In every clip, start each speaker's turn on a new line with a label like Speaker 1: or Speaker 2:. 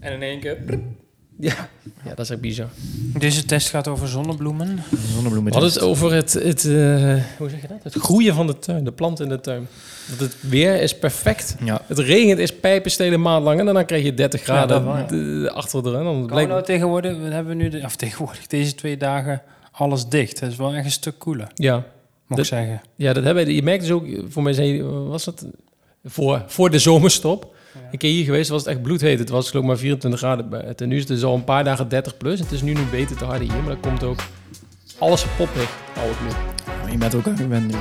Speaker 1: En in één keer... prp. Ja, ja dat is echt bizar.
Speaker 2: Deze test gaat over zonnebloemen.
Speaker 1: We
Speaker 3: Zonnebloemen.
Speaker 1: hadden het over het, het, eh, hoe zeg je dat? het groeien van de tuin, de planten in de tuin. Want het weer is perfect.
Speaker 3: Ja.
Speaker 1: Het regent is pijpenstelen een maand lang en daarna krijg je 30 graden
Speaker 2: dat waar.
Speaker 1: eh, achter de rug. Dan
Speaker 2: Kan we
Speaker 1: blijkt-
Speaker 2: nou tegenwoordig, we hebben nu, de, of tegenwoordig, deze twee dagen alles dicht. Dat is wel echt een stuk cooler,
Speaker 1: Ja.
Speaker 2: mag
Speaker 1: Dat-
Speaker 2: ik zeggen.
Speaker 1: ja, dat hebben we. Je merkt dus ook, eh, voor mij zei, was dat voor, voor de zomerstop. Een keer hier geweest was het echt bloedheet. Het was geloof ik maar 24 graden. bij het. En nu is het dus al een paar dagen 30 plus. Het is nu nu beter te harden hier, maar dat komt ook alles kapot weg. Al het meer.
Speaker 3: Maar Je bent ook aan gewend. nu.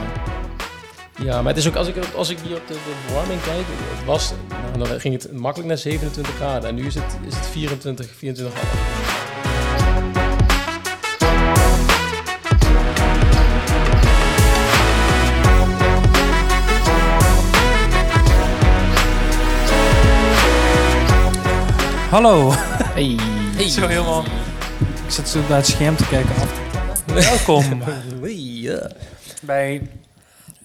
Speaker 1: Ja, maar het is ook als ik, als ik hier op de, de verwarming kijk, het was, nou, dan ging het makkelijk naar 27 graden en nu is het, is het 24, 24 graden.
Speaker 2: Hallo!
Speaker 3: Hey.
Speaker 2: Zo helemaal. Ik zit zo naar het scherm te kijken. af te- Welkom bij...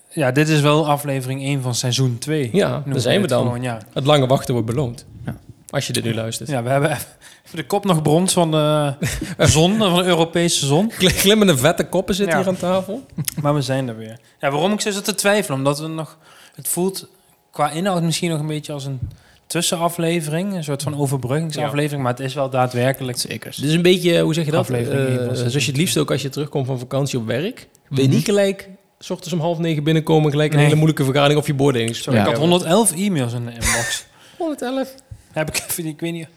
Speaker 2: Ja, dit is wel aflevering 1 van seizoen 2.
Speaker 1: Ja, daar zijn we dan.
Speaker 2: Gewoon, ja.
Speaker 1: Het lange wachten wordt beloond.
Speaker 3: Ja.
Speaker 1: Als je dit nu luistert.
Speaker 2: ja, we hebben even de kop nog brons van de zon, van de Europese zon.
Speaker 1: Gl- Glimmende vette koppen zitten
Speaker 2: Ja.
Speaker 1: hier aan tafel.
Speaker 2: Maar we zijn er weer. Ja, waarom ik zo zat te twijfelen? Omdat we nog, het voelt qua inhoud misschien nog een beetje als een tussenaflevering. Een soort van overbruggingsaflevering. Maar het is wel daadwerkelijk.
Speaker 3: Zeker.
Speaker 1: Dit is een beetje, hoe zeg je dat?
Speaker 2: Aflevering
Speaker 1: Eh,
Speaker 2: één van
Speaker 1: zoals je het
Speaker 2: seizoen
Speaker 1: liefst ook als je terugkomt van vakantie op werk. Wil je niet gelijk, s ochtends om half negen binnenkomen, gelijk een
Speaker 2: Nee.
Speaker 1: hele moeilijke vergadering of je beoordelingsgesprek.
Speaker 2: Sorry,
Speaker 3: Ja.
Speaker 2: ik had 111 e-mails in de inbox.
Speaker 1: 111.
Speaker 2: Heb ik even, ik weet niet.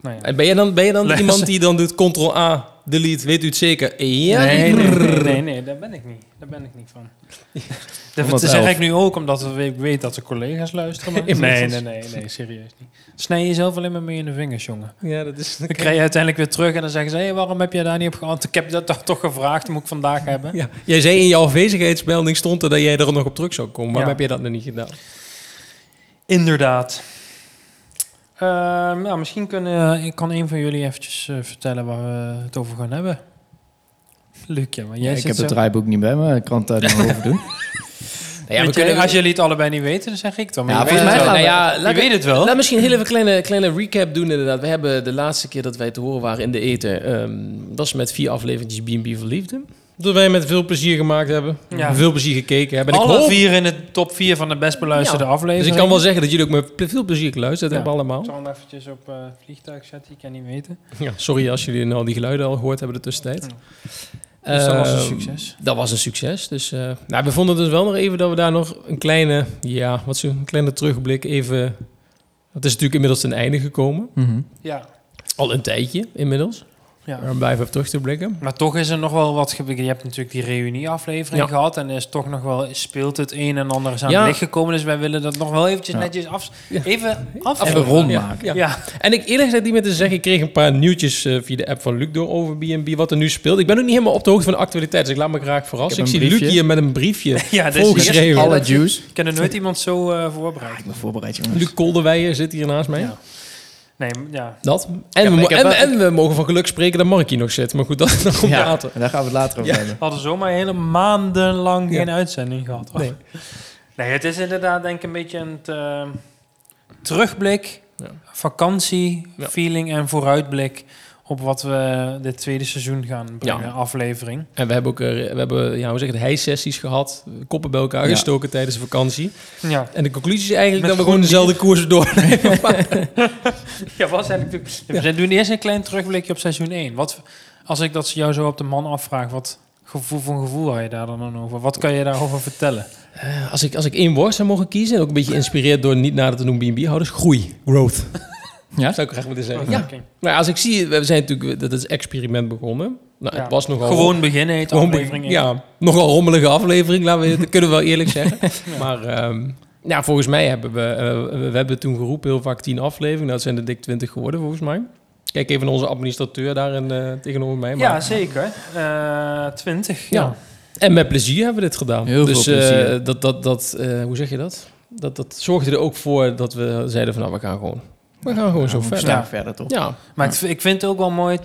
Speaker 2: Nou ja.
Speaker 1: En Eh, ben je dan, ben je dan
Speaker 2: Les.
Speaker 1: iemand die dan doet ctrl-a, delete, weet u het zeker? Ja,
Speaker 2: nee, nee, nee, nee, nee, daar ben ik niet. Daar ben ik niet van. Dat
Speaker 3: 111.
Speaker 2: zeg ik nu ook omdat we- ik weet dat de collega's luisteren. maar- Nee, nee, nee, nee, serieus niet. Snij jezelf alleen maar mee in de vingers, jongen.
Speaker 1: Ja, dat is...
Speaker 2: Dan krijg je uiteindelijk weer terug en dan zeggen ze... Hey, waarom heb jij daar niet op geantwoord? Ik heb dat toch- toch gevraagd, moet ik vandaag hebben.
Speaker 1: Ja, jij zei in je afwezigheidsmelding stond er dat jij er nog op terug zou komen. Waarom
Speaker 2: Ja.
Speaker 1: heb je dat nog niet gedaan?
Speaker 2: Inderdaad. Ehm, nou, misschien kunnen, ik kan een van jullie eventjes eh, vertellen waar we het over gaan hebben. Luc, ja, maar jij
Speaker 3: ik
Speaker 2: zit
Speaker 3: heb
Speaker 2: zo-
Speaker 3: het draaiboek niet bij me. Ik kan het uit mijn hoofd doen.
Speaker 1: Nou
Speaker 2: Weet jullie- als jullie het allebei niet weten, dan zeg ik dan.
Speaker 3: Ja,
Speaker 2: je
Speaker 3: volgens
Speaker 2: weet
Speaker 3: mij
Speaker 2: het wel.
Speaker 3: gaan we-
Speaker 1: ja,
Speaker 2: je
Speaker 1: laat,
Speaker 2: weet het wel.
Speaker 1: laat misschien heel even een kleine, kleine recap doen inderdaad. We hebben de laatste keer dat wij te horen waren in de eten... ehm, was met vier afleveringen B&B voor Liefde. Dat wij met veel plezier gemaakt hebben.
Speaker 2: Ja.
Speaker 1: Veel plezier gekeken hebben. En ik
Speaker 2: Alle
Speaker 1: hoop-
Speaker 2: vier in de top 4 van de best beluisterde
Speaker 1: Dus
Speaker 2: afleveringen.
Speaker 1: ik kan wel zeggen dat jullie ook met ple- veel plezier geluisterd
Speaker 2: Ja.
Speaker 1: hebben allemaal.
Speaker 2: Ik zal hem eventjes op eh, vliegtuig zetten, ik kan niet weten.
Speaker 1: Ja, sorry als jullie al die geluiden al gehoord hebben de tussentijd.
Speaker 2: Dus dat was een
Speaker 1: Ehm,
Speaker 2: succes.
Speaker 1: Dat was een succes. Dus eh, nou, we vonden dus wel nog even dat we daar nog een kleine, ja, wat zo, een kleine terugblik even. Het is natuurlijk inmiddels ten einde gekomen.
Speaker 2: Mhm. Ja.
Speaker 1: Al een tijdje inmiddels.
Speaker 2: ja.
Speaker 1: Maar we blijven op terug te blikken.
Speaker 2: Maar toch is er nog wel wat gebeurd. Je hebt natuurlijk die reunieaflevering
Speaker 1: Ja.
Speaker 2: gehad. En er is toch nog wel, speelt het een en ander is aan
Speaker 1: Ja.
Speaker 2: het licht gekomen. Dus wij willen dat nog wel eventjes
Speaker 3: Ja.
Speaker 2: netjes af,
Speaker 1: Ja.
Speaker 2: even af.
Speaker 3: Even rond
Speaker 1: Ja,
Speaker 3: maken.
Speaker 1: ja.
Speaker 2: Ja.
Speaker 1: En ik eerlijk gezegd niet meer te zeggen, ik kreeg een paar nieuwtjes eh, via de app van Luc door over B&B, wat er nu speelt. Ik ben ook niet helemaal op de hoogte van de actualiteit, dus ik laat me graag verrassen. Ik,
Speaker 3: Ik
Speaker 1: zie
Speaker 3: heb een
Speaker 1: Luc
Speaker 3: briefje.
Speaker 1: hier met een briefje.
Speaker 2: ja, dat is
Speaker 1: Volgens
Speaker 2: de eerste
Speaker 1: Reeuwen.
Speaker 2: keer
Speaker 3: Alle
Speaker 2: dat je-
Speaker 3: juice.
Speaker 2: Ik ken er nooit iemand zo eh voorbereid.
Speaker 3: Ik ben voorbereid, jongens.
Speaker 1: Luc Kolderweijer zit hier naast mij.
Speaker 2: Ja. Nee, m- ja.
Speaker 1: Dat. En, we,
Speaker 2: maar
Speaker 1: mo-
Speaker 2: ik heb
Speaker 1: en,
Speaker 2: wel-
Speaker 1: en we mogen van geluk spreken dat Mark hier nog zit. Maar goed, dat, dat komt
Speaker 3: Ja,
Speaker 1: later.
Speaker 3: daar gaan we het later over
Speaker 1: Ja.
Speaker 3: hebben.
Speaker 2: We hadden zomaar hele maandenlang
Speaker 1: Ja.
Speaker 2: geen uitzending gehad. hoor.
Speaker 1: Nee.
Speaker 2: Nee, het is inderdaad denk ik een beetje een eh, terugblik,
Speaker 1: Ja.
Speaker 2: vakantie,
Speaker 1: Ja.
Speaker 2: feeling en vooruitblik op wat we dit tweede seizoen gaan brengen,
Speaker 1: Ja.
Speaker 2: aflevering.
Speaker 1: En we hebben ook eh, we hebben, ja, hoe zeg je het, hijsessies gehad. Koppen bij elkaar
Speaker 3: Ja.
Speaker 1: gestoken tijdens de vakantie.
Speaker 2: Ja,
Speaker 1: En de conclusie is eigenlijk
Speaker 2: Met
Speaker 1: dat we gewoon
Speaker 2: groen
Speaker 1: dezelfde
Speaker 2: bier.
Speaker 1: koers doornemen. Maar-
Speaker 2: ja was eigenlijk... natuurlijk- We doen eerst een klein terugblikje op seizoen 1. Wat, als ik dat jou zo op de man afvraag, wat gevoel voor gevoel had je daar dan aan over? Wat kan je daarover vertellen?
Speaker 1: Eh, als, ik, als ik één woord zou mogen kiezen, en ook een beetje geïnspireerd door niet nader te noemen B&B-houders, groei, growth.
Speaker 3: Ja?
Speaker 1: Zou ik graag willen zeggen. Ja.
Speaker 2: Oké.
Speaker 1: Maar als ik zie, we zijn natuurlijk, dat is experiment begonnen. Nou,
Speaker 2: Ja.
Speaker 1: het was nogal...
Speaker 2: Gewoon beginnen heet
Speaker 1: Gewoon be-
Speaker 2: aflevering één.
Speaker 1: Ja, nogal rommelige aflevering, laten we, dat kunnen we wel eerlijk zeggen. Maar ehm, ja, volgens mij hebben we, eh, we hebben toen geroepen heel vaak tien afleveringen. Nou, dat zijn er dik twintig geworden volgens mij. Kijk even naar onze administrateur daar en, eh, tegenover mij. Maar,
Speaker 2: Ja, zeker. Eh 20.
Speaker 1: Ja. En met plezier hebben we dit gedaan.
Speaker 3: Heel veel
Speaker 1: dus eh,
Speaker 3: plezier.
Speaker 1: dat, dat, dat eh, hoe zeg je dat? dat? Dat zorgde er ook voor dat we zeiden van nou, we gaan gewoon, we gaan gewoon zo
Speaker 3: we
Speaker 1: verder.
Speaker 3: staan
Speaker 2: Ja.
Speaker 3: verder, toch?
Speaker 1: Ja,
Speaker 2: Maar het- ik vind het ook wel mooi.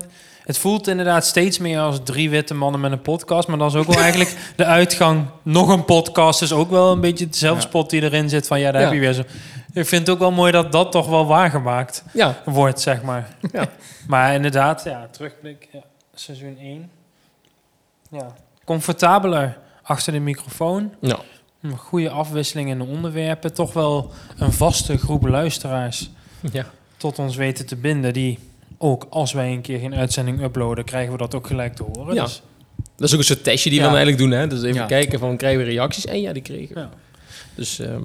Speaker 2: Het voelt inderdaad steeds meer als drie witte mannen met een podcast. Maar dan is ook wel eigenlijk de uitgang. Nog een podcast is ook wel een beetje de zelfspot die erin zit. Van ja, daar
Speaker 1: Ja.
Speaker 2: heb je weer zo. Ik vind het ook wel mooi dat dat toch wel waargemaakt
Speaker 1: Ja,
Speaker 2: wordt, zeg maar.
Speaker 1: Ja.
Speaker 2: Maar inderdaad, ja, terugblik, ja, seizoen 1. Ja. Comfortabeler achter de microfoon.
Speaker 1: Ja.
Speaker 2: Een goede afwisseling in de onderwerpen. Toch wel een vaste groep luisteraars
Speaker 1: ja.
Speaker 2: tot ons weten te binden. Die ook als wij een keer geen uitzending uploaden, krijgen we dat ook gelijk te horen.
Speaker 1: Ja.
Speaker 2: Dus,
Speaker 1: Dat is ook een soort testje die we
Speaker 2: Ja.
Speaker 1: dan eigenlijk doen. Hè? Dus even
Speaker 3: Ja.
Speaker 1: kijken van krijgen we reacties. En ja, die kregen we.
Speaker 2: Ja.
Speaker 1: Dus ehm,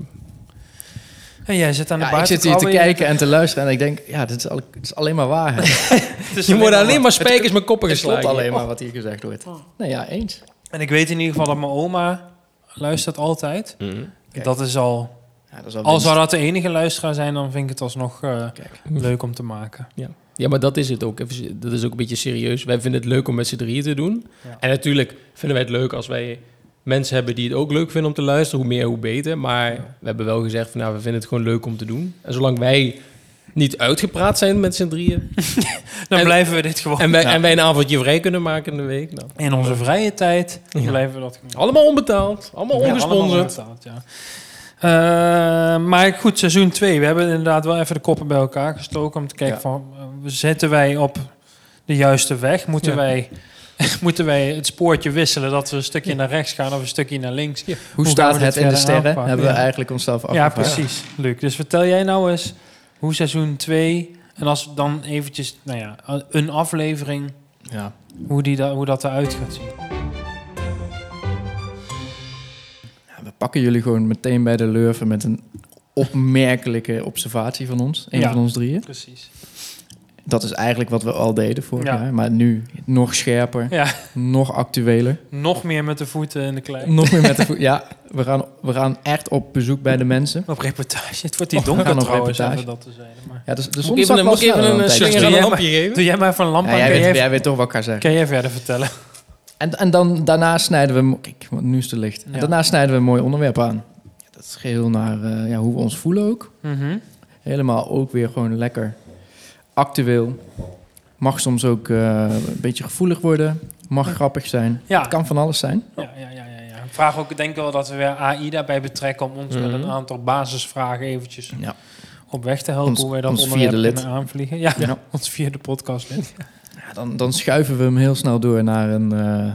Speaker 2: en jij zit aan de
Speaker 3: Ja, ik
Speaker 2: basis
Speaker 3: zit hier te kijken en te luisteren en ik denk, ja, dit is, al, dit is alleen maar waarheid. Dus
Speaker 1: je wordt alleen maar spijkers met koppen
Speaker 3: Het klopt
Speaker 1: geslagen.
Speaker 3: alleen
Speaker 2: Oh.
Speaker 3: maar wat hier gezegd wordt. Nee, ja, eens.
Speaker 2: En ik weet in ieder geval dat mijn oma luistert altijd.
Speaker 1: Mhm.
Speaker 3: Kijk.
Speaker 2: Dat is al...
Speaker 3: Ja, dat is wel
Speaker 2: Al zou
Speaker 3: winst.
Speaker 2: dat de enige luisteraar zijn, dan vind ik het alsnog eh,
Speaker 3: Kijk.
Speaker 2: leuk om te maken.
Speaker 1: Ja, maar dat is het ook. Even- Dat is ook een beetje serieus. Wij vinden het leuk om met z'n drieën te doen.
Speaker 2: Ja.
Speaker 1: En natuurlijk vinden wij het leuk als wij mensen hebben die het ook leuk vinden om te luisteren. Hoe meer, hoe beter. Maar we hebben wel gezegd van nou, we vinden het gewoon leuk om te doen. En zolang wij niet uitgepraat zijn met z'n drieën.
Speaker 2: Dan
Speaker 1: En-
Speaker 2: blijven we dit gewoon
Speaker 1: en, wij,
Speaker 3: Ja.
Speaker 1: en wij een avondje vrij kunnen maken in de week. Nou,
Speaker 2: in onze vrije tijd.
Speaker 1: Ja.
Speaker 2: Blijven we dat gewoon.
Speaker 1: allemaal onbetaald. Allemaal
Speaker 2: Ja, allemaal
Speaker 1: ongesponsord.
Speaker 2: onbetaald, ja. Eh, maar goed, seizoen 2. We hebben inderdaad wel even de koppen bij elkaar gestoken. Om te kijken
Speaker 3: Ja.
Speaker 2: van, eh, zetten wij op de juiste weg? Moeten,
Speaker 1: Ja.
Speaker 2: wij, moeten wij het spoortje wisselen? Dat we een stukje naar rechts gaan of een stukje naar links?
Speaker 3: Hoe
Speaker 2: gaan we
Speaker 3: staat
Speaker 2: dit
Speaker 3: het in de
Speaker 2: verder
Speaker 3: sterren?
Speaker 2: aanpakken?
Speaker 3: Hebben we
Speaker 2: Ja.
Speaker 3: eigenlijk onszelf
Speaker 2: Ja,
Speaker 3: afgevraagd.
Speaker 2: precies, Luc. Dus vertel jij nou eens hoe seizoen 2... En als dan eventjes, nou ja, een aflevering,
Speaker 3: Ja.
Speaker 2: hoe, die da- hoe dat eruit gaat zien.
Speaker 3: Ja, we pakken jullie gewoon meteen bij de lurven met een opmerkelijke observatie van ons. Een
Speaker 2: Ja.
Speaker 3: van ons drieën.
Speaker 2: Precies.
Speaker 3: Dat is eigenlijk wat we al deden vorig
Speaker 2: Ja.
Speaker 3: jaar. Maar nu nog scherper,
Speaker 2: Ja.
Speaker 3: nog actueler.
Speaker 2: Nog meer met de voeten in de klei.
Speaker 3: Nog meer met de voet. Ja, we gaan, we gaan echt op bezoek bij de mensen.
Speaker 2: Op reportage. Het wordt hier
Speaker 3: We gaan
Speaker 2: donker
Speaker 3: op
Speaker 2: trouwens,
Speaker 3: reportage.
Speaker 2: even dat te zijn. Maar...
Speaker 3: Ja, dus de
Speaker 1: Moet
Speaker 3: zon
Speaker 1: ik even,
Speaker 3: zag
Speaker 1: een-
Speaker 3: wel
Speaker 1: moet ik even
Speaker 3: sneller
Speaker 1: een eh,
Speaker 3: dan een
Speaker 1: slinger
Speaker 3: tijdje.
Speaker 1: aan een
Speaker 2: Doe jij
Speaker 1: lampje geven?
Speaker 2: Doe jij maar even een lamp
Speaker 3: Ja,
Speaker 2: aan.
Speaker 3: jij,
Speaker 2: Kun
Speaker 3: weet,
Speaker 2: jij,
Speaker 3: jij weet toch wat ik ga zeggen.
Speaker 2: kun jij verder vertellen?
Speaker 3: En, en dan, daarna snijden we... hem- Kijk, want nu is het licht. En
Speaker 2: Ja.
Speaker 3: Daarna snijden we een mooi onderwerp aan. Ja, Dat is geheel naar eh, ja, hoe we ons voelen ook.
Speaker 2: Mhm.
Speaker 3: Helemaal ook weer gewoon lekker actueel. Mag soms ook eh, een beetje gevoelig worden. Mag grappig zijn.
Speaker 2: Ja.
Speaker 3: Het kan van alles zijn.
Speaker 2: Ja, ja, ja, ja, ja. Vraag ook, denk wel dat we weer AI daarbij betrekken om ons
Speaker 1: Mhm.
Speaker 2: met een aantal basisvragen eventjes
Speaker 3: Ja.
Speaker 2: op weg te helpen.
Speaker 3: Ons-
Speaker 2: hoe wij dat
Speaker 3: ons
Speaker 2: onderwerp
Speaker 3: vierde lid.
Speaker 2: kunnen aanvliegen. Ja,
Speaker 3: Ja.
Speaker 2: ons vierde podcastlid.
Speaker 3: Ja, dan, dan schuiven we hem heel snel door naar een, eh,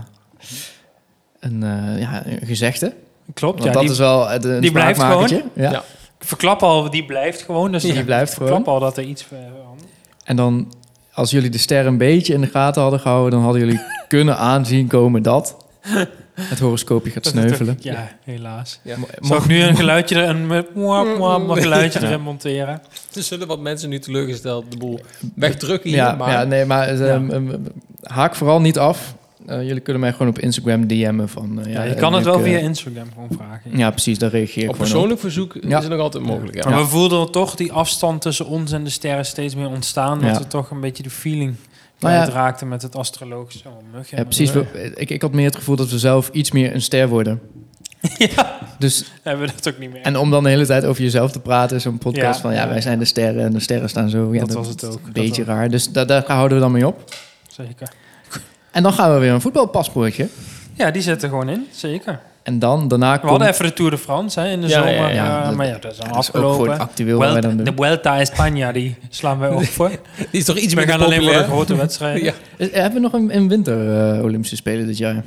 Speaker 3: een, eh, ja, een gezegde.
Speaker 2: Klopt, ja.
Speaker 3: Want dat
Speaker 2: Die
Speaker 3: is wel het een
Speaker 2: die blijft
Speaker 3: smaakmakertje. Ja,
Speaker 1: Ja.
Speaker 2: Verklap al, die blijft gewoon. Dus
Speaker 3: Die
Speaker 2: ik
Speaker 3: blijft
Speaker 2: verklap
Speaker 3: gewoon.
Speaker 2: al dat er iets verandert.
Speaker 3: En dan, als jullie de ster een beetje in de gaten hadden gehouden... dan hadden jullie kunnen aanzien komen dat het horoscoopje gaat
Speaker 2: Dat is natuurlijk-
Speaker 3: sneuvelen.
Speaker 2: Ja, helaas.
Speaker 1: Ja.
Speaker 3: Mo-
Speaker 2: Zal ik
Speaker 3: mocht-
Speaker 2: nu een geluidje, er- een mwap, mwap, mwap geluidje
Speaker 3: Ja.
Speaker 2: erin monteren?
Speaker 1: Er zullen wat mensen nu teleurgesteld de boel wegdrukken hier.
Speaker 3: Ja,
Speaker 1: maar
Speaker 3: ja, nee, maar eh,
Speaker 2: Ja.
Speaker 3: ehm, ehm, haak vooral niet af. Eh, jullie kunnen mij gewoon op Instagram DM'en van... eh,
Speaker 2: Ja, je
Speaker 3: eh,
Speaker 2: kan het
Speaker 3: Luc,
Speaker 2: wel
Speaker 3: eh,
Speaker 2: via Instagram gewoon vragen.
Speaker 3: Ja, precies, daar reageer ik
Speaker 1: op
Speaker 3: gewoon op.
Speaker 1: persoonlijk verzoek
Speaker 3: Ja.
Speaker 1: is het nog altijd mogelijk. Ja.
Speaker 2: Maar we voelden toch die afstand tussen ons en de sterren steeds meer ontstaan. Dat
Speaker 3: Ja.
Speaker 2: we toch een beetje de feeling
Speaker 3: Nou ja.
Speaker 2: raakten met het astrologische. Oh, muggen,
Speaker 3: Ja, precies.
Speaker 2: muggen.
Speaker 3: we- ik, ik had meer het gevoel dat we zelf iets meer een ster worden.
Speaker 2: ja,
Speaker 3: Dus,
Speaker 2: hebben we dat ook niet meer.
Speaker 3: en om dan de hele tijd over jezelf te praten, zo'n podcast
Speaker 2: Ja.
Speaker 3: van ja, wij zijn de sterren en de sterren staan zo. Ja,
Speaker 2: Dat was het ook.
Speaker 3: Een
Speaker 2: Dat
Speaker 3: beetje
Speaker 2: was-
Speaker 3: raar. Dus daar, daar houden we dan mee op.
Speaker 2: Zeker.
Speaker 3: En dan gaan we weer een voetbalpaspoortje.
Speaker 2: Ja, die zitten gewoon in. Zeker.
Speaker 3: En dan, daarna
Speaker 2: We
Speaker 3: komt...
Speaker 2: hadden even de Tour de France hè, in de
Speaker 1: Ja,
Speaker 2: zomer.
Speaker 1: ja,
Speaker 3: ja.
Speaker 2: eh, maar ja, dat is al
Speaker 3: Ja, dat is ook
Speaker 2: afgelopen.
Speaker 3: gewoon actueel wat wij
Speaker 2: Vuelta-
Speaker 3: dan
Speaker 2: de
Speaker 3: doen.
Speaker 2: Vuelta a España, die slaan wij ook voor.
Speaker 1: Die is toch iets
Speaker 2: We
Speaker 1: meer
Speaker 2: gaan alleen maar de
Speaker 1: populair?
Speaker 2: grote wedstrijden.
Speaker 1: Ja.
Speaker 3: Is- Hebben we nog een, een winter eh, Olympische Spelen dit jaar?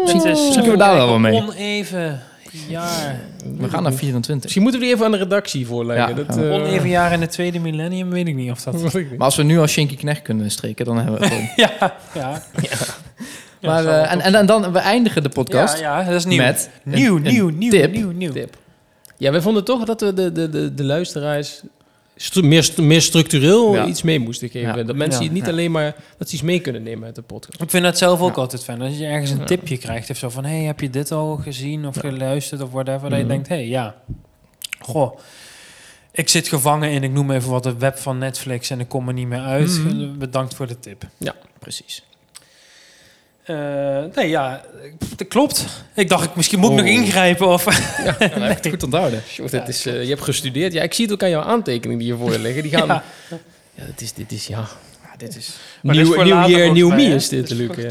Speaker 3: Misschien
Speaker 2: Het is
Speaker 3: zoeken we daar wel
Speaker 2: een
Speaker 3: wel mee.
Speaker 2: Oneven jaar.
Speaker 3: We gaan naar 24.
Speaker 1: Misschien moeten we die even aan de redactie voorleggen.
Speaker 3: Ja,
Speaker 1: dat,
Speaker 3: gaan
Speaker 1: eh,
Speaker 2: Oneven jaar in het tweede millennium, weet ik niet of dat...
Speaker 1: weet ik niet.
Speaker 3: Maar als we nu als Shinky Knecht kunnen streken, dan hebben we het gewoon.
Speaker 2: Ja, ja.
Speaker 3: maar,
Speaker 2: zal wel
Speaker 3: eh, en, en, en dan, we eindigen de podcast
Speaker 2: Ja, ja, dat is nieuw.
Speaker 3: met...
Speaker 2: nieuw,
Speaker 3: een-
Speaker 2: nieuw, nieuw,
Speaker 3: tip.
Speaker 2: nieuw, nieuw.
Speaker 1: Tip. Ja, wij vonden toch dat we de, de, de, de luisteraars stru- meer, st- meer structureel
Speaker 3: Ja.
Speaker 1: iets mee moesten geven.
Speaker 3: Ja.
Speaker 1: Dat mensen
Speaker 2: Ja.
Speaker 1: het niet
Speaker 3: Ja.
Speaker 1: alleen maar dat ze iets mee kunnen nemen uit de podcast.
Speaker 2: Ik vind dat zelf ook
Speaker 3: Ja.
Speaker 2: altijd fijn. Als je ergens een
Speaker 1: Ja.
Speaker 2: tipje krijgt of zo van... hey, heb je dit al gezien of geluisterd of whatever? Dat je
Speaker 1: Mhm.
Speaker 2: denkt, hey, ja. Goh, ik zit gevangen in, ik noem even wat, de web van Netflix... en ik kom er niet meer uit.
Speaker 1: Mhm.
Speaker 2: Bedankt voor de tip.
Speaker 3: Precies.
Speaker 2: Eh, nee, ja, dat klopt. Ik dacht, ik misschien moet ik
Speaker 3: Oh.
Speaker 2: nog ingrijpen of...
Speaker 1: Ja, dan heb je het goed onthouden.
Speaker 2: Ja,
Speaker 1: dit is, eh, je hebt gestudeerd. Ja, ik zie het ook aan jouw aantekeningen die hiervoor liggen. Die gaan... Ja. dit is, dit is, ja...
Speaker 3: dit is...
Speaker 2: Maar dit is
Speaker 1: Nieuw
Speaker 2: voor
Speaker 1: nieuw
Speaker 2: later
Speaker 1: year,
Speaker 2: volgens
Speaker 1: nieuw
Speaker 2: mij,
Speaker 1: me
Speaker 2: hè?
Speaker 1: is dit,
Speaker 2: Dus
Speaker 1: Luc.
Speaker 2: goed.
Speaker 1: hè.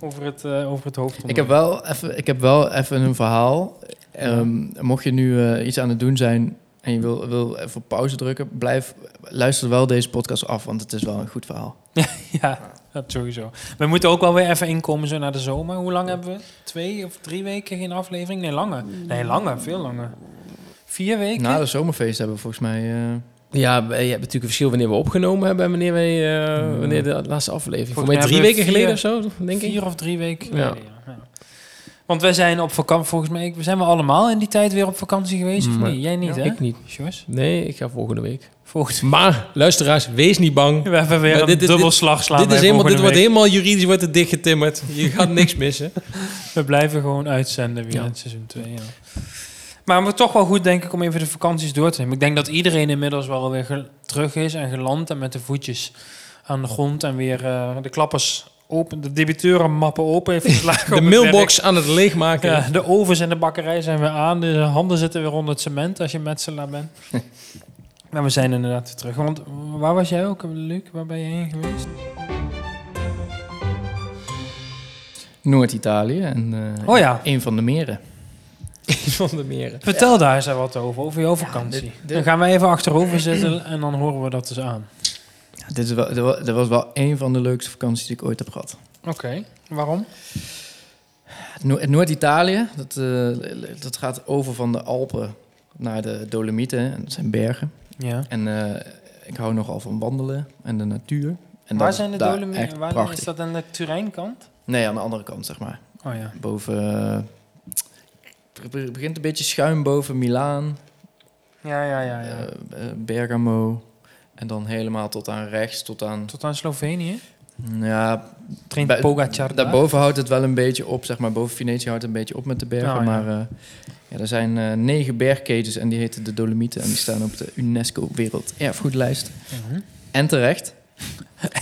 Speaker 2: over, het, eh, over het hoofd.
Speaker 3: Ik heb, wel even, ik heb wel even een verhaal. Ehm, mocht je nu eh, iets aan het doen zijn en je wil, wil even pauze drukken, blijf, luister wel deze podcast af, want het is wel een goed verhaal.
Speaker 2: ja, dat sowieso. We moeten ook wel weer even inkomen zo naar de zomer. Hoe lang hebben we? Twee of drie weken geen aflevering? Nee, langer.
Speaker 1: Mm.
Speaker 2: Nee, langer. Veel langer. Vier weken?
Speaker 1: Nou,
Speaker 3: Na de zomerfeest hebben we volgens mij... eh,
Speaker 1: Ja, we- je hebt natuurlijk een verschil wanneer we opgenomen hebben en wanneer, wij, eh,
Speaker 3: Hmm.
Speaker 1: wanneer de laatste aflevering. Voor
Speaker 2: Volgens
Speaker 1: mij
Speaker 2: mij
Speaker 1: drie
Speaker 2: hebben
Speaker 1: weken
Speaker 2: we
Speaker 1: geleden of zo, denk ik.
Speaker 2: Vier of drie weken
Speaker 1: Ja.
Speaker 2: geleden, ja. ja. Want wij zijn op vakantie, volgens mij we zijn we allemaal in die tijd weer op vakantie geweest, of
Speaker 1: Mm.
Speaker 2: niet? Jij niet, hè?
Speaker 1: Ik niet.
Speaker 2: Sjors?
Speaker 1: Nee, ik ga volgende week.
Speaker 2: Volgens
Speaker 1: Maar, luisteraars, wees niet bang.
Speaker 2: We hebben
Speaker 1: Maar
Speaker 2: weer
Speaker 1: dit
Speaker 2: een
Speaker 1: is-
Speaker 2: dubbelslag slaan
Speaker 1: Dit,
Speaker 2: bij
Speaker 1: is helemaal, dit
Speaker 2: volgende
Speaker 1: wordt
Speaker 2: week.
Speaker 1: helemaal juridisch wordt het dichtgetimmerd. Je gaat niks missen.
Speaker 2: We blijven gewoon uitzenden weer
Speaker 1: Ja.
Speaker 2: in seizoen 2, ja. Maar we toch wel goed, denk ik, om even de vakanties door te nemen. Ik denk dat iedereen inmiddels wel weer ge- terug is en geland en met de voetjes aan de grond en weer eh, de klappers open, de debiteurenmappen open heeft geslagen. op
Speaker 1: De
Speaker 2: het werk.
Speaker 1: mailbox aan het leegmaken.
Speaker 2: Ja, de ovens en de bakkerij zijn weer aan. De handen zitten weer onder het cement als je metselaar bent. maar we zijn inderdaad weer terug. Want waar was jij ook, Luc? Waar ben je heen geweest?
Speaker 3: Noord-Italië en eh,
Speaker 2: Oh ja.
Speaker 3: een van de meren.
Speaker 1: van de meren.
Speaker 2: Vertel daar eens wat over, over jouw vakantie.
Speaker 3: dit- dit-
Speaker 2: Dan gaan we even achterover zitten en dan horen we dat dus aan.
Speaker 3: Ja, dit, is wel, dit wa- dit was wel een van de leukste vakanties die ik ooit heb gehad.
Speaker 2: Oké, waarom?
Speaker 3: No- in Noord-Italië, dat, eh, dat gaat over van de Alpen naar de Dolomieten. hè, En dat zijn bergen.
Speaker 2: Ja.
Speaker 3: En eh, ik hou nogal van wandelen en de natuur. En
Speaker 2: waar
Speaker 3: dat
Speaker 2: zijn de
Speaker 3: is daar
Speaker 2: Dolomieten?
Speaker 3: echt
Speaker 2: Waar
Speaker 3: prachtig.
Speaker 2: is dat aan de Turijnkant?
Speaker 3: Nee, aan de andere kant, zeg maar.
Speaker 2: Oh ja.
Speaker 3: Boven... eh, het be- begint een beetje schuin boven Milaan,
Speaker 2: Ja, ja, ja. ja.
Speaker 3: eh, eh, Bergamo. En dan helemaal tot aan rechts, tot aan...
Speaker 2: Tot aan Slovenië.
Speaker 3: Ja,
Speaker 2: Traint
Speaker 3: Bij-
Speaker 2: Pogacar daar.
Speaker 3: Daarboven houdt het wel een beetje op, zeg maar. Boven Venetië houdt het een beetje op met de
Speaker 2: Oh,
Speaker 3: bergen.
Speaker 2: ja.
Speaker 3: Maar eh, ja, er zijn eh, negen bergketens en die heten de Dolomieten. En die staan op de UNESCO Werelderfgoedlijst.
Speaker 2: Mhm.
Speaker 3: En terecht.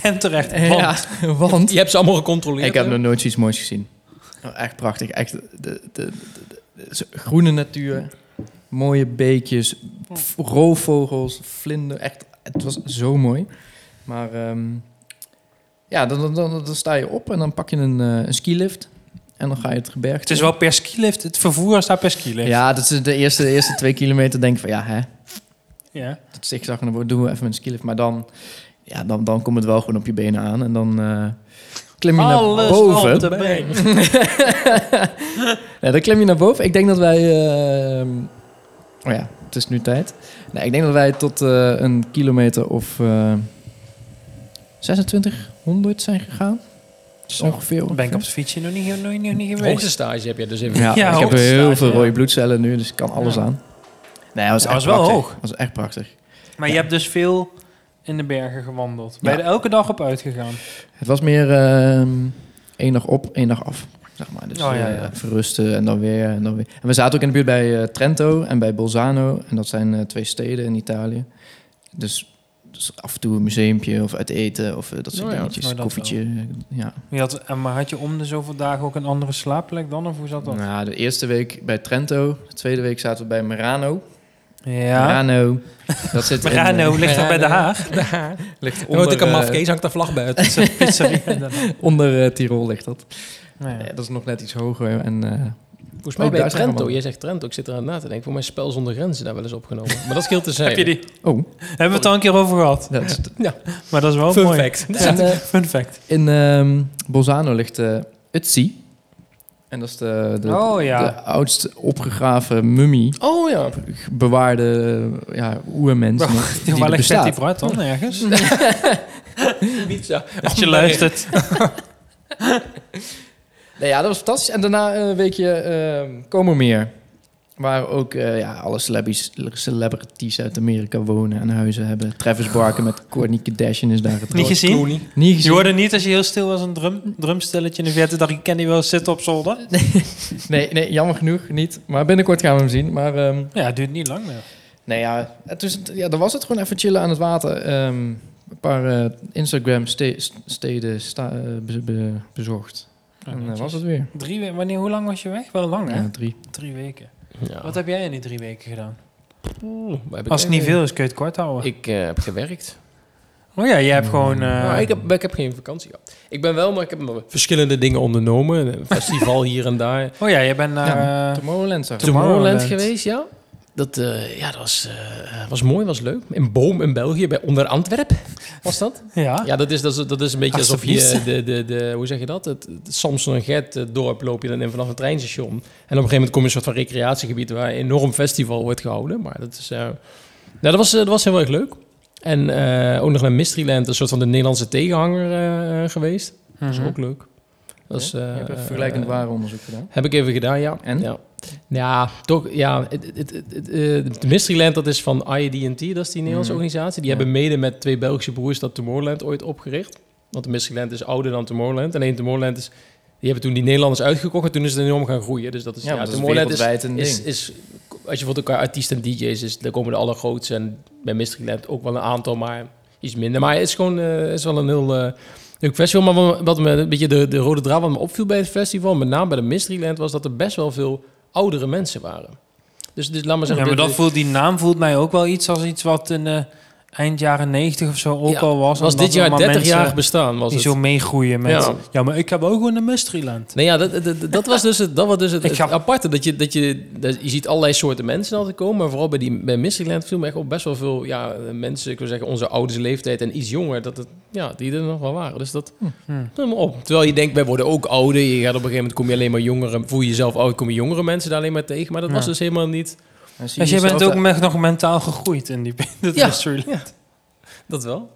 Speaker 2: En terecht. want-
Speaker 3: Ja, want
Speaker 1: Je hebt ze allemaal gecontroleerd.
Speaker 3: ik heb
Speaker 1: hè?
Speaker 3: nog nooit zoiets moois gezien. Nou, echt prachtig. Echt de, de, de, de- de- zo- groene natuur, mooie beekjes,
Speaker 2: Oh.
Speaker 3: v- roofvogels, vlinder. Echt, het was zo mooi. Maar ehm, ja, dan, dan, dan, dan sta je op en dan pak je een, eh, een skilift. En dan ga je het gebergte
Speaker 2: Het is
Speaker 3: in.
Speaker 2: wel per skilift. Het vervoer staat per skilift.
Speaker 3: Ja, dat is de eerste, de eerste twee kilometer denk ik van ja, hè,
Speaker 2: ja.
Speaker 3: dat zigzag en dan wordt- doen we even met een skilift. Maar dan, ja, dan, dan komt het wel gewoon op je benen aan. En dan eh, klim je naar
Speaker 2: Alles
Speaker 3: boven.
Speaker 2: op de been.
Speaker 3: Ja, dan klim je naar boven. Ik denk dat wij... eh, oh ja, het is nu tijd. Nee, ik denk dat wij tot eh, een kilometer of eh 2600 zijn gegaan. Dus
Speaker 2: Zo.
Speaker 3: ongeveer.
Speaker 2: Dan Oh, ben ik op
Speaker 3: ongeveer.
Speaker 2: het fietsje nog niet, nog niet, nog niet geweest.
Speaker 1: Hoogtestage heb je dus even.
Speaker 3: Ja,
Speaker 2: Ja,
Speaker 3: ik heb
Speaker 2: hoogte
Speaker 3: heel
Speaker 2: staat,
Speaker 3: veel
Speaker 2: ja.
Speaker 3: rode bloedcellen nu, dus ik kan alles
Speaker 2: Ja.
Speaker 3: aan. Nee, dat was,
Speaker 2: Ja,
Speaker 3: echt
Speaker 2: was wel
Speaker 3: prachtig.
Speaker 2: hoog.
Speaker 3: Dat was echt prachtig.
Speaker 2: Maar je hebt dus veel in de bergen gewandeld. Ben je
Speaker 3: Ja.
Speaker 2: er elke dag op uitgegaan?
Speaker 3: Het was meer eh, één dag op, één dag af. Zeg maar. Dus
Speaker 2: Oh, ja,
Speaker 3: eh,
Speaker 2: ja.
Speaker 3: verrusten en dan weer en dan weer. En we zaten ook in de buurt bij eh, Trento en bij Bolzano. En dat zijn eh, twee steden in Italië. Dus, dus af en toe een museumpje of uit eten of eh, dat soort
Speaker 1: Oh ja,
Speaker 3: dingetjes.
Speaker 2: maar dat
Speaker 3: Koffietje. Ja.
Speaker 2: Je had, en maar had je om de zoveel dagen ook een andere slaapplek dan? Of hoe zat dat?
Speaker 3: Nou, de eerste week bij Trento. De tweede week zaten we bij Merano.
Speaker 2: Ja.
Speaker 3: Merano. Dat zit in, eh,
Speaker 2: Merano ligt er bij De Haag.
Speaker 3: ligt
Speaker 1: Dan word
Speaker 3: onder,
Speaker 1: ik een
Speaker 3: eh,
Speaker 1: mafkees, hangt de vlag buiten.
Speaker 2: Dat is een pizzeria in Den Haag.
Speaker 3: onder eh, Tirol ligt dat.
Speaker 2: Nou
Speaker 3: Eh,
Speaker 2: ja.
Speaker 3: dat is nog net iets hoger. En, eh,
Speaker 1: Volgens mij
Speaker 3: Ook
Speaker 1: bij
Speaker 3: daar zijn we
Speaker 1: Oh, Trento.
Speaker 3: wel.
Speaker 1: Jij zegt Trento, ik zit eraan na te denken. Voor mij is Spel zonder grenzen daar wel eens opgenomen. Maar dat scheelt dus te zijn.
Speaker 2: Heb je die? Hebben
Speaker 3: oh,
Speaker 2: we het al een keer over gehad?
Speaker 3: dat is
Speaker 2: Maar dat is wel
Speaker 1: Fun
Speaker 2: Oh, mooi.
Speaker 1: fact.
Speaker 3: En, eh,
Speaker 2: Fun fact.
Speaker 3: in ehm, Bolzano ligt eh Utsi. En dat is de, de,
Speaker 2: Oh ja.
Speaker 3: de oudst opgegraven mummie.
Speaker 1: Oh ja.
Speaker 3: Bewaarde eh, ja, oermens. nog, die
Speaker 2: Waar
Speaker 3: er
Speaker 2: ligt
Speaker 3: bestaat.
Speaker 2: die bruid dan? Ergens?
Speaker 1: Pizza.
Speaker 2: Als je luistert.
Speaker 3: Nee, ja, dat was fantastisch. En daarna eh, een weekje ehm Komermeer. Waar ook eh, ja, alle celebis- celebrities uit Amerika wonen en huizen hebben. Travis Barker met Kourtney Kardashian is daar
Speaker 2: Niet
Speaker 3: getrouwd.
Speaker 2: gezien?
Speaker 3: Niet
Speaker 2: Je
Speaker 3: gezien.
Speaker 2: hoorde niet als je heel stil was een drum, drumstelletje in de verte. Dacht ik, ken die wel zitten op zolder.
Speaker 3: Nee, nee, jammer genoeg niet. Maar binnenkort gaan we hem zien. Maar ehm,
Speaker 2: Ja, het duurt niet lang meer.
Speaker 3: Nee, ja, het is, ja, dan was het gewoon even chillen aan het water. Ehm, een paar eh, Instagram ste- st- steden sta- eh, be- be- bezorgd. en dan was het weer.
Speaker 2: Drie weken. Wanneer, hoe lang was je weg? Wel lang, hè?
Speaker 3: Ja, drie.
Speaker 2: Drie weken.
Speaker 1: Ja.
Speaker 2: Wat heb jij in die drie weken gedaan?
Speaker 1: Oeh, waar heb ik
Speaker 2: Als het niet
Speaker 1: eigenlijk-
Speaker 2: veel is, kun je het kort houden.
Speaker 1: Ik eh, heb gewerkt.
Speaker 2: oh ja, jij hebt gewoon... eh,
Speaker 1: Nou, ik, heb, ik heb geen vakantie gehad. Ik ben wel, maar ik heb nog verschillende dingen ondernomen. Een festival hier en daar.
Speaker 2: Oh ja, jij bent naar... eh,
Speaker 3: Tomorrowland zag ik.
Speaker 1: Tomorrowland
Speaker 2: Tomorrowland.
Speaker 1: geweest, ja. Dat, eh, ja, dat was, eh, was mooi, was leuk. In Boom in België, bij onder Antwerpen was dat.
Speaker 2: Ja.
Speaker 1: Ja, dat is, dat is, dat is een beetje alsof je eh,
Speaker 2: Alsjeblieft.
Speaker 1: de, de, de, hoe zeg je dat? Het, het Samson en Gert eh, dorp loop je dan in vanaf een treinstation. En op een gegeven moment kom je in een soort van recreatiegebied waar een enorm festival wordt gehouden. Maar dat is, eh, nou, dat was, eh, dat was heel erg leuk. En eh, ook nog naar Mysteryland, een soort van de Nederlandse tegenhanger eh, geweest.
Speaker 2: Mhm.
Speaker 1: Dat is ook leuk. Dat is,
Speaker 3: Je hebt
Speaker 1: eh,
Speaker 3: even vergelijkend
Speaker 1: eh,
Speaker 3: ware onderzoek gedaan.
Speaker 1: heb ik even gedaan, ja.
Speaker 3: En?
Speaker 1: Ja, ja toch, ja. Het, het, het, het, eh, de Mysteryland, dat is van IED&T, dat is die Nederlandse
Speaker 3: Mhm.
Speaker 1: organisatie. Die
Speaker 3: Ja.
Speaker 1: hebben mede met twee Belgische broers dat Tomorrowland ooit opgericht. Want de Mysteryland is ouder dan Tomorrowland. Alleen Tomorrowland is... Die hebben toen die Nederlanders uitgekocht en toen is het enorm gaan groeien. Dus dat is...
Speaker 3: Ja, want dat is
Speaker 1: Tomorrowland
Speaker 3: wereldwijd een
Speaker 1: is,
Speaker 3: ding.
Speaker 1: is, als je voor elkaar artiesten en DJ's is, daar komen de allergrootste. En bij Mysteryland ook wel een aantal, maar iets minder. Maar het is gewoon eh, is wel een heel eh, leuk festival. Maar wat- wat me een beetje de, de rode draad wat me opviel bij het festival, met name bij de Mysteryland, was dat er best wel veel oudere mensen waren. Dus, dus laat maar
Speaker 2: Ja,
Speaker 1: zeggen.
Speaker 2: maar
Speaker 1: dit-
Speaker 2: dat voelt, die naam voelt mij ook wel iets als iets wat in eh, eind jaren 90 of zo ook
Speaker 1: Ja,
Speaker 2: al was.
Speaker 1: was
Speaker 2: omdat
Speaker 1: dit jaar
Speaker 2: allemaal
Speaker 1: 30
Speaker 2: mensen
Speaker 1: jaar bestaan. Was
Speaker 2: die
Speaker 1: het.
Speaker 2: zo meegroeien met...
Speaker 1: Ja.
Speaker 2: Ja. maar ik heb ook gewoon een Mysteryland.
Speaker 1: Nee, ja, dat, dat, dat was dus het, dat was dus het,
Speaker 2: Ik
Speaker 1: het
Speaker 2: ga-
Speaker 1: aparte. Dat je, dat je, dat je ziet allerlei soorten mensen altijd komen. Maar vooral bij, die, bij Mysteryland viel me echt op best wel veel ja, mensen, ik wil zeggen, onze ouders leeftijd en iets jonger, dat het, ja, die er nog wel waren. Dus dat
Speaker 2: Hm.
Speaker 1: viel me op. Terwijl je denkt, wij worden ook ouder. Je gaat op een gegeven moment, kom je alleen maar jongeren, voel je jezelf oud, kom je jongere mensen daar alleen maar tegen. Maar dat was
Speaker 2: Ja.
Speaker 1: dus helemaal niet...
Speaker 3: En zie
Speaker 2: Dus jij
Speaker 3: jezelf
Speaker 2: bent ook
Speaker 3: daar-
Speaker 2: me- nog mentaal gegroeid in die dat
Speaker 1: Ja.
Speaker 2: Mysteryland.
Speaker 1: Dat wel.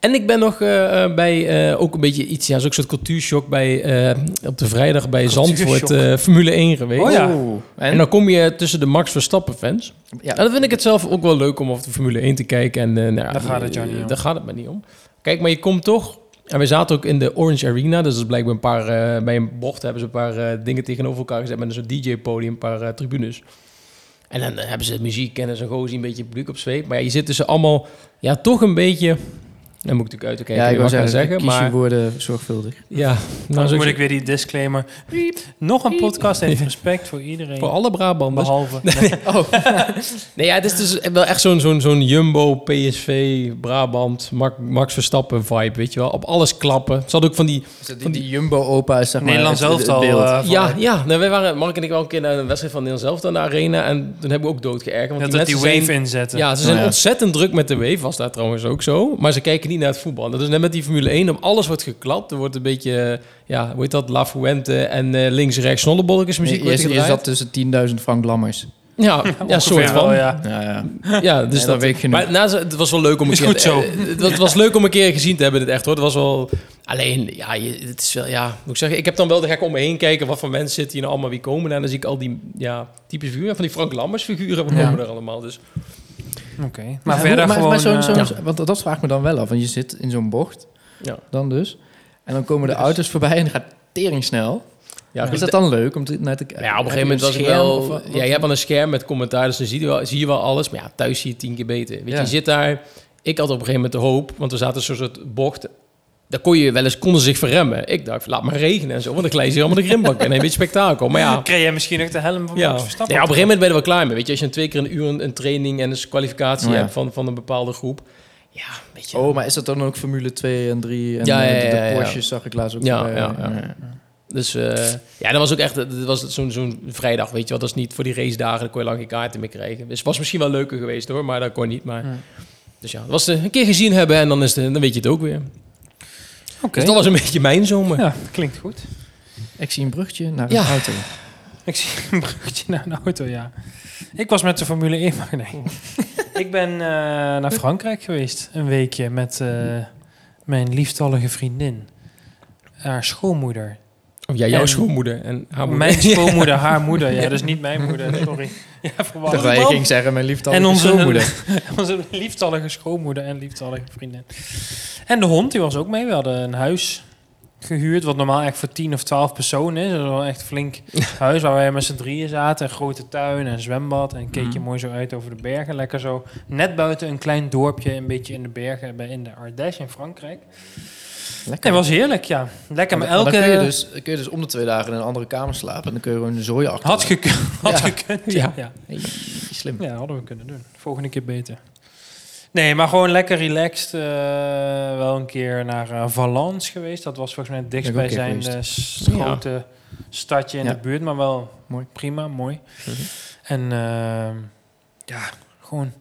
Speaker 1: En ik ben nog eh, eh, bij eh, ook een beetje iets, ja, zo'n soort cultuurshock bij, eh, op de vrijdag bij Zandvoort
Speaker 2: Cultuurshock.
Speaker 1: eh, Formule 1 geweest.
Speaker 2: Oh ja.
Speaker 3: Oeh.
Speaker 1: En
Speaker 3: En?
Speaker 1: dan kom je tussen de Max Verstappen fans.
Speaker 3: Ja.
Speaker 1: Nou, dan vind ik het zelf ook wel leuk om over de Formule 1 te kijken. En, eh, nou ja,
Speaker 2: Daar gaat het jou niet om.
Speaker 1: Daar gaat het me niet om. Kijk, maar je komt toch... En we zaten ook in de Orange Arena. Dus dat is blijkbaar een paar... eh, bij een bocht hebben ze een paar eh, dingen tegenover elkaar gezet... met een soort DJ-podium, een paar eh, tribunes. En dan eh, hebben ze muziek en zo'n gozer die een beetje het publiek op zweep. Maar ja, je zit tussen allemaal... Ja, toch een beetje... Dan moet ik natuurlijk uit te kijken
Speaker 3: ja, ik
Speaker 1: wat
Speaker 3: wou
Speaker 1: ik ga
Speaker 3: zeggen,
Speaker 1: zeggen.
Speaker 3: kies je
Speaker 1: Maar
Speaker 3: woorden zorgvuldig.
Speaker 1: ja, nou,
Speaker 2: Dan
Speaker 1: zo
Speaker 2: moet ik weer die disclaimer. Nog een podcast heeft respect voor iedereen.
Speaker 1: voor alle Brabanders.
Speaker 2: behalve.
Speaker 1: Nee, ja, het is dus wel echt zo'n zo'n zo'n Jumbo, PSV, Brabant, Max, Max Verstappen vibe, weet je wel. Op alles klappen. Ze hadden ook van die...
Speaker 3: die, Jumbo-opa is zeg maar
Speaker 2: Nederland
Speaker 3: het-
Speaker 2: zelf
Speaker 3: het
Speaker 2: al.
Speaker 3: beeld.
Speaker 2: eh, van-
Speaker 1: Ja, ja. Nou, wij waren, Mark en ik, wel een keer naar een wedstrijd van Nederland zelf aan de arena. En toen hebben we ook doodgeërgerd. Want
Speaker 2: dat
Speaker 1: die
Speaker 2: dat die
Speaker 1: mensen
Speaker 2: wave eh.
Speaker 1: zijn-
Speaker 2: inzetten.
Speaker 1: Ja, ze zijn
Speaker 3: Oh, ja.
Speaker 1: ontzettend druk met de wave, was daar trouwens ook zo. Maar ze kijken niet naar het voetbal. Dat is net met die Formule 1, om alles wordt geklapt. Er wordt een beetje, eh, ja, hoe heet dat, La Fuente en eh, links en rechts snollebolletjes muziek
Speaker 3: Je-
Speaker 1: wordt
Speaker 3: je, je
Speaker 1: gedraaid.
Speaker 3: zat tussen 10.000 Frank Lammers.
Speaker 1: Ja, ja,
Speaker 2: Ongeveer
Speaker 1: soort
Speaker 2: wel,
Speaker 1: van.
Speaker 2: ja.
Speaker 3: Ja, ja.
Speaker 1: Ja, dus
Speaker 3: Nee, dat
Speaker 1: dat,
Speaker 3: weet ik genoeg.
Speaker 1: Maar na, zo- het was wel leuk om een
Speaker 2: Is
Speaker 1: keer.
Speaker 2: goed zo.
Speaker 1: eh, Het, was- het was leuk om een keer gezien te hebben, dit echt hoor. Het was wel. Alleen, ja, je, het is wel, ja, hoe moet ik zeggen, ik heb dan wel, dan ga ik om me heen kijken, wat voor mensen zitten hier nou allemaal, wie komen daar. En dan zie ik al die, ja, typische figuren, van die Frank Lammers figuren, wat
Speaker 2: Ja.
Speaker 1: komen er allemaal. Dus
Speaker 2: Oké. Maar
Speaker 3: Ja,
Speaker 2: verder
Speaker 3: maar,
Speaker 2: gewoon...
Speaker 3: Maar zo'n-
Speaker 2: eh,
Speaker 3: zo'n-
Speaker 1: ja.
Speaker 3: Want dat- dat vraag ik me dan wel af. Want je zit in zo'n bocht,
Speaker 1: Ja.
Speaker 3: dan dus. En dan komen de auto's voorbij en gaat tering snel.
Speaker 1: Dus- ja,
Speaker 3: is
Speaker 1: goed,
Speaker 3: dat dan leuk om te, naar te kijken?
Speaker 1: Nou Ja, op een gegeven moment was ik wel... Ja, je hebt aan een scherm met commentaar, dus dan zie je wel, zie je wel alles. Maar ja, thuis zie je tien keer beter. Weet je,
Speaker 3: Ja.
Speaker 1: je zit daar... Ik had op een gegeven moment de hoop, want we zaten zo'n soort bocht... Daar kon je wel eens, konden ze zich verremmen. Ik dacht, laat maar regenen en zo, want dan glijden ze helemaal de grimbak in. Een beetje spektakel, maar ja...
Speaker 2: Kreeg jij misschien ook de helm
Speaker 1: Ja.
Speaker 2: van Max
Speaker 1: ja, op een
Speaker 2: Verstappen?
Speaker 1: gegeven moment ben je er wel klaar mee. Weet je, als je dan twee keer een uur een, een training en een kwalificatie
Speaker 3: Ja.
Speaker 1: hebt van, van een bepaalde groep. Ja, weet je.
Speaker 3: Oh, maar is dat dan ook Formule 2 en 3? En
Speaker 1: Ja,
Speaker 3: eh,
Speaker 1: ja,
Speaker 3: de-
Speaker 1: ja,
Speaker 3: de
Speaker 1: ja.
Speaker 3: Porsches zag ik laatst ook eh,
Speaker 1: Ja,
Speaker 3: voorbij.
Speaker 1: ja, ja. Dus eh, ja, dat was ook echt dat was zo'n zo'n vrijdag, weet je wel. Dat is niet voor die race dagen, daar kon je lang geen kaarten meer krijgen. Dus het was misschien wel leuker geweest hoor, maar dat kon niet. Maar...
Speaker 2: Hmm.
Speaker 1: Dus ja, dat was eh, een keer gezien hebben en dan, is de, dan weet je het ook weer.
Speaker 2: Oké.
Speaker 1: Dus dat was een beetje mijn zomer.
Speaker 2: Ja, klinkt goed.
Speaker 3: Ik zie een brugje naar een
Speaker 1: Ja.
Speaker 3: auto.
Speaker 2: Ik zie een bruggetje naar een auto, ja. Ik was met de Formule 1, maar nee. ik ben eh, naar Frankrijk geweest, een weekje, met eh, mijn lieftallige vriendin. Haar schoonmoeder.
Speaker 1: Of ja, jouw
Speaker 2: En-
Speaker 1: schoonmoeder en haar moeder.
Speaker 2: Mijn schoonmoeder, haar moeder. Ja, dus niet mijn moeder, sorry. Ja, verwarring.
Speaker 3: Dat wij ging zeggen, mijn liefde
Speaker 2: En
Speaker 3: en
Speaker 2: onze-
Speaker 3: onze moeder.
Speaker 2: Onze lieftallige schoonmoeder en lieftallige vriendin. En de hond, die was ook mee. We hadden een huis gehuurd, wat normaal echt voor 10 of 12 personen is. Dat is wel echt een flink huis waar wij met z'n drieën zaten. Een grote tuin en zwembad. En keek je
Speaker 3: Mhm.
Speaker 2: mooi zo uit over de bergen. Lekker zo net buiten een klein dorpje, een beetje in de bergen, bij- in de Ardèche in Frankrijk.
Speaker 3: Lekker.
Speaker 2: Het was heerlijk, ja. Lekker, maar elke...
Speaker 3: Dan kun je, dus, kun je dus om de twee dagen in een andere kamer slapen. En dan kun je gewoon een zooi achter.
Speaker 2: Had, gekund, had
Speaker 3: Ja.
Speaker 2: gekund,
Speaker 1: Ja.
Speaker 2: ja.
Speaker 3: Slim.
Speaker 2: Ja, hadden we kunnen doen. Volgende keer beter. Nee, maar gewoon lekker relaxed. eh, wel een keer naar eh, Valence geweest. Dat was volgens mij het
Speaker 3: ik ook een keer
Speaker 2: dichtstbijzijnde s-
Speaker 1: Ja.
Speaker 2: grote stadje in
Speaker 3: Ja.
Speaker 2: de buurt. Maar wel
Speaker 3: Mooi.
Speaker 2: prima, mooi.
Speaker 3: Mhm.
Speaker 2: En ehm, ja, gewoon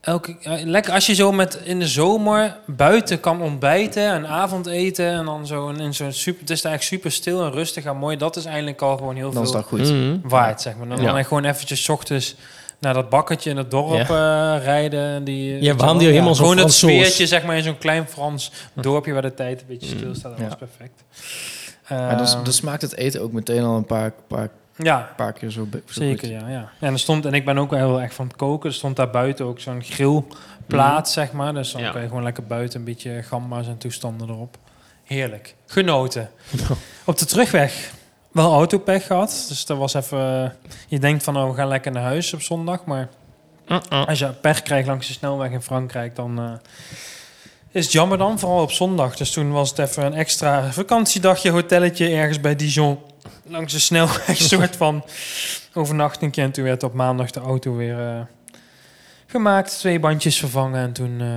Speaker 2: elke, eh, lekker als je zo met in de zomer buiten kan ontbijten en avondeten en dan zo in, in zo'n super, het is eigenlijk super stil en rustig en mooi. Dat is eigenlijk al gewoon heel
Speaker 3: Dan is
Speaker 2: veel
Speaker 3: dat goed.
Speaker 1: Mhm.
Speaker 2: waard, zeg maar. Dan,
Speaker 1: Ja.
Speaker 2: dan gewoon eventjes 's ochtends naar dat bakkertje in het dorp eh, rijden. en Die,
Speaker 1: Ja, waarom die helemaal Hm. zo'n
Speaker 2: Gewoon dat
Speaker 1: Frans soos?
Speaker 2: sfeertje, zeg maar, in zo'n klein Frans dorpje waar de tijd een
Speaker 1: Hm.
Speaker 2: beetje stilstaat. Dat
Speaker 3: Ja.
Speaker 2: was perfect.
Speaker 3: Maar dan, s-
Speaker 2: Ehm,
Speaker 3: dan smaakt het eten ook meteen al een paar, paar,
Speaker 2: ja,
Speaker 3: paar keer zo, be- zo
Speaker 2: Zeker, ja, ja. En, er stond, en ik ben ook wel heel erg van het koken. Er stond daar buiten ook zo'n grillplaat, zeg maar. Dus dan
Speaker 1: Ja.
Speaker 2: kan je gewoon lekker buiten een beetje gamba's en toestanden erop. Heerlijk. Genoten. Op de terugweg wel autopech gehad. Dus dat was even... Je denkt van, oh, we gaan lekker naar huis op zondag. Maar
Speaker 1: Uh-uh.
Speaker 2: als je pech krijgt langs de snelweg in Frankrijk, dan... eh, is het jammer dan, vooral op zondag. Dus toen was het even een extra vakantiedagje, hotelletje ergens bij Dijon. Langs de snelweg, soort van overnachtingje. En toen werd op maandag de auto weer eh, gemaakt. Twee bandjes vervangen en toen eh,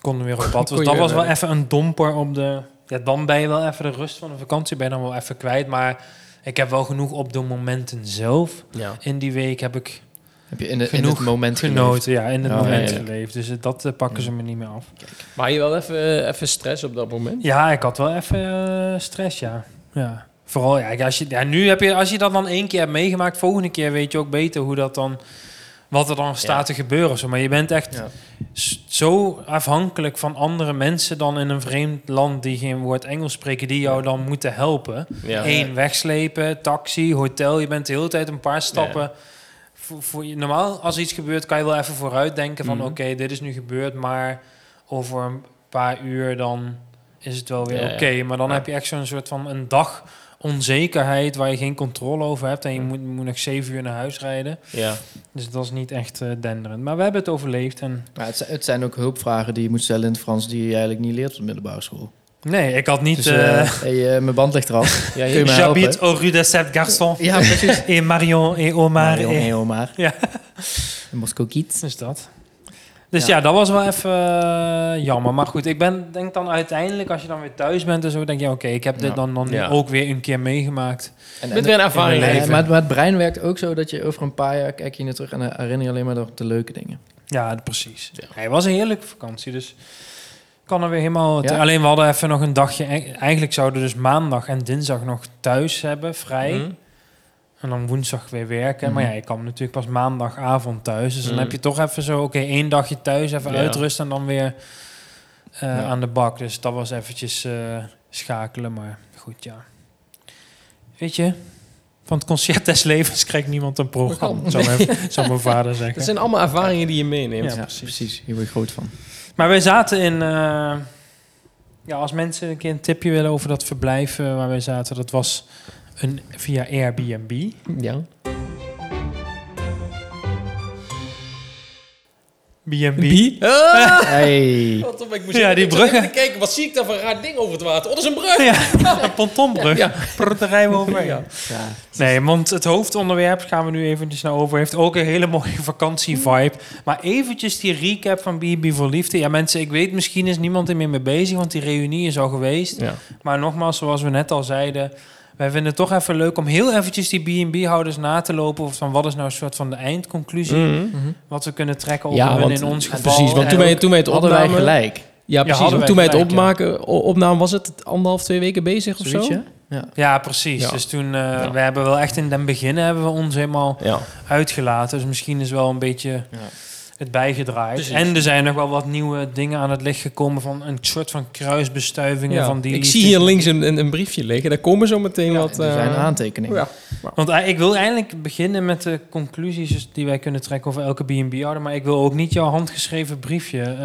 Speaker 2: konden we weer op pad.
Speaker 1: Kon
Speaker 2: Dus
Speaker 1: je
Speaker 2: dat was
Speaker 1: weer eh,
Speaker 2: wel even een domper op de... Ja, dan ben je wel even de rust van de vakantie, ben je dan wel even kwijt. Maar ik heb wel genoeg op de momenten zelf.
Speaker 1: Ja.
Speaker 2: In die week heb ik
Speaker 3: Heb je in, de, in
Speaker 2: Genoeg
Speaker 3: het moment
Speaker 2: genoten, ja, in het
Speaker 3: Ja,
Speaker 2: moment
Speaker 3: heerlijk.
Speaker 2: geleefd. Dus eh, dat eh, pakken ze me niet meer af.
Speaker 1: Maar je wel even, eh, even stress op dat moment?
Speaker 2: Ja, ik had wel even eh, stress, ja. ja. Vooral, ja, als je, ja, nu heb je, als je dat dan één keer hebt meegemaakt, volgende keer weet je ook beter hoe dat dan, wat er dan staat te gebeuren. of Zo. Maar je bent echt
Speaker 3: Ja.
Speaker 2: s- zo afhankelijk van andere mensen dan in een vreemd land die geen woord Engels spreken, die jou dan moeten helpen.
Speaker 1: Ja.
Speaker 2: Eén, wegslepen, taxi, hotel. Je bent de hele tijd een paar stappen. Voor, voor je, normaal, als iets gebeurt, kan je wel even vooruit denken van...
Speaker 1: Mhm.
Speaker 2: oké, dit is nu gebeurd, maar over een paar uur dan is het wel weer
Speaker 1: Ja, ja.
Speaker 2: oké. Maar dan
Speaker 1: Ja.
Speaker 2: heb je echt zo'n soort van een dag onzekerheid... waar je geen controle over hebt en je
Speaker 1: Mhm.
Speaker 2: moet, moet nog zeven uur naar huis rijden.
Speaker 1: Ja.
Speaker 2: Dus dat is niet echt eh, denderend. Maar we hebben het overleefd en...
Speaker 3: Maar het, zijn, het zijn ook hulpvragen die je moet stellen in het Frans... die je eigenlijk niet leert op de middelbare school.
Speaker 2: Nee, ik had niet...
Speaker 3: Dus,
Speaker 2: eh,
Speaker 3: eh, hey, eh, mijn band ligt eraf.
Speaker 1: Ja,
Speaker 3: Kun je mij
Speaker 2: J'habite
Speaker 3: helpen?
Speaker 2: au rue de Sept Garçons.
Speaker 3: Ja, precies.
Speaker 2: Et Marion et Omar.
Speaker 3: Maar,
Speaker 2: et-
Speaker 3: nee, maar.
Speaker 2: eh, Ja.
Speaker 3: Een Moskou-kiet.
Speaker 2: Dus dat. Dus ja.
Speaker 3: Ja.
Speaker 2: dat was wel even eh, jammer. Maar goed, ik ben, denk dan uiteindelijk, als je dan weer thuis bent en zo, denk je, oké, ik heb dit
Speaker 3: Ja.
Speaker 2: dan, dan
Speaker 1: Ja.
Speaker 2: ook weer een keer meegemaakt.
Speaker 3: En,
Speaker 1: Met weer een ervaring.
Speaker 2: in mijn
Speaker 3: Ja,
Speaker 2: leven.
Speaker 3: maar, het- maar het brein werkt ook zo dat je over een paar jaar kijk je naar terug en eh, herinner je alleen maar nog de leuke dingen.
Speaker 2: Ja, d- precies.
Speaker 1: Ja.
Speaker 2: Hij was een heerlijke vakantie, dus ik kan er weer helemaal...
Speaker 3: Ja.
Speaker 2: Alleen we hadden even nog een dagje. e- Eigenlijk zouden we dus maandag en dinsdag nog thuis hebben, vrij.
Speaker 1: Mhm.
Speaker 2: En dan woensdag weer werken.
Speaker 3: Mhm.
Speaker 2: Maar ja, je kwam natuurlijk pas maandagavond thuis. Dus dan
Speaker 1: Mhm.
Speaker 2: heb je toch even zo, oké, één dagje thuis, even
Speaker 1: Ja.
Speaker 2: uitrusten en dan weer eh,
Speaker 3: Ja.
Speaker 2: aan de bak. Dus dat was eventjes eh, schakelen, maar goed, ja. Weet je, van het concert des levens krijgt niemand een programma,
Speaker 1: Programma.
Speaker 2: zou mijn, zou mijn vader
Speaker 1: Dat
Speaker 2: zeggen.
Speaker 1: zijn allemaal ervaringen die je meeneemt.
Speaker 2: Ja,
Speaker 3: precies. Hier word je groot van.
Speaker 2: Maar wij zaten in... eh, ja, als mensen een keer een tipje willen over dat verblijf eh, waar wij zaten, dat was een, via Airbnb.
Speaker 1: Ja.
Speaker 2: B&B.
Speaker 1: Wie? Ah!
Speaker 3: Hey.
Speaker 1: Wat op, ik moest
Speaker 2: Ja,
Speaker 1: even-
Speaker 2: die
Speaker 1: ik zat
Speaker 2: bruggen.
Speaker 1: even te kijken, wat zie ik daar voor een raar ding over het water? Oh, dat is een brug!
Speaker 2: Ja, een pontonbrug.
Speaker 1: Ja.
Speaker 2: Prrr, daar rijden we overheen.
Speaker 1: Ja.
Speaker 3: Ja.
Speaker 2: Nee, want het hoofdonderwerp gaan we nu eventjes naar over. Heeft ook een hele mooie vakantievibe. Maar eventjes die recap van B&B voor Liefde. Ja mensen, ik weet misschien is niemand er meer mee bezig, want die reunie is al geweest.
Speaker 1: Ja.
Speaker 2: Maar nogmaals, zoals we net al zeiden... Wij vinden het toch even leuk om heel eventjes die B&B-houders na te lopen... of van wat is nou een soort van de eindconclusie... wat we kunnen trekken over
Speaker 1: Mm. Mhm. Ja,
Speaker 2: hun
Speaker 1: want-
Speaker 2: in ons
Speaker 1: ja,
Speaker 2: geval.
Speaker 1: precies, want
Speaker 2: En
Speaker 1: toen wij,
Speaker 2: ook-
Speaker 1: toen wij het
Speaker 3: Hadden wij
Speaker 1: opnamen...
Speaker 3: gelijk.
Speaker 1: Ja, precies. want
Speaker 2: hadden wij
Speaker 1: toen wij het
Speaker 2: gelijk, ja.
Speaker 1: opmaken, o- opname was het anderhalf, twee weken bezig of
Speaker 3: Zoiets,
Speaker 1: zo?
Speaker 3: ja? Ja.
Speaker 2: Ja, precies.
Speaker 1: Ja.
Speaker 2: Dus toen, eh, we hebben wel echt in den begin hebben we ons helemaal...
Speaker 1: Ja.
Speaker 2: uitgelaten. Dus misschien is wel een beetje
Speaker 3: Ja.
Speaker 2: het bijgedraaid.
Speaker 1: Precies.
Speaker 2: En er zijn nog wel wat nieuwe dingen aan het licht gekomen van een soort van kruisbestuivingen
Speaker 1: Ja.
Speaker 2: van die
Speaker 1: ik
Speaker 2: liefdes-
Speaker 1: zie hier links een, een, een briefje liggen. Daar komen zo meteen
Speaker 2: Ja,
Speaker 1: wat...
Speaker 3: Er zijn
Speaker 1: eh,
Speaker 3: aantekeningen.
Speaker 1: ja.
Speaker 2: Want eh, ik wil eigenlijk beginnen met de conclusies dus die wij kunnen trekken over elke B&B-ouder. Maar ik wil ook niet jouw handgeschreven briefje eh,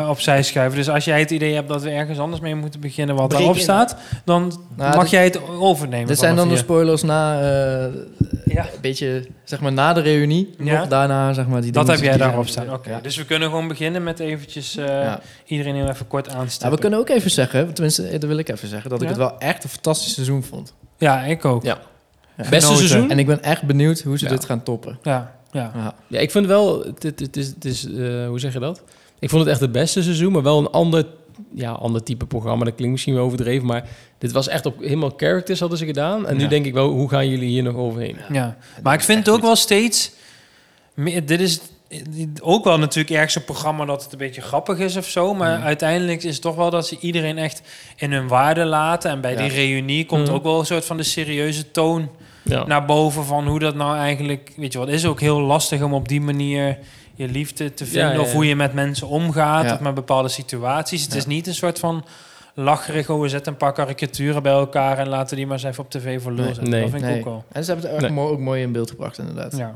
Speaker 2: eh, opzij schuiven. Dus als jij het idee hebt dat we ergens anders mee moeten beginnen wat
Speaker 3: Breek
Speaker 2: daarop
Speaker 3: in.
Speaker 2: staat, dan
Speaker 3: Nou,
Speaker 2: mag
Speaker 3: dit-
Speaker 2: jij het overnemen.
Speaker 3: Dit zijn
Speaker 2: vanaf
Speaker 3: dan de
Speaker 2: hier.
Speaker 3: spoilers na, eh,
Speaker 2: Ja.
Speaker 3: een beetje, zeg maar, na de reunie.
Speaker 2: Ja.
Speaker 3: Nog daarna, zeg maar, die
Speaker 2: Dat heb
Speaker 3: dingetjes
Speaker 2: jij
Speaker 3: die
Speaker 2: daarop
Speaker 3: zijn-
Speaker 2: staan. Oké,
Speaker 3: Ja.
Speaker 2: Dus we kunnen gewoon beginnen met eventjes eh,
Speaker 3: Ja.
Speaker 2: iedereen heel even kort
Speaker 3: Nou,
Speaker 2: aanstippen.
Speaker 3: we kunnen ook even zeggen, tenminste, eh, dat wil ik even zeggen, dat ik
Speaker 2: Ja?
Speaker 3: het wel echt een fantastisch seizoen vond.
Speaker 2: Ja, ik ook.
Speaker 1: Ja.
Speaker 3: Ja.
Speaker 1: Beste
Speaker 2: Genoten.
Speaker 1: seizoen?
Speaker 3: En ik ben echt benieuwd hoe ze
Speaker 1: Ja.
Speaker 3: dit gaan toppen.
Speaker 2: Ja, ja.
Speaker 3: Ja.
Speaker 1: Ja, ik vind wel, het, het, het is, het is eh, hoe zeg je dat? Ik vond het echt het beste seizoen, maar wel een ander, ja, ander type programma. Dat klinkt misschien wel overdreven, maar dit was echt op helemaal characters hadden ze gedaan. En nu
Speaker 3: Ja.
Speaker 1: denk ik wel, hoe gaan jullie hier nog overheen?
Speaker 2: Ja, maar ik vind het ook wel steeds meer- dit is ook wel natuurlijk ergens een programma dat het een beetje grappig is of zo. Maar uiteindelijk is het toch wel dat ze iedereen echt in hun waarde laten. En bij
Speaker 3: Ja.
Speaker 2: die reunie komt
Speaker 1: Mm.
Speaker 2: ook wel een soort van de serieuze toon
Speaker 1: Ja.
Speaker 2: naar boven van hoe dat nou eigenlijk... Weet je wat, is ook heel lastig om op die manier je liefde te vinden...
Speaker 1: Ja, ja,
Speaker 2: of
Speaker 1: ja.
Speaker 2: hoe je met mensen omgaat
Speaker 3: Ja.
Speaker 2: of met bepaalde situaties. Het
Speaker 3: Ja.
Speaker 2: is niet een soort van lacherig... oh, we zetten een paar karikaturen bij elkaar... en laten die maar eens even op tv voor lul
Speaker 3: Nee,
Speaker 2: zetten.
Speaker 1: nee,
Speaker 2: dat vind ik
Speaker 3: Nee.
Speaker 2: ook wel.
Speaker 3: En ze hebben het erg
Speaker 1: Nee.
Speaker 3: mooi, ook mooi in beeld gebracht, inderdaad.
Speaker 2: Ja.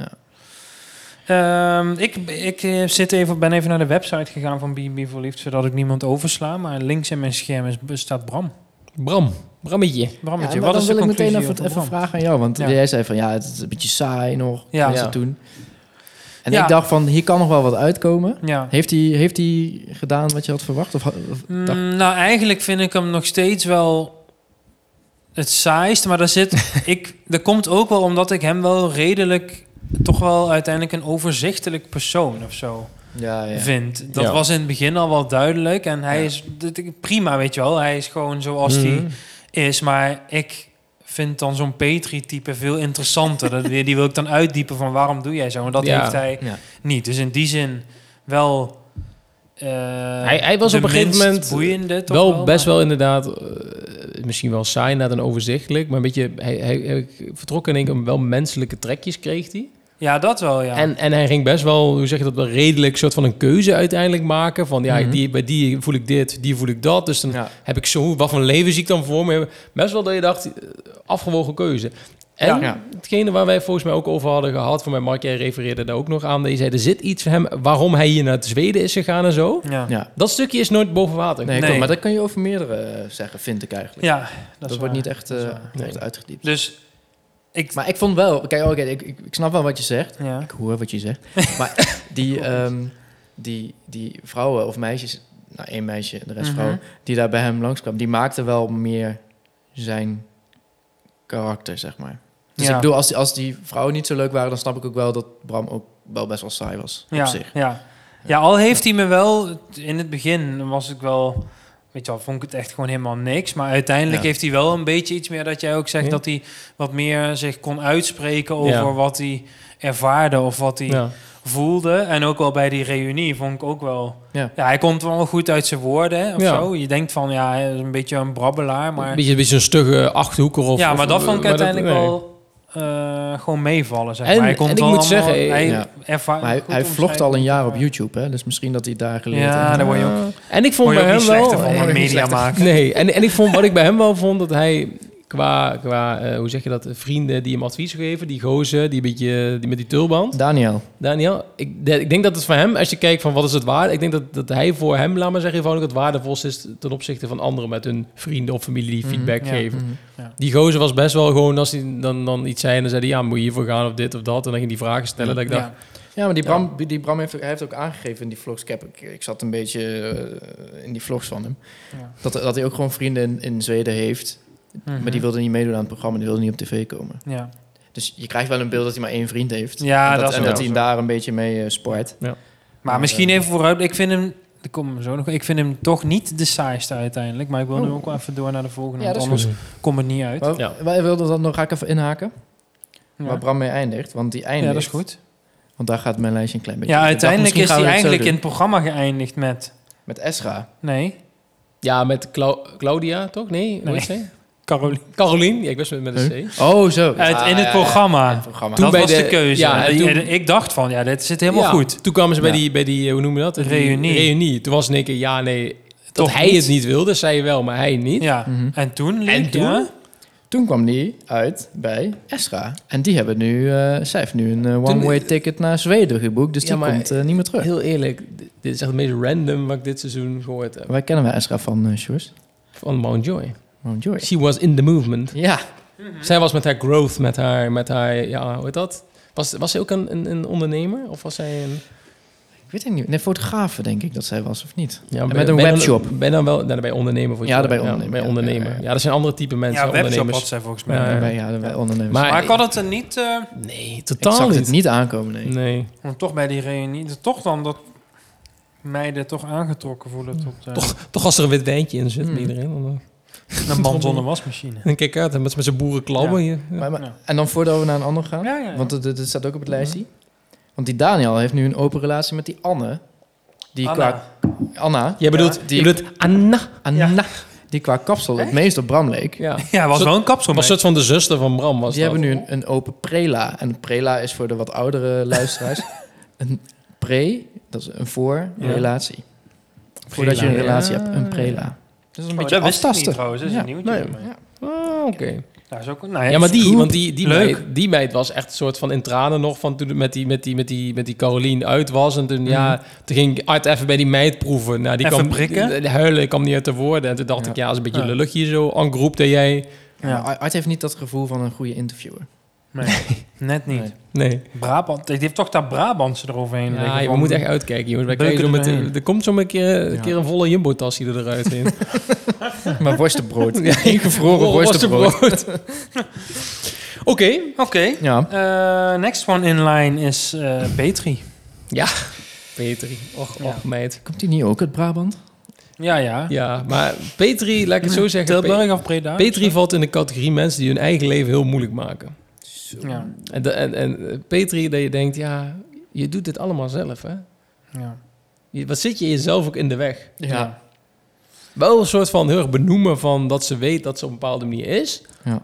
Speaker 2: Ehm, ik ik eh, zit even, ben even naar de website gegaan van B&B voor Liefde... zodat ik niemand oversla, maar links in mijn scherm is, staat Bram.
Speaker 1: Bram, Brammetje.
Speaker 2: Brammetje,
Speaker 3: maar
Speaker 2: wat
Speaker 3: dan
Speaker 2: is de
Speaker 3: wil ik
Speaker 2: conclusie
Speaker 3: meteen even,
Speaker 2: over
Speaker 3: even
Speaker 2: Bram?
Speaker 3: vragen aan jou. Want
Speaker 2: Ja.
Speaker 3: jij zei van ja, het is een beetje saai nog.
Speaker 2: Ja.
Speaker 3: Ja.
Speaker 1: Ja.
Speaker 3: Toen. En
Speaker 2: Ja.
Speaker 3: ik dacht van hier kan nog wel wat uitkomen.
Speaker 2: Ja.
Speaker 3: Heeft hij, heeft hij gedaan wat je had verwacht? Of, of
Speaker 2: Mm,
Speaker 3: dacht-
Speaker 2: nou, eigenlijk vind ik hem nog steeds wel het saaist. Maar daar zit, ik, dat komt ook wel omdat ik hem wel redelijk, toch wel uiteindelijk een overzichtelijk persoon of zo
Speaker 3: ja, ja.
Speaker 2: vind. Dat
Speaker 1: Ja.
Speaker 2: was in het begin al wel duidelijk. En hij
Speaker 3: Ja.
Speaker 2: is dit- prima, weet je wel. Hij is gewoon zoals hij
Speaker 1: Mhm.
Speaker 2: is. Maar ik vind dan zo'n Petri-type veel interessanter. Dat- die, die wil ik dan uitdiepen van waarom doe jij zo? Want dat
Speaker 1: Ja.
Speaker 2: heeft hij
Speaker 3: Ja.
Speaker 2: niet. Dus in die zin wel... eh,
Speaker 1: Hij- hij was
Speaker 2: de
Speaker 1: op een gegeven
Speaker 2: minst
Speaker 1: moment
Speaker 2: boeiende, toch
Speaker 1: Wel best
Speaker 2: maar-
Speaker 1: wel inderdaad, eh, misschien wel saai, inderdaad en overzichtelijk. Maar een beetje, hij, hij, hij vertrok en ik hem wel menselijke trekjes kreeg hij.
Speaker 2: Ja, dat wel, ja.
Speaker 1: En, en hij ging best wel, hoe zeg je dat, wel redelijk soort van een keuze uiteindelijk maken. Van ja,
Speaker 3: Mhm.
Speaker 1: die, bij die voel ik dit, die voel ik dat. Dus dan
Speaker 3: Ja.
Speaker 1: heb ik zo, wat voor leven zie ik dan voor me? Best wel dat je dacht, eh, afgewogen keuze. En
Speaker 3: Ja.
Speaker 1: hetgene waar wij volgens mij ook over hadden gehad, van mij Mark, jij refereerde daar ook nog aan. Dat je zei, er zit iets van hem, waarom hij hier naar Zweden is gegaan en zo.
Speaker 2: ja. ja.
Speaker 3: Ja.
Speaker 1: Dat stukje is nooit boven water.
Speaker 3: Nee,
Speaker 2: Nee.
Speaker 3: klopt, maar dat kan je over meerdere eh, zeggen, vind ik eigenlijk.
Speaker 2: dat, is
Speaker 3: dat
Speaker 2: waar.
Speaker 3: wordt niet echt,
Speaker 2: Dat is
Speaker 3: eh,
Speaker 2: waar.
Speaker 3: echt
Speaker 1: Nee.
Speaker 3: uitgediept.
Speaker 2: Dus ik...
Speaker 3: Maar ik vond wel, kijk, oké, ik, ik, ik snap wel wat je zegt.
Speaker 2: ja.
Speaker 3: Ik hoor wat je zegt. maar die, ehm, die, die vrouwen of meisjes, nou één meisje, de rest
Speaker 2: Mhm.
Speaker 3: vrouwen, die daar bij hem langskwam, die maakten wel meer zijn karakter, zeg maar. Dus
Speaker 2: Ja.
Speaker 3: ik bedoel, als die, als die vrouwen niet zo leuk waren, dan snap ik ook wel dat Bram ook wel best wel saai was
Speaker 2: Ja,
Speaker 3: op zich.
Speaker 2: ja. ja, al heeft hij me wel... In het begin was ik wel... Weet je wel, vond ik het echt gewoon helemaal niks. Maar uiteindelijk
Speaker 3: Ja.
Speaker 2: heeft hij wel een beetje iets meer dat jij ook zegt...
Speaker 1: Ja.
Speaker 2: dat hij wat meer zich kon uitspreken over
Speaker 1: Ja.
Speaker 2: wat hij ervaarde of wat hij
Speaker 1: Ja.
Speaker 2: voelde. En ook wel bij die reunie vond ik ook wel...
Speaker 3: Ja.
Speaker 2: hij komt wel goed uit zijn woorden hè, of
Speaker 1: Ja.
Speaker 2: zo. Je denkt van, ja, hij is een beetje een brabbelaar, maar...
Speaker 1: Een beetje, een beetje een stugge achterhoeker. Of,
Speaker 2: ja,
Speaker 1: of-
Speaker 2: maar dat vond ik
Speaker 1: maar
Speaker 2: uiteindelijk
Speaker 1: nee.
Speaker 2: wel eh, gewoon meevallen. Zeg
Speaker 1: En-
Speaker 2: maar. Hij
Speaker 1: en ik
Speaker 2: wel
Speaker 1: moet
Speaker 2: allemaal-
Speaker 1: zeggen,
Speaker 2: hij
Speaker 3: ja.
Speaker 2: ervaart
Speaker 3: Maar hij,
Speaker 2: goed
Speaker 3: hij
Speaker 2: om
Speaker 3: vlogt
Speaker 2: schrijven.
Speaker 3: al een jaar op YouTube, hè? Dus misschien dat hij daar geleerd
Speaker 2: eh, Ja,
Speaker 3: heeft.
Speaker 2: daar word je ook,
Speaker 1: En ik vond
Speaker 2: word je
Speaker 1: bij
Speaker 2: ook niet
Speaker 1: hem wel...
Speaker 2: slechter
Speaker 1: Oh,
Speaker 2: van,
Speaker 3: Nee,
Speaker 2: maar
Speaker 3: ik word
Speaker 2: media
Speaker 3: niet
Speaker 2: maken.
Speaker 1: Nee, en, en ik vond, wat ik bij hem wel vond, dat hij qua, qua eh, hoe zeg je dat, vrienden die hem advies geven, die gozer, die, beetje, die met die tulband,
Speaker 3: Daniel.
Speaker 1: Daniel, ik, de- ik denk dat het voor hem, als je kijkt van wat is het waarde, ik denk dat, dat hij voor hem, laat maar zeggen, eenvoudig het waardevolste is ten opzichte van anderen met hun vrienden of familie die
Speaker 3: Mhm,
Speaker 1: feedback
Speaker 2: ja.
Speaker 1: geven. Die gozer was best wel gewoon, als hij dan, dan iets zei, dan zei hij, ja, moet je hiervoor gaan of dit of dat, en dan ging die vragen stellen, dat ik dacht,
Speaker 2: Ja.
Speaker 3: Ja, maar die Bram, die Bram heeft, hij heeft ook aangegeven in die vlogs. Ik, heb, ik, ik zat een beetje eh, in die vlogs van hem.
Speaker 2: Ja.
Speaker 3: Dat, dat hij ook gewoon vrienden in, in Zweden heeft.
Speaker 2: Mhm.
Speaker 3: Maar die wilden niet meedoen aan het programma. Die wilden niet op tv komen.
Speaker 2: Ja.
Speaker 3: Dus je krijgt wel een beeld dat hij maar één vriend heeft.
Speaker 2: Ja,
Speaker 3: en dat,
Speaker 2: dat is
Speaker 3: en
Speaker 1: ook
Speaker 3: dat
Speaker 2: wel
Speaker 3: hij
Speaker 2: zo.
Speaker 3: daar een beetje mee eh, sport.
Speaker 2: Maar misschien even vooruit. Ik vind hem, ik kom zo nog, ik vind hem toch niet de saaiste uiteindelijk. Maar ik wil nu
Speaker 3: Oh.
Speaker 2: ook wel even door naar de volgende.
Speaker 3: Ja,
Speaker 2: want
Speaker 3: dat
Speaker 2: anders komt het niet uit.
Speaker 3: Maar
Speaker 1: Ja.
Speaker 3: wij wilden dat nog, ga ik even inhaken.
Speaker 2: Ja.
Speaker 3: Waar Bram mee eindigt. Want die
Speaker 2: ja,
Speaker 3: eindigt.
Speaker 2: dat is goed.
Speaker 3: Want daar gaat mijn lijstje een klein beetje.
Speaker 2: Ja,
Speaker 3: op. Ik
Speaker 2: uiteindelijk
Speaker 3: dacht,
Speaker 2: is hij
Speaker 3: misschien gaan we
Speaker 2: eigenlijk in
Speaker 3: het
Speaker 2: het programma geëindigd met...
Speaker 3: zo doen. Met Esra.
Speaker 2: Nee,
Speaker 1: ja, met Clau- Claudia, toch? Nee,
Speaker 2: Nee.
Speaker 1: hoe heet zij?
Speaker 2: Caroline.
Speaker 1: Caroline, ja, ik wist het met een C.
Speaker 3: Oh, zo.
Speaker 2: Uit,
Speaker 3: Ah,
Speaker 2: in
Speaker 3: ja,
Speaker 2: het
Speaker 3: ja,
Speaker 2: programma.
Speaker 3: ja, het programma.
Speaker 1: Toen
Speaker 2: dat
Speaker 1: bij
Speaker 2: was de,
Speaker 1: de-
Speaker 2: keuze.
Speaker 1: ja,
Speaker 2: En
Speaker 1: toen-
Speaker 2: en ik dacht van, ja, dit zit helemaal
Speaker 1: Ja,
Speaker 2: goed.
Speaker 1: Toen kwamen ze bij,
Speaker 3: Ja.
Speaker 1: die, bij die, eh, hoe noem je dat? Die
Speaker 2: Reunie.
Speaker 1: Reunie. Toen was het in één keer, ja, nee. Dat
Speaker 2: Toch
Speaker 1: hij
Speaker 2: niet.
Speaker 1: het niet wilde, zij wel, maar hij niet.
Speaker 2: Ja,
Speaker 3: Mhm.
Speaker 2: en toen leek,
Speaker 1: En toen?
Speaker 2: ja.
Speaker 3: Toen kwam die uit bij Esra. En die hebben nu, eh, zij heeft nu een eh, one-way ticket naar Zweden geboekt. Dus
Speaker 1: Ja,
Speaker 3: die
Speaker 1: maar-
Speaker 3: komt eh, niet meer terug.
Speaker 1: Heel eerlijk, d- dit is echt het meest random wat ik dit seizoen gehoord heb.
Speaker 3: Waar kennen wij Esra van, eh Sjoerd?
Speaker 1: Van Mount Joy.
Speaker 3: Van Joy.
Speaker 1: She was in the movement.
Speaker 3: Ja,
Speaker 2: Mhm.
Speaker 1: Zij was met haar growth, met haar, met haar ja, hoe heet dat? Was, was zij ook een, een, een ondernemer? Of was zij een...
Speaker 3: ik weet het niet. Nee, fotografe denk ik dat zij was, of niet?
Speaker 1: Ja,
Speaker 3: En
Speaker 1: ben-
Speaker 3: met een
Speaker 1: ben dan-
Speaker 3: webshop.
Speaker 1: Ben dan wel... Nou, dan ben je ondernemer voor
Speaker 3: Ja, dan ben je
Speaker 1: Ja,
Speaker 3: ondernemer, ja,
Speaker 1: ondernemer.
Speaker 3: ja, ja, ja.
Speaker 1: Ja, dat zijn andere type mensen,
Speaker 2: Ja, webshop
Speaker 1: ondernemers.
Speaker 2: had zij volgens mij.
Speaker 1: Ja,
Speaker 3: Ja,
Speaker 2: Maar,
Speaker 3: wij, ja, wij ondernemers.
Speaker 1: Maar-
Speaker 2: ik had het er niet... eh,
Speaker 1: Nee,
Speaker 3: ik
Speaker 1: totaal
Speaker 3: zag
Speaker 1: niet.
Speaker 3: het niet aankomen, nee.
Speaker 1: Nee.
Speaker 2: want toch bij die reunie... Toch dan dat meiden toch aangetrokken voelen tot eh,
Speaker 1: Toch als er een wit wijntje in zit
Speaker 3: Hmm.
Speaker 1: bij iedereen. Dan, dan-
Speaker 2: een man zonder wasmachine.
Speaker 1: En kijk uit, met, met zijn boerenklauwen hier. Ja.
Speaker 3: Maar, maar-
Speaker 2: Ja.
Speaker 3: En dan voordat we naar een ander gaan,
Speaker 2: Ja, ja, ja.
Speaker 1: Mhm.
Speaker 3: want het, het- het staat ook op het lijstje. Want die Daniel heeft nu een open relatie met die Anne.
Speaker 2: Ah,
Speaker 3: Die
Speaker 2: nou.
Speaker 3: qua... Anna.
Speaker 1: Jij bedoelt,
Speaker 3: Ja,
Speaker 1: je
Speaker 3: die-
Speaker 1: bedoelt Anna.
Speaker 3: Anna. Die qua kapsel het meest op Bram leek.
Speaker 1: Ja.
Speaker 2: Ja, was
Speaker 1: Zo-
Speaker 2: wel een kapsel.
Speaker 1: Dat was
Speaker 2: mee.
Speaker 1: het van de zuster van Bram. Was
Speaker 3: Die
Speaker 1: dat.
Speaker 3: hebben nu een, een open prela. En prela is voor de wat oudere luisteraars. een pre, dat is een voor
Speaker 2: Ja.
Speaker 3: relatie. Voordat je een
Speaker 2: Prela.
Speaker 3: relatie hebt, een
Speaker 1: Ja.
Speaker 3: prela. Dat is een
Speaker 2: Oh,
Speaker 3: beetje
Speaker 2: dat wist ik niet
Speaker 3: aftasten.
Speaker 2: trouwens, dat is
Speaker 3: Ja,
Speaker 2: een nieuwtje.
Speaker 1: nee.
Speaker 2: voor mij.
Speaker 1: Ah, oké.
Speaker 2: Nou, is ook, nou, ja,
Speaker 1: Ja, maar die,
Speaker 3: scoop.
Speaker 1: want die, die,
Speaker 2: Leuk.
Speaker 1: meid, die meid was echt een soort van in tranen nog van toen het met die, met die, met die, met die Caroline uit was. En toen, ja, toen ging Art even bij die meid proeven. Nou, die
Speaker 2: Even
Speaker 1: kwam,
Speaker 2: prikken.
Speaker 1: De, de huilen kwam niet uit de woorden. En toen dacht
Speaker 3: Ja.
Speaker 1: ik, ja, dat is een beetje
Speaker 2: Ja.
Speaker 1: lullig hier zo. En groep dat jij...
Speaker 3: Ja, Art heeft niet dat gevoel van een goede interviewer.
Speaker 2: nee, net niet.
Speaker 3: Nee.
Speaker 1: Nee.
Speaker 2: Brabant, die heeft toch dat Brabantse eroverheen.
Speaker 1: Ja,
Speaker 2: liggen
Speaker 1: je
Speaker 2: van-
Speaker 1: moet echt uitkijken, jongens. Wij
Speaker 2: Beuken
Speaker 1: krijgen zo met,
Speaker 2: erheen.
Speaker 1: er komt zo een keer, een
Speaker 3: Ja.
Speaker 1: keer een volle Jumbo-tas hier eruit in.
Speaker 3: Maar worstenbrood.
Speaker 1: Ja,
Speaker 3: Ingevroren worstenbrood.
Speaker 1: worstenbrood. Oké.
Speaker 2: Oké.
Speaker 3: Ja.
Speaker 2: eh, next one in line is eh Petri.
Speaker 1: Petri. Och,
Speaker 2: Ja.
Speaker 1: och, meid.
Speaker 3: Komt die niet ook uit Brabant?
Speaker 2: Ja, ja.
Speaker 1: Ja, maar Petri, laat ik het zo zeggen. Pe-
Speaker 2: Tilburg of Breda?
Speaker 1: Petri valt in de categorie mensen die hun eigen leven heel moeilijk maken.
Speaker 2: Ja.
Speaker 1: En, de- en, en eh, Petri, dat je denkt, ja, je doet dit allemaal zelf, hè?
Speaker 2: ja.
Speaker 1: Je- Wat zit je jezelf ook in de weg?
Speaker 2: Ja.
Speaker 1: Wel een soort van heel erg benoemen van dat ze weet dat ze op een bepaalde manier is.
Speaker 3: Ja.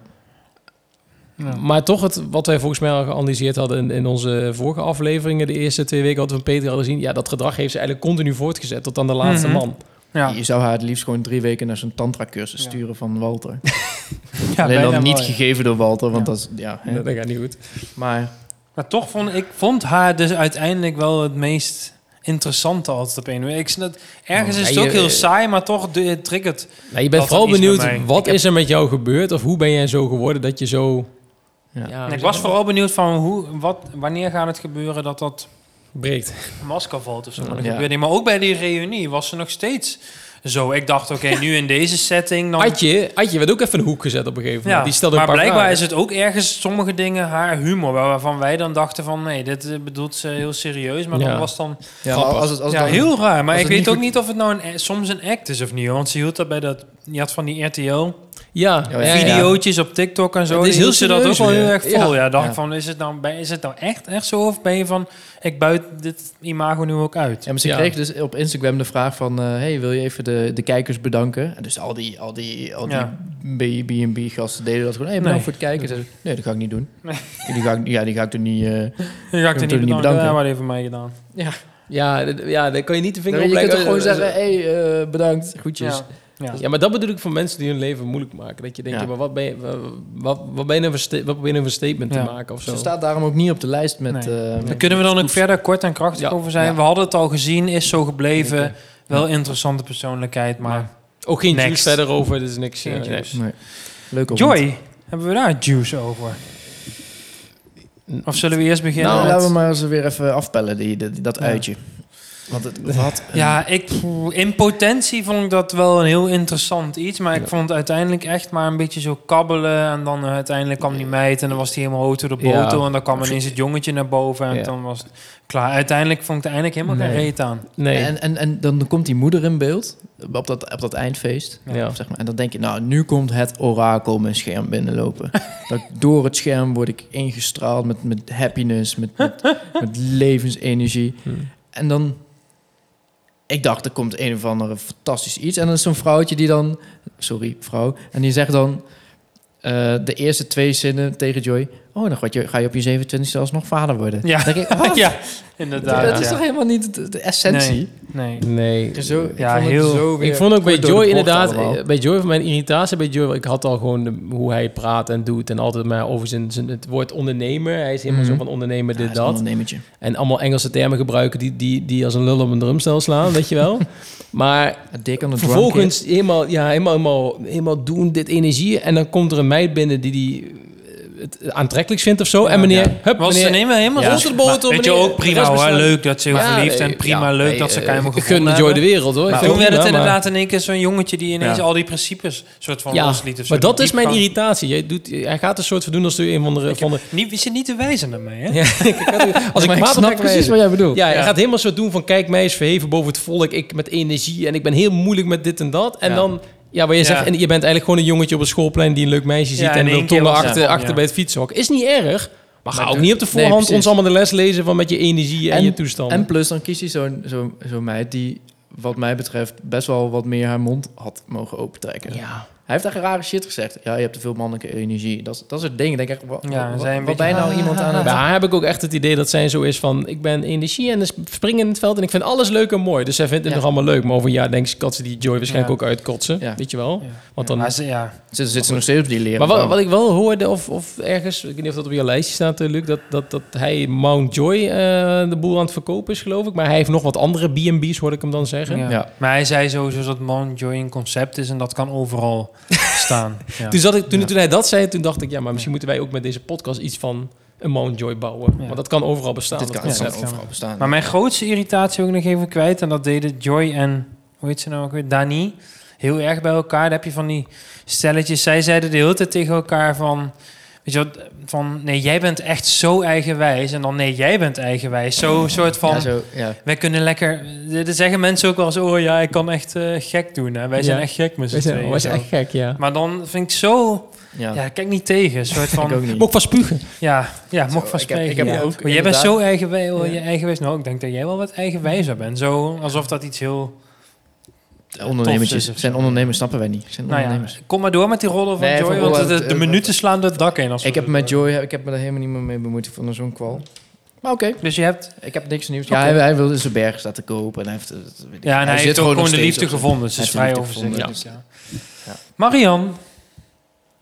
Speaker 2: Ja.
Speaker 1: Maar toch, het, wat wij volgens mij al geanalyseerd hadden in, in onze vorige afleveringen, de eerste twee weken hadden we van Petri al gezien, ja, dat gedrag heeft ze eigenlijk continu voortgezet tot aan de laatste
Speaker 2: Mhm.
Speaker 1: man.
Speaker 2: Ja.
Speaker 3: Je zou haar het liefst gewoon drie weken naar zo'n tantra-cursus
Speaker 2: Ja.
Speaker 3: sturen van Walter.
Speaker 2: Ja,
Speaker 3: Alleen
Speaker 2: bijna
Speaker 3: dan niet
Speaker 2: wel, ja.
Speaker 3: gegeven door Walter, want
Speaker 2: Ja.
Speaker 3: dat is... Ja, hè.
Speaker 1: Dat, dat gaat niet goed.
Speaker 3: Maar
Speaker 2: Maar toch vond ik vond haar dus uiteindelijk wel het meest interessante altijd op een manier. Ik snap, ergens
Speaker 1: Ja,
Speaker 2: is het
Speaker 1: Oh, je- eh,
Speaker 2: ook heel saai, maar toch de, het triggert.
Speaker 1: Nou, je
Speaker 2: Dat
Speaker 1: bent
Speaker 2: had
Speaker 1: vooral
Speaker 2: iets met
Speaker 1: benieuwd,
Speaker 2: mij.
Speaker 1: wat
Speaker 2: Ik heb-
Speaker 1: is er met jou gebeurd of hoe ben jij zo geworden dat je zo...
Speaker 3: Ja.
Speaker 1: hoe
Speaker 2: En
Speaker 1: zeg
Speaker 2: ik
Speaker 1: je
Speaker 2: was
Speaker 1: dat?
Speaker 2: vooral benieuwd van hoe, wat, wanneer gaat het gebeuren dat dat
Speaker 1: breekt.
Speaker 2: masker valt of zo. Maar, dat
Speaker 3: Ja.
Speaker 2: gebeurde niet. maar ook bij die reunie was ze nog steeds zo. Ik dacht, oké, nu in deze setting... Dan,
Speaker 1: Adje, Adje werd ook even een hoek gezet op een gegeven moment.
Speaker 2: ja.
Speaker 1: Die stelde
Speaker 2: maar
Speaker 1: een paar
Speaker 2: blijkbaar
Speaker 1: vragen.
Speaker 2: is het ook ergens sommige dingen haar humor. waar- Waarvan wij dan dachten van, nee, dit eh, bedoelt ze heel serieus. Maar
Speaker 1: Ja.
Speaker 2: dan was dan
Speaker 3: ja, maar
Speaker 1: Grappig.
Speaker 3: als het, als het
Speaker 2: ja,
Speaker 3: dan-
Speaker 2: heel raar. Maar ik
Speaker 3: als het
Speaker 2: weet
Speaker 3: niet
Speaker 2: ook
Speaker 3: goed-
Speaker 2: niet of het nou een, soms een act is of niet. hoor. Want ze hield dat bij dat... Je had van die RTL-videootjes
Speaker 1: Ja, ja, ja.
Speaker 2: op TikTok en zo.
Speaker 1: Het is
Speaker 2: die
Speaker 1: heel
Speaker 2: hield ze dat ook
Speaker 1: serieus
Speaker 2: wel heel
Speaker 1: weer.
Speaker 2: erg vol. Ja, dacht
Speaker 3: Ja.
Speaker 2: ik van, is het, nou, bij- is het nou echt, echt zo? Of ben je van, ik buit dit imago nu ook uit?
Speaker 3: Ja, maar ze
Speaker 1: Ja.
Speaker 3: kreeg dus op Instagram de vraag van... eh, hey, wil je even de, de kijkers bedanken? En dus al die, al die, al
Speaker 2: Ja.
Speaker 3: die B&B-gasten deden dat gewoon. Hey, bedankt
Speaker 2: Nee.
Speaker 3: voor het kijken. Ze zei, nee, dat ga ik niet doen. Die ga ik, ja, die ga ik er niet... eh,
Speaker 2: Je ga ik er
Speaker 3: Natuurlijk
Speaker 2: niet
Speaker 3: niet
Speaker 2: bedanken.
Speaker 3: bedanken.
Speaker 2: Ja, wat heeft mij gedaan?
Speaker 1: Ja, d- ja, daar kan je niet de vinger
Speaker 3: nee,
Speaker 1: op
Speaker 3: je kunt
Speaker 1: leggen.
Speaker 3: toch gewoon
Speaker 1: Eh, eh,
Speaker 3: zeggen... hey, eh, bedankt. Groetjes.
Speaker 2: Ja. Ja.
Speaker 1: Ja, maar dat bedoel ik voor mensen die hun leven moeilijk maken. Dat je denkt,
Speaker 3: Ja.
Speaker 1: ja, maar wat ben je, wa- wat, wat ben je nou voor sta- wat probeer je nou voor statement
Speaker 2: Ja.
Speaker 1: te maken of
Speaker 3: Ze
Speaker 1: zo?
Speaker 3: staat daarom ook niet op de lijst met...
Speaker 2: Nee.
Speaker 3: eh,
Speaker 2: Daar
Speaker 3: met-
Speaker 2: kunnen we dan ook verder kort en krachtig
Speaker 1: Ja.
Speaker 2: over zijn.
Speaker 3: Ja.
Speaker 2: We hadden het al gezien, is zo gebleven.
Speaker 1: Zeker.
Speaker 2: Wel interessante persoonlijkheid, maar...
Speaker 1: Ook Oh, geen
Speaker 2: Next.
Speaker 1: juice verder over, dus niks.
Speaker 2: Geen
Speaker 1: eh,
Speaker 2: juice.
Speaker 1: niks.
Speaker 3: Nee. Leuk op.
Speaker 2: Joy, hebben we daar juice over? Of zullen we eerst beginnen
Speaker 3: Nou,
Speaker 2: met-
Speaker 3: laten we maar eens weer even afpellen, die, die- dat uitje. Want het het had... een-
Speaker 2: Ja, ik, in potentie vond ik dat wel een heel interessant iets. Maar ik
Speaker 1: Ja.
Speaker 2: vond het uiteindelijk echt maar een beetje zo kabbelen. En dan eh, uiteindelijk kwam die meid en dan was die helemaal auto de
Speaker 1: Ja.
Speaker 2: botel. En dan kwam ineens het jongetje naar boven. En
Speaker 1: Ja.
Speaker 2: dan was het klaar. Uiteindelijk vond ik er eigenlijk helemaal geen
Speaker 1: Nee.
Speaker 2: reet aan.
Speaker 1: Nee.
Speaker 3: En, en, en dan komt die moeder in beeld op dat, op dat eindfeest.
Speaker 1: Ja.
Speaker 3: Zeg maar. En dan denk je, nou, nu komt het orakel mijn scherm binnenlopen. dat ik door het scherm word ik ingestraald met, met happiness, met, met, met levensenergie.
Speaker 1: Hmm.
Speaker 3: En dan, ik dacht, er komt een of andere fantastisch iets. En dan is zo'n vrouwtje die dan, sorry vrouw, en die zegt dan eh, de eerste twee zinnen tegen Joy. Oh, dan ga je, ga je op je 27e alsnog vader worden.
Speaker 2: Ja.
Speaker 3: Dan denk ik, wat?
Speaker 2: Ja,
Speaker 3: Dat,
Speaker 2: inderdaad.
Speaker 1: Ja,
Speaker 3: dat is
Speaker 2: ja.
Speaker 3: toch helemaal niet de, de essentie?
Speaker 2: Nee. Nee.
Speaker 1: Nee.
Speaker 3: Zo,
Speaker 2: Ja, heel-
Speaker 1: Ik vond ook bij Joy inderdaad,
Speaker 3: Ja,
Speaker 1: eh, bij Joy van mijn irritatie bij Joy, ik had al gewoon de- hoe hij praat en doet en altijd maar over zijn, zijn het woord ondernemer. Hij is helemaal
Speaker 3: Mhm.
Speaker 1: zo van ondernemer eh, dit
Speaker 3: is een
Speaker 1: dat.
Speaker 3: ondernemertje.
Speaker 1: En allemaal Engelse termen gebruiken die, die, die als een lul op een drumstel slaan, weet je wel. Maar
Speaker 3: Het dik aan de
Speaker 1: vervolgens helemaal, ja, helemaal, helemaal, helemaal doen dit energie. En dan komt er een meid binnen die, die eh, het aantrekkelijkst vindt of zo. en meneer, hup,
Speaker 2: Was ze
Speaker 1: meneer,
Speaker 2: nemen helemaal
Speaker 1: Ja.
Speaker 2: zo.
Speaker 1: Onze boter,
Speaker 2: Weet je
Speaker 1: meneer.
Speaker 2: ook prima
Speaker 1: Rest
Speaker 2: hoor.
Speaker 1: bestaan.
Speaker 2: Leuk dat ze heel
Speaker 1: Ja,
Speaker 2: verliefd en
Speaker 1: nee,
Speaker 2: prima
Speaker 1: ja,
Speaker 2: leuk
Speaker 1: nee,
Speaker 2: dat ze
Speaker 1: eh,
Speaker 2: elkaar helemaal
Speaker 1: Gun
Speaker 2: gevonden
Speaker 1: Joy
Speaker 2: hebben.
Speaker 1: de wereld hoor. Ik
Speaker 2: Maar
Speaker 1: vind
Speaker 2: toen
Speaker 1: het
Speaker 2: werd het
Speaker 1: prima, maar-
Speaker 2: inderdaad in één keer zo'n jongetje die ineens
Speaker 3: Ja.
Speaker 2: al die principes soort van
Speaker 1: Ja,
Speaker 2: losliet. of zo.
Speaker 1: maar dat
Speaker 2: Die
Speaker 1: is mijn
Speaker 2: diepgang.
Speaker 1: irritatie. Jij doet, hij gaat een soort van doen als hij een van de... Van de
Speaker 2: Niet, je zit niet te wijzen naar mij, hè?
Speaker 1: ja, ik- ik- als ik,
Speaker 3: maar ik
Speaker 1: kwaad
Speaker 3: snap
Speaker 1: ben, ga ik
Speaker 3: precies wat jij bedoelt.
Speaker 1: Ja, hij
Speaker 2: Oh, Ja.
Speaker 1: gaat helemaal zo doen van... kijk, mij is verheven boven het volk. Ik met energie en ik ben heel moeilijk met dit en dat. En
Speaker 3: Ja.
Speaker 1: dan... Ja, waar je
Speaker 2: Ja.
Speaker 1: zegt... en je bent eigenlijk gewoon een jongetje op een schoolplein... die een leuk meisje ziet
Speaker 2: Ja, in
Speaker 1: en wil
Speaker 2: één keer
Speaker 1: tongen
Speaker 2: was het
Speaker 1: achter,
Speaker 2: van,
Speaker 1: achter
Speaker 2: ja.
Speaker 1: bij het fietshok. Is niet erg, Maar
Speaker 3: Maar
Speaker 1: ga ook
Speaker 3: doe-
Speaker 1: niet op de
Speaker 3: nee,
Speaker 1: voorhand
Speaker 3: precies.
Speaker 1: ons allemaal de les lezen van met je energie en,
Speaker 3: En-
Speaker 1: je toestand.
Speaker 3: En plus, dan kies je zo'n zo'n zo'n meid die, wat mij betreft, best wel wat meer haar mond had mogen opentrekken.
Speaker 1: ja.
Speaker 3: Hij heeft echt rare shit gezegd. Ja, je hebt te veel mannelijke energie. Dat, is- dat is het ding. Ik Denk echt, wa- wa-
Speaker 2: Ja,
Speaker 3: wa- wat,
Speaker 2: zijn een
Speaker 3: ben je
Speaker 2: beetje-
Speaker 3: nou iemand aan het...
Speaker 1: Daar heb ik ook echt het idee dat zij zo is van... ik ben energie en sp- spring in het veld en ik vind alles leuk en mooi. Dus zij vindt het
Speaker 3: Ja.
Speaker 1: nog allemaal leuk. Maar over een jaar denkt ze, kat ze die Joy waarschijnlijk
Speaker 2: Ja.
Speaker 1: ook uitkotsen.
Speaker 3: Ja.
Speaker 1: Weet je wel?
Speaker 2: Ja.
Speaker 1: Want dan,
Speaker 2: Maar ze- ja.
Speaker 3: Zit, zit ze nog steeds op die leren.
Speaker 1: maar wat,
Speaker 3: boom.
Speaker 1: wat ik wel hoorde, of, of ergens... ik weet niet of dat op je lijstje staat, eh, Luc... dat, dat, dat hij Mount Joy eh, de boel aan het verkopen is, geloof ik. Maar hij heeft nog wat andere B&B's, hoorde ik hem dan zeggen.
Speaker 2: Ja.
Speaker 3: Ja.
Speaker 2: Maar hij zei sowieso dat Mount Joy een concept is en dat kan overal staan. Ja.
Speaker 1: Toen, zat ik, toen,
Speaker 2: Ja.
Speaker 1: toen hij dat zei, toen dacht ik... ja, maar misschien moeten wij ook met deze podcast iets van een Mount Joy bouwen.
Speaker 2: Ja.
Speaker 1: Want dat kan overal bestaan.
Speaker 3: Dit
Speaker 1: dat
Speaker 3: kan, dit kan
Speaker 1: concept.
Speaker 2: ja.
Speaker 3: overal bestaan.
Speaker 2: Maar mijn grootste irritatie wil ik nog even kwijt. En dat deden Joy en, hoe heet ze nou ook weer, Dani. Heel erg bij elkaar. Daar heb je van die stelletjes. Zij zeiden de hele tijd tegen elkaar van... Weet je wat, van nee, jij bent echt zo eigenwijs. En dan nee, jij bent eigenwijs. Zo'n soort van...
Speaker 3: ja, zo, ja.
Speaker 2: Wij kunnen lekker... Er zeggen mensen ook wel eens... Oh ja, ik kan echt eh, gek doen. Hè. Wij zijn
Speaker 1: Ja.
Speaker 2: echt gek met z'n
Speaker 1: Weet je,
Speaker 2: tweeën.
Speaker 1: was
Speaker 2: zo.
Speaker 1: echt gek, ja.
Speaker 2: Maar dan vind ik zo...
Speaker 3: Ja.
Speaker 2: Ja, kijk niet tegen. Een soort van...
Speaker 3: ik ook niet.
Speaker 1: Mok van spugen.
Speaker 2: Ja, ja mocht van
Speaker 3: ik heb-
Speaker 2: spreken.
Speaker 3: ik heb
Speaker 2: ja.
Speaker 3: ook
Speaker 2: maar jij bent
Speaker 3: inderdaad-
Speaker 2: zo eigenwij, oh,
Speaker 3: Ja.
Speaker 2: je eigenwijs. Nou, ik denk dat jij wel wat eigenwijzer bent. Zo, alsof dat iets heel...
Speaker 3: Ondernemertjes.
Speaker 2: Tof is of
Speaker 3: zijn
Speaker 2: zo.
Speaker 3: ondernemers snappen wij niet. Zijn
Speaker 2: Nou ja,
Speaker 3: ondernemers.
Speaker 2: kom maar door met die rollen van
Speaker 3: Nee,
Speaker 2: Joy,
Speaker 3: even
Speaker 2: want de,
Speaker 3: rollen.
Speaker 2: de minuten slaan de dak in. Als we
Speaker 3: Ik heb
Speaker 2: zo-
Speaker 3: met Joy, ik heb me daar helemaal niet meer mee bemoeid. Ik vond er zo'n kwal. Maar oké,
Speaker 2: Dus je hebt...
Speaker 3: ik heb niks nieuws.
Speaker 2: Oké.
Speaker 3: Ja, hij, hij wilde zijn berg laten kopen. En hij heeft, eh, weet ik-
Speaker 2: Ja, en hij,
Speaker 3: zit
Speaker 2: heeft ook
Speaker 3: nog
Speaker 2: gewoon de
Speaker 3: steeds
Speaker 2: liefde
Speaker 3: op-
Speaker 2: gevonden. Dus
Speaker 3: Hij
Speaker 2: is
Speaker 3: heeft de
Speaker 2: vrij
Speaker 3: liefde
Speaker 2: overzichtelijk. Dus,
Speaker 3: gevonden,
Speaker 2: ja.
Speaker 3: ja.
Speaker 2: Marian,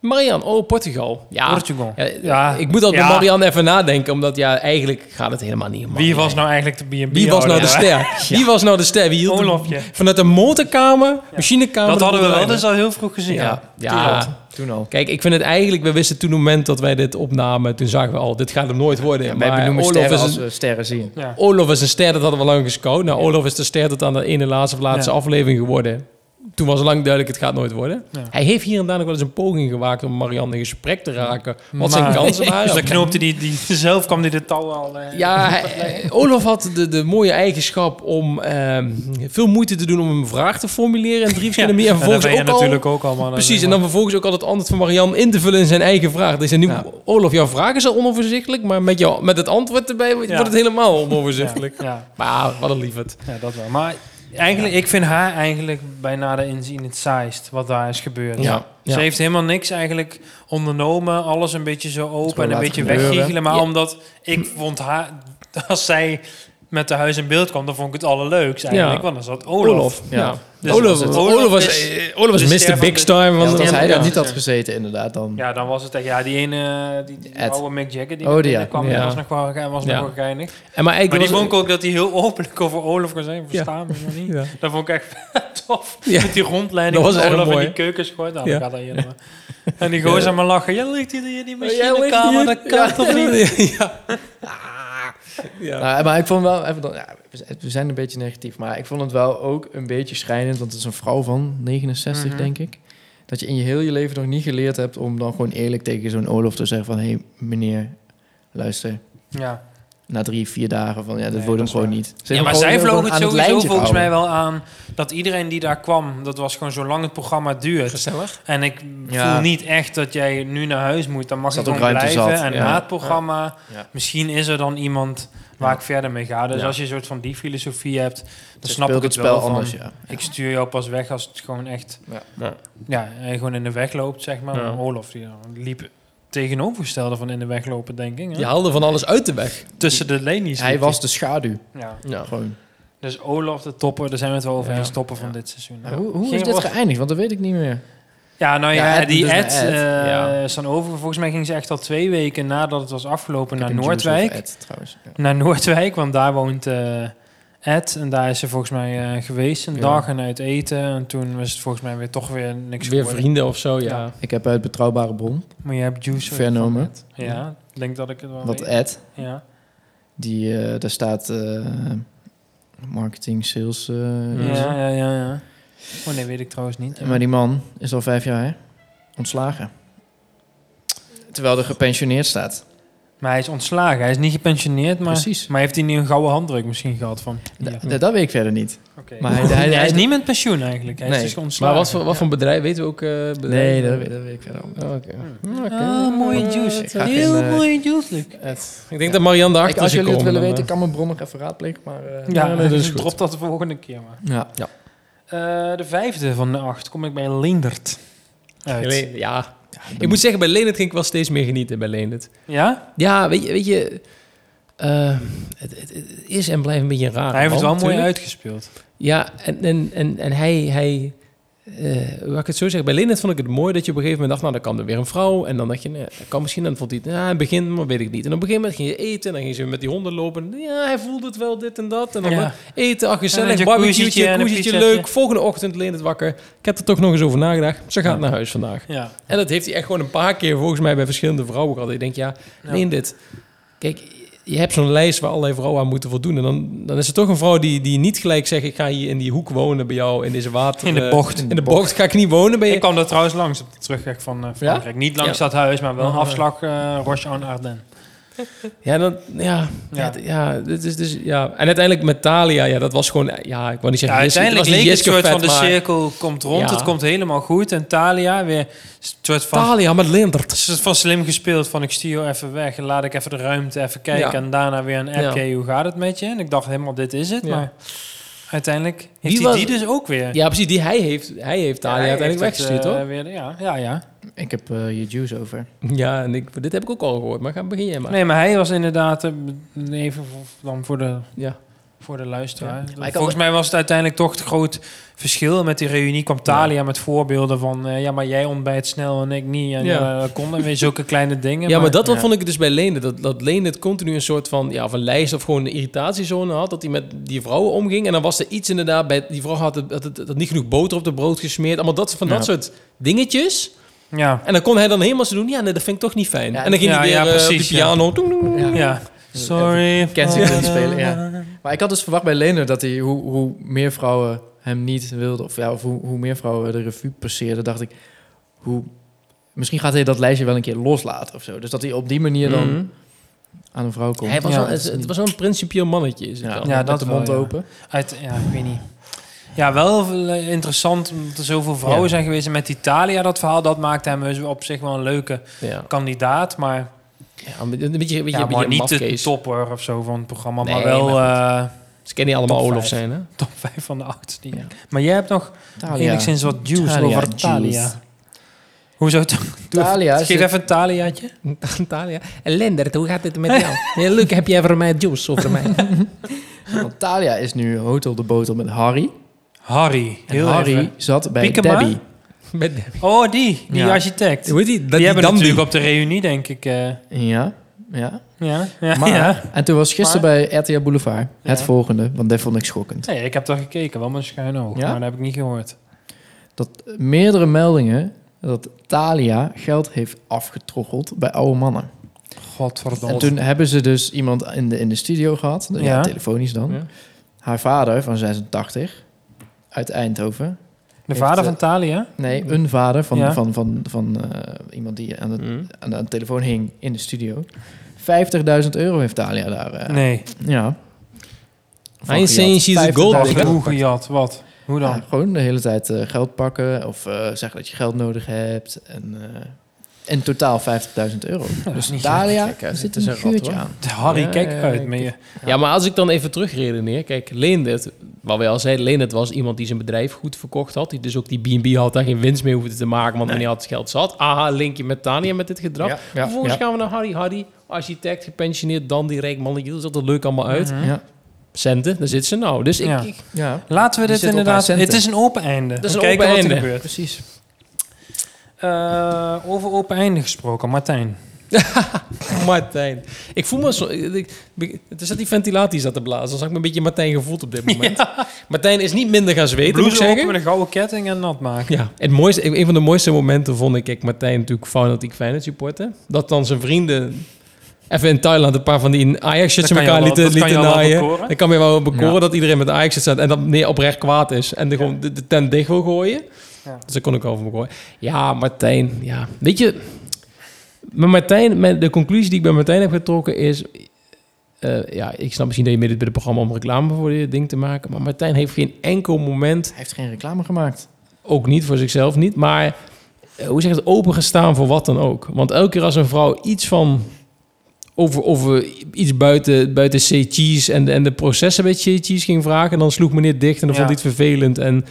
Speaker 1: Marian, oh, Portugal. Ja,
Speaker 2: Portugal.
Speaker 1: ja,
Speaker 2: Ja.
Speaker 1: ik moet altijd
Speaker 2: Ja.
Speaker 1: met Marian even nadenken, omdat ja, eigenlijk gaat het helemaal niet om
Speaker 2: Wie
Speaker 1: Marian.
Speaker 2: was nou eigenlijk de B&B
Speaker 1: Wie was nou de
Speaker 2: houder, hè?
Speaker 1: ster? Wie was nou de ster? Wie hield de-
Speaker 2: Olofje.
Speaker 1: vanuit de motorkamer, machinekamer...
Speaker 2: Dat
Speaker 1: de
Speaker 2: hadden we wel
Speaker 1: boerderij.
Speaker 2: dus al heel vroeg gezien.
Speaker 3: Ja,
Speaker 1: Ja.
Speaker 3: Toen,
Speaker 1: Ja.
Speaker 3: al. Toen al.
Speaker 1: Kijk, ik vind het eigenlijk... We wisten toen op het moment dat wij dit opnamen, toen zagen we al, dit gaat hem nooit worden.
Speaker 3: Ja, wij
Speaker 1: maar
Speaker 3: benoemen
Speaker 1: Olof
Speaker 3: sterren
Speaker 1: is,
Speaker 3: als
Speaker 1: een,
Speaker 3: we sterren zien.
Speaker 2: Ja.
Speaker 1: Olof is een ster, dat hadden we lang gescout. Nou, Olof is de ster dat aan de ene laatste of laatste
Speaker 2: Ja.
Speaker 1: aflevering geworden. Toen was lang duidelijk, het gaat nooit worden.
Speaker 2: Ja.
Speaker 1: Hij heeft hier en daar nog wel eens een poging gewaakt om Marianne in gesprek te raken. Wat zijn
Speaker 2: Maar-
Speaker 1: kansen waren.
Speaker 2: Dus dan knoopte die, die zelf kwam die de touw al... eh,
Speaker 1: Ja, hij- Olof had de, de mooie eigenschap om ehm, veel moeite te doen om een vraag te formuleren in drie verschillende
Speaker 2: en
Speaker 1: manieren. En
Speaker 2: dat
Speaker 1: vervolgens
Speaker 2: ben je
Speaker 1: ook al,
Speaker 2: natuurlijk ook allemaal.
Speaker 1: precies, en dan vervolgens ook al het antwoord van Marian in te vullen in zijn eigen vraag. Dus nu,
Speaker 3: Ja.
Speaker 1: Olof, jouw vraag is al onoverzichtelijk, maar met, jou, met het antwoord erbij wordt
Speaker 2: Ja.
Speaker 1: wordt het helemaal onoverzichtelijk.
Speaker 2: Ja,
Speaker 1: Maar wat een lieverd.
Speaker 2: ja, dat wel. Maar eigenlijk, ik vind haar eigenlijk bij nader inzien het saaist wat daar is gebeurd.
Speaker 1: Ja, ja.
Speaker 2: Ze heeft helemaal niks eigenlijk ondernomen. Alles een beetje zo open en een
Speaker 3: laten
Speaker 2: beetje
Speaker 3: gebeuren.
Speaker 2: weggiegelen. Maar
Speaker 1: Ja.
Speaker 2: omdat ik vond haar... Als zij met de huis in beeld kwam, dan vond ik het allerleukst eigenlijk.
Speaker 1: Ja.
Speaker 2: Want dan zat
Speaker 1: Olof.
Speaker 2: Olaf.
Speaker 1: ja.
Speaker 3: Ja.
Speaker 2: Dus
Speaker 1: Olof,
Speaker 2: als het-
Speaker 1: Olof
Speaker 2: Olof
Speaker 1: was,
Speaker 2: is-
Speaker 1: eh, Olof was
Speaker 2: de ster
Speaker 1: Mr.
Speaker 2: van
Speaker 1: Big
Speaker 2: de-
Speaker 1: Time.
Speaker 3: Want
Speaker 1: want-
Speaker 3: als
Speaker 2: ja,
Speaker 3: hij daar
Speaker 2: ja.
Speaker 3: niet had gezeten, inderdaad, dan...
Speaker 2: Ja, dan was het echt... Ja, die ene... Die, die
Speaker 3: Ed.
Speaker 2: oude Mick Jagger die
Speaker 3: Oh, die, ja.
Speaker 2: binnen kwam,
Speaker 1: Ja.
Speaker 2: was nog wel, ge- was
Speaker 1: Ja.
Speaker 2: nog wel geinig.
Speaker 1: en maar eigenlijk
Speaker 2: Maar die
Speaker 1: was-
Speaker 2: vond ik ook dat hij heel openlijk over Olaf kon zijn. Verstaan me nog niet.
Speaker 1: Ja.
Speaker 2: Dat vond ik echt tof.
Speaker 1: Ja.
Speaker 2: Met die rondleiding.
Speaker 1: Dat
Speaker 2: Dat
Speaker 1: was
Speaker 2: was
Speaker 1: erg
Speaker 2: in
Speaker 1: mooi.
Speaker 2: die keuken gooit. Nou,
Speaker 1: Ja.
Speaker 2: dat gaat dan helemaal. En die gozer maar lachen. Jij ligt hier in die machinekamer.
Speaker 1: kamer
Speaker 2: Dat kan toch niet?
Speaker 1: Ja. Ja.
Speaker 3: Nou, maar ik vond wel, even dan, ja, we zijn- we zijn een beetje negatief, maar ik vond het wel ook een beetje schrijnend, want het is een vrouw van 69,
Speaker 2: Mhm.
Speaker 3: denk ik. Dat je in je heel je leven nog niet geleerd hebt om dan gewoon eerlijk tegen zo'n Olof te zeggen van... Hé, hey, meneer, luister,
Speaker 2: Ja,
Speaker 3: na drie, vier dagen van... Ja, dat
Speaker 2: Nee,
Speaker 3: wordt
Speaker 2: dat
Speaker 3: hem
Speaker 2: is
Speaker 3: gewoon
Speaker 2: waar.
Speaker 3: niet. Ze
Speaker 2: ja
Speaker 3: hebben
Speaker 2: maar
Speaker 3: gewoon
Speaker 2: zij
Speaker 3: heel
Speaker 2: vloog
Speaker 3: gewoon
Speaker 2: het
Speaker 3: aan
Speaker 2: sowieso
Speaker 3: lijntje
Speaker 2: volgens mij
Speaker 3: gehouden.
Speaker 2: wel aan... dat iedereen die daar kwam... dat was gewoon zolang het programma duurt.
Speaker 1: Gezellig.
Speaker 2: En ik
Speaker 3: Ja.
Speaker 2: voel niet echt dat jij nu naar huis moet. Dan mag
Speaker 3: Zat
Speaker 2: ik
Speaker 3: ook
Speaker 2: gewoon
Speaker 3: ruimte
Speaker 2: blijven.
Speaker 3: zat,
Speaker 2: En
Speaker 3: ja.
Speaker 2: na het programma...
Speaker 3: Ja.
Speaker 2: misschien is er dan iemand waar
Speaker 3: Ja.
Speaker 2: ik verder mee ga. Dus
Speaker 3: Ja.
Speaker 2: als je een soort van die filosofie hebt... dan
Speaker 3: Ze
Speaker 2: snap ik het
Speaker 3: speelt het spel
Speaker 2: wel van,
Speaker 3: anders, ja.
Speaker 2: Ik stuur jou pas weg als het gewoon echt...
Speaker 3: Ja.
Speaker 1: Ja.
Speaker 2: Ja, eh, gewoon in de weg loopt, zeg maar.
Speaker 1: Ja.
Speaker 2: Maar Olof die dan liep tegenovergestelde van in de weg lopen, denk ik. hè?
Speaker 1: Die haalde van alles uit de weg.
Speaker 2: Tussen de lenies.
Speaker 3: Hij
Speaker 2: liep
Speaker 3: was de schaduw,
Speaker 2: Ja.
Speaker 1: Ja.
Speaker 3: gewoon.
Speaker 2: Dus Olof de topper, daar zijn we het wel over
Speaker 1: Ja.
Speaker 2: eens, topper van
Speaker 3: Ja.
Speaker 2: dit seizoen.
Speaker 3: Maar hoe hoe
Speaker 2: Geen
Speaker 3: is dit
Speaker 2: woord.
Speaker 3: geëindigd? Want dat weet ik niet meer.
Speaker 2: Ja, nou ja,
Speaker 3: Ja, Ed,
Speaker 2: die
Speaker 3: dus
Speaker 2: Ed,
Speaker 3: naar Ed.
Speaker 2: eh,
Speaker 1: Ja.
Speaker 2: is dan over. Volgens mij ging ze echt al twee weken nadat het was afgelopen
Speaker 3: Ik
Speaker 2: naar
Speaker 3: heb een juice over
Speaker 2: Noordwijk.
Speaker 3: Ed, trouwens. Ja.
Speaker 2: Naar Noordwijk, want daar woont eh, Ed. En daar is ze volgens mij eh, geweest een
Speaker 3: Ja.
Speaker 2: dag en uit eten. En toen was het volgens mij weer toch weer niks
Speaker 1: Weer
Speaker 2: geworden.
Speaker 1: vrienden of zo, ja.
Speaker 2: Ja.
Speaker 3: Ik heb uit Betrouwbare Bron
Speaker 2: Maar je hebt juice.
Speaker 3: vernomen
Speaker 2: Ja, ik denk dat ik het wel
Speaker 3: wat
Speaker 2: weet.
Speaker 3: Ed...
Speaker 2: Ja.
Speaker 3: Die, eh, daar staat eh, marketing, sales. eh,
Speaker 2: Ja, ja, ja, ja. Oh nee, weet ik trouwens niet.
Speaker 3: Maar die man is al vijf jaar ontslagen. Terwijl er gepensioneerd staat.
Speaker 2: Maar hij is ontslagen. Hij is niet gepensioneerd, maar,
Speaker 3: Precies.
Speaker 2: maar heeft hij nu een gouden handdruk misschien gehad van?
Speaker 3: Da- da- dat weet ik verder niet.
Speaker 2: Oké.
Speaker 3: Maar hij- hij-
Speaker 2: hij,
Speaker 3: hij-
Speaker 2: is niet met pensioen eigenlijk. Hij
Speaker 3: Nee.
Speaker 2: is dus ontslagen.
Speaker 1: Maar wat voor, wat voor bedrijf weten we ook? eh, bedrijf?
Speaker 3: Nee, dat weet, dat weet ik verder ook niet.
Speaker 1: Oh, oké.
Speaker 2: Ah,
Speaker 1: Oké.
Speaker 2: mooie
Speaker 1: Eh,
Speaker 2: juice.
Speaker 1: dat-
Speaker 3: ga
Speaker 2: Heel
Speaker 3: geen, eh,
Speaker 2: mooie juice, Luc.
Speaker 1: Ik denk dat Marianne
Speaker 3: Kijk,
Speaker 1: daarachter
Speaker 3: als
Speaker 1: is
Speaker 3: jullie het
Speaker 1: gekomen,
Speaker 3: willen
Speaker 1: maar-
Speaker 3: weten, ik kan mijn bron nog even raadplegen. Maar, eh,
Speaker 1: Ja, nee, dat is goed.
Speaker 2: Drop dat de volgende keer maar.
Speaker 3: ja.
Speaker 2: Eh, de vijfde van de acht kom ik bij Leendert uit.
Speaker 1: Leen- eh. Ja. Ik moet zeggen, bij Leendert ging ik wel steeds meer genieten bij Leendert.
Speaker 2: Ja?
Speaker 1: Ja, weet je, weet je eh, het, het- het is en blijft een beetje een
Speaker 3: Ah,
Speaker 1: raar.
Speaker 2: Hij heeft het wel mooi
Speaker 1: natuurlijk.
Speaker 2: uitgespeeld.
Speaker 1: Ja, en, en, en, en hij, hij eh, hoe ik het zo zeg, bij Leendert vond ik het mooi dat je op een gegeven moment dacht, nou, dan kan er weer een vrouw. En dan dacht je, nee, dat kan misschien, en dan vond hij, het, nou, in het begin, maar weet ik niet. En op een gegeven moment ging je eten, en dan ging ze met die honden lopen. Ja, hij voelde het wel, dit en dat. En dan
Speaker 2: Ja.
Speaker 1: eten, ach,
Speaker 2: En
Speaker 1: gezellig,
Speaker 2: een
Speaker 1: barbecueetje,
Speaker 2: jacuzzietje en een
Speaker 1: jacuzzietje,
Speaker 2: pizzaatje.
Speaker 1: leuk. Volgende ochtend Leendert wakker. Ik heb er toch nog eens over nagedacht. Ze gaat naar huis vandaag.
Speaker 2: Ja.
Speaker 1: En dat heeft hij echt gewoon een paar keer volgens mij bij verschillende vrouwen gehad. Ik denk, ja,
Speaker 2: Ja.
Speaker 1: neem dit. Kijk, je hebt zo'n lijst waar allerlei vrouwen aan moeten voldoen. En dan, dan is er toch een vrouw die, die niet gelijk zegt... ik ga hier in die hoek wonen bij jou, in deze water...
Speaker 2: In de
Speaker 1: eh,
Speaker 2: bocht.
Speaker 1: in de bocht ga ik niet wonen bij
Speaker 2: Ik
Speaker 1: je.
Speaker 2: kwam daar trouwens langs op de terugweg van eh, Frankrijk. Niet langs dat huis, maar wel een
Speaker 1: Ja.
Speaker 2: afslag eh Roche en Ardennes.
Speaker 1: Ja, dan, ja, ja.
Speaker 2: Ja.
Speaker 1: d- ja, dit is dus... Ja. En uiteindelijk met Thalia, ja, dat was gewoon... Ja, ik wou niet
Speaker 2: Ja,
Speaker 1: zeggen... Jiske-
Speaker 2: uiteindelijk
Speaker 1: was niet
Speaker 2: leek het
Speaker 1: Jiske
Speaker 2: soort van
Speaker 1: vet,
Speaker 2: de
Speaker 1: maar
Speaker 2: cirkel komt rond.
Speaker 1: Ja.
Speaker 2: Het komt helemaal goed. En Thalia weer soort van
Speaker 1: Thalia met Leendert.
Speaker 2: Het is van slim gespeeld van ik stuur jou even weg en laat ik even de ruimte even kijken
Speaker 1: Ja.
Speaker 2: en daarna weer een appje hoe gaat het met je en ik dacht helemaal dit is het
Speaker 1: Ja.
Speaker 2: maar uiteindelijk heeft
Speaker 1: Wie
Speaker 2: hij
Speaker 1: was-
Speaker 2: die dus ook weer
Speaker 1: Ja, precies. Die hij heeft, hij heeft
Speaker 2: Ja,
Speaker 1: Thalia
Speaker 2: hij
Speaker 1: uiteindelijk
Speaker 2: heeft het,
Speaker 1: weggestuurd,
Speaker 2: eh,
Speaker 1: hoor.
Speaker 2: weer, ja ja ja
Speaker 3: Ik heb eh, je juice over.
Speaker 1: Ja, en ik, dit heb ik ook al gehoord. Maar ga begin jij maar.
Speaker 2: nee maar hij was inderdaad eh, even voor- dan voor de
Speaker 1: Ja.
Speaker 2: voor de luisteraar.
Speaker 3: Maar ik
Speaker 2: Volgens
Speaker 3: had-
Speaker 2: mij was het uiteindelijk toch het groot verschil. Met die reunie kwam Thalia met voorbeelden van... eh, ja, maar jij ontbijt snel en ik niet. En
Speaker 1: Ja.
Speaker 2: ja. dat kon. En weer zulke kleine dingen.
Speaker 1: Ja, maar dat
Speaker 3: ja.
Speaker 1: wat vond ik dus bij Leendert. Dat, dat Leendert continu een soort van, ja, of een lijst of gewoon een irritatiezone had. Dat hij met die vrouwen omging. En dan was er iets inderdaad bij... Die vrouw had, het, had, het- had niet genoeg boter op de brood gesmeerd. Allemaal dat, van
Speaker 3: Ja.
Speaker 1: dat soort dingetjes.
Speaker 2: Ja,
Speaker 1: En dan kon hij dan helemaal zo doen. Ja, nee, dat vind ik toch niet fijn.
Speaker 3: Ja,
Speaker 1: en dan ging
Speaker 2: ja,
Speaker 1: hij weer
Speaker 2: ja,
Speaker 1: eh, op
Speaker 2: precies,
Speaker 1: de
Speaker 2: ja.
Speaker 1: piano. Doeng, doeng, doeng.
Speaker 2: ja. Sorry.
Speaker 3: Kensington spelen, ja. Maar ik had dus verwacht bij Lener dat hij, hoe, hoe meer vrouwen hem niet wilden, of, ja, of hoe, hoe meer vrouwen de revue passeerden, dacht ik, hoe, misschien gaat hij dat lijstje wel een keer loslaten of zo. Dus dat hij op die manier dan
Speaker 1: Mhm.
Speaker 3: aan een vrouw komt.
Speaker 1: Hij was
Speaker 2: Ja,
Speaker 1: wel-
Speaker 3: dat is
Speaker 1: het, het
Speaker 3: niet-
Speaker 1: was wel een principieel mannetje. Is het
Speaker 3: ja,
Speaker 1: wel.
Speaker 2: Ja,
Speaker 3: met
Speaker 2: dat
Speaker 3: de
Speaker 2: wel,
Speaker 3: mond
Speaker 2: ja.
Speaker 3: open.
Speaker 2: Uit, ja, ik weet niet. Ja, wel eh, interessant omdat er zoveel vrouwen
Speaker 1: Ja.
Speaker 2: zijn geweest. En met Italia dat verhaal, dat maakte hem dus op zich wel een leuke
Speaker 1: Ja.
Speaker 2: kandidaat. Maar,
Speaker 1: Ja, een beetje, een beetje, een beetje,
Speaker 2: ja,
Speaker 1: een
Speaker 2: maar
Speaker 1: beetje
Speaker 2: niet de
Speaker 1: mafkees.
Speaker 2: topper of zo van het programma.
Speaker 1: Nee,
Speaker 2: maar wel eh,
Speaker 1: Ze kennen niet allemaal
Speaker 2: top
Speaker 1: Olof
Speaker 2: vijf.
Speaker 1: zijn, hè?
Speaker 2: top 5 van de oudste.
Speaker 3: Ja.
Speaker 2: Maar jij hebt nog
Speaker 3: Thalia.
Speaker 2: enigszins wat juice
Speaker 3: Thalia
Speaker 2: over Thalia.
Speaker 3: juice.
Speaker 2: Hoezo? Doe
Speaker 3: Thalia
Speaker 2: even-
Speaker 3: zit-
Speaker 2: Geef even een Thaliaatje.
Speaker 1: Thalia. En Leendert, hoe gaat het met jou? Ja, Luc, heb jij voor mij juice over mij?
Speaker 3: Want Thalia is nu Hotel de Botel met Harry.
Speaker 2: Harry.
Speaker 3: En
Speaker 2: Heel
Speaker 3: Harry
Speaker 2: even.
Speaker 3: zat bij
Speaker 2: Piekema?
Speaker 3: Debbie.
Speaker 1: Met,
Speaker 2: Oh, die. Die
Speaker 3: Ja.
Speaker 2: architect.
Speaker 1: hoe
Speaker 2: Die,
Speaker 1: heet die? Dat die
Speaker 2: hebben
Speaker 1: Dandy.
Speaker 2: natuurlijk op de reunie, denk ik. eh,
Speaker 3: Ja, ja.
Speaker 2: ja. ja.
Speaker 3: Maar,
Speaker 2: ja.
Speaker 3: en toen was gisteren bij RTL Boulevard het
Speaker 2: Ja.
Speaker 3: volgende, want dat vond ik schokkend.
Speaker 2: Nee, ik heb daar gekeken, wel mijn schuin oog,
Speaker 3: Ja?
Speaker 2: maar dat heb ik niet gehoord.
Speaker 3: dat meerdere meldingen dat Thalia geld heeft afgetroggeld bij oude mannen.
Speaker 2: Godverdomme.
Speaker 3: En toen hebben ze dus iemand in de, in de studio gehad, ja.
Speaker 2: Ja.
Speaker 3: telefonisch dan.
Speaker 1: Ja.
Speaker 3: Haar vader van 86 uit Eindhoven.
Speaker 2: de
Speaker 3: heeft,
Speaker 2: vader
Speaker 3: eh,
Speaker 2: van Thalia?
Speaker 3: Nee, een vader van,
Speaker 2: Ja.
Speaker 3: van, van, van, eh, iemand die aan de,
Speaker 1: Mm.
Speaker 3: aan de telefoon hing in de studio. 50.000 euro heeft Thalia daar. eh,
Speaker 2: Nee.
Speaker 3: Ja. Van
Speaker 1: Hij is saying
Speaker 3: gejat.
Speaker 1: she's a gold
Speaker 3: 50.000
Speaker 1: digger.
Speaker 3: euro.
Speaker 2: Hoe gejat? Wat? Hoe dan?
Speaker 3: Ja, gewoon de hele tijd eh, geld pakken of eh, zeggen dat je geld nodig hebt. En eh, in totaal 50.000 euro.
Speaker 2: dat is
Speaker 3: dus
Speaker 2: niet
Speaker 3: Italia
Speaker 1: gek, hè.
Speaker 3: er zit
Speaker 1: Dit is
Speaker 3: een
Speaker 1: een rat,
Speaker 3: vuurtje
Speaker 1: hoor.
Speaker 3: aan.
Speaker 2: Harry,
Speaker 1: Ja,
Speaker 2: kijk
Speaker 1: ja,
Speaker 2: uit
Speaker 1: ik-
Speaker 2: met je.
Speaker 1: Ja, maar als ik dan even terugredeneer. Kijk, Leendert, wat wij al zeiden, Leendert was iemand die zijn bedrijf goed verkocht had. Die dus ook die B&B had daar geen winst mee hoefde te maken, want hij had het geld zat. Aha, linkje met Tania met dit gedrag.
Speaker 3: Ja, ja,
Speaker 1: Vervolgens
Speaker 3: ja.
Speaker 1: gaan we naar Harry. Harry, architect, gepensioneerd, dan die rijk mannetje. Dat zat er leuk allemaal uit.
Speaker 2: Mhm.
Speaker 3: Ja,
Speaker 1: Centen, daar zit ze nou. Dus ik,
Speaker 2: Ja.
Speaker 1: ik-
Speaker 3: ja,
Speaker 2: Laten we
Speaker 3: Die
Speaker 2: dit
Speaker 3: zit op
Speaker 2: inderdaad...
Speaker 3: haar
Speaker 2: Het
Speaker 3: centen.
Speaker 2: is een open einde.
Speaker 1: is
Speaker 2: We
Speaker 1: een
Speaker 2: kijken
Speaker 1: open
Speaker 2: wat er
Speaker 1: einde.
Speaker 2: gebeurt.
Speaker 3: precies.
Speaker 2: Eh, over open einde gesproken, Martijn.
Speaker 1: Martijn. Ik voel me zo... Ik, ik- het is dat die ventilatie die zat te blazen. Dan zag ik me een beetje Martijn gevoeld op dit moment. Martijn is niet minder gaan zweten, moet ik
Speaker 2: Blouse op
Speaker 1: zeggen.
Speaker 2: met een gouden ketting en nat maken.
Speaker 1: Ja, het mooiste, een van de mooiste momenten vond ik, ik Martijn natuurlijk fanatiek Feyenoord supporter, dat dan zijn vrienden even in Thailand een paar van die Ajax-shirts
Speaker 2: Dat
Speaker 1: aan
Speaker 2: kan je
Speaker 1: elkaar
Speaker 2: wel-
Speaker 1: lieten,
Speaker 2: dat kan je
Speaker 1: lieten
Speaker 2: wel
Speaker 1: naaien.
Speaker 2: bekoren.
Speaker 1: Dan kan je wel bekoren
Speaker 3: Ja.
Speaker 1: dat iedereen met de ajax staat en dat nee, oprecht kwaad is en de, gewoon de, de tent dicht wil gooien.
Speaker 2: Ja.
Speaker 1: Dus daar kon ik over me gooien. Ja, Martijn, ja. Weet je, Maar Martijn, mijn- de conclusie die ik bij Martijn heb getrokken is... eh, ja, ik snap misschien dat je midden bij het programma om reclame voor dit ding te maken. Maar Martijn heeft geen enkel moment,
Speaker 3: Hij heeft geen reclame gemaakt.
Speaker 1: ook niet voor zichzelf niet, maar eh, hoe zeg je het, opengestaan voor wat dan ook. Want elke keer als een vrouw iets van over, over iets buiten, buiten C-cheese en, de- en de processen bij C-cheese ging vragen, dan sloeg meneer dicht en dan
Speaker 2: Ja.
Speaker 1: vond hij het vervelend. En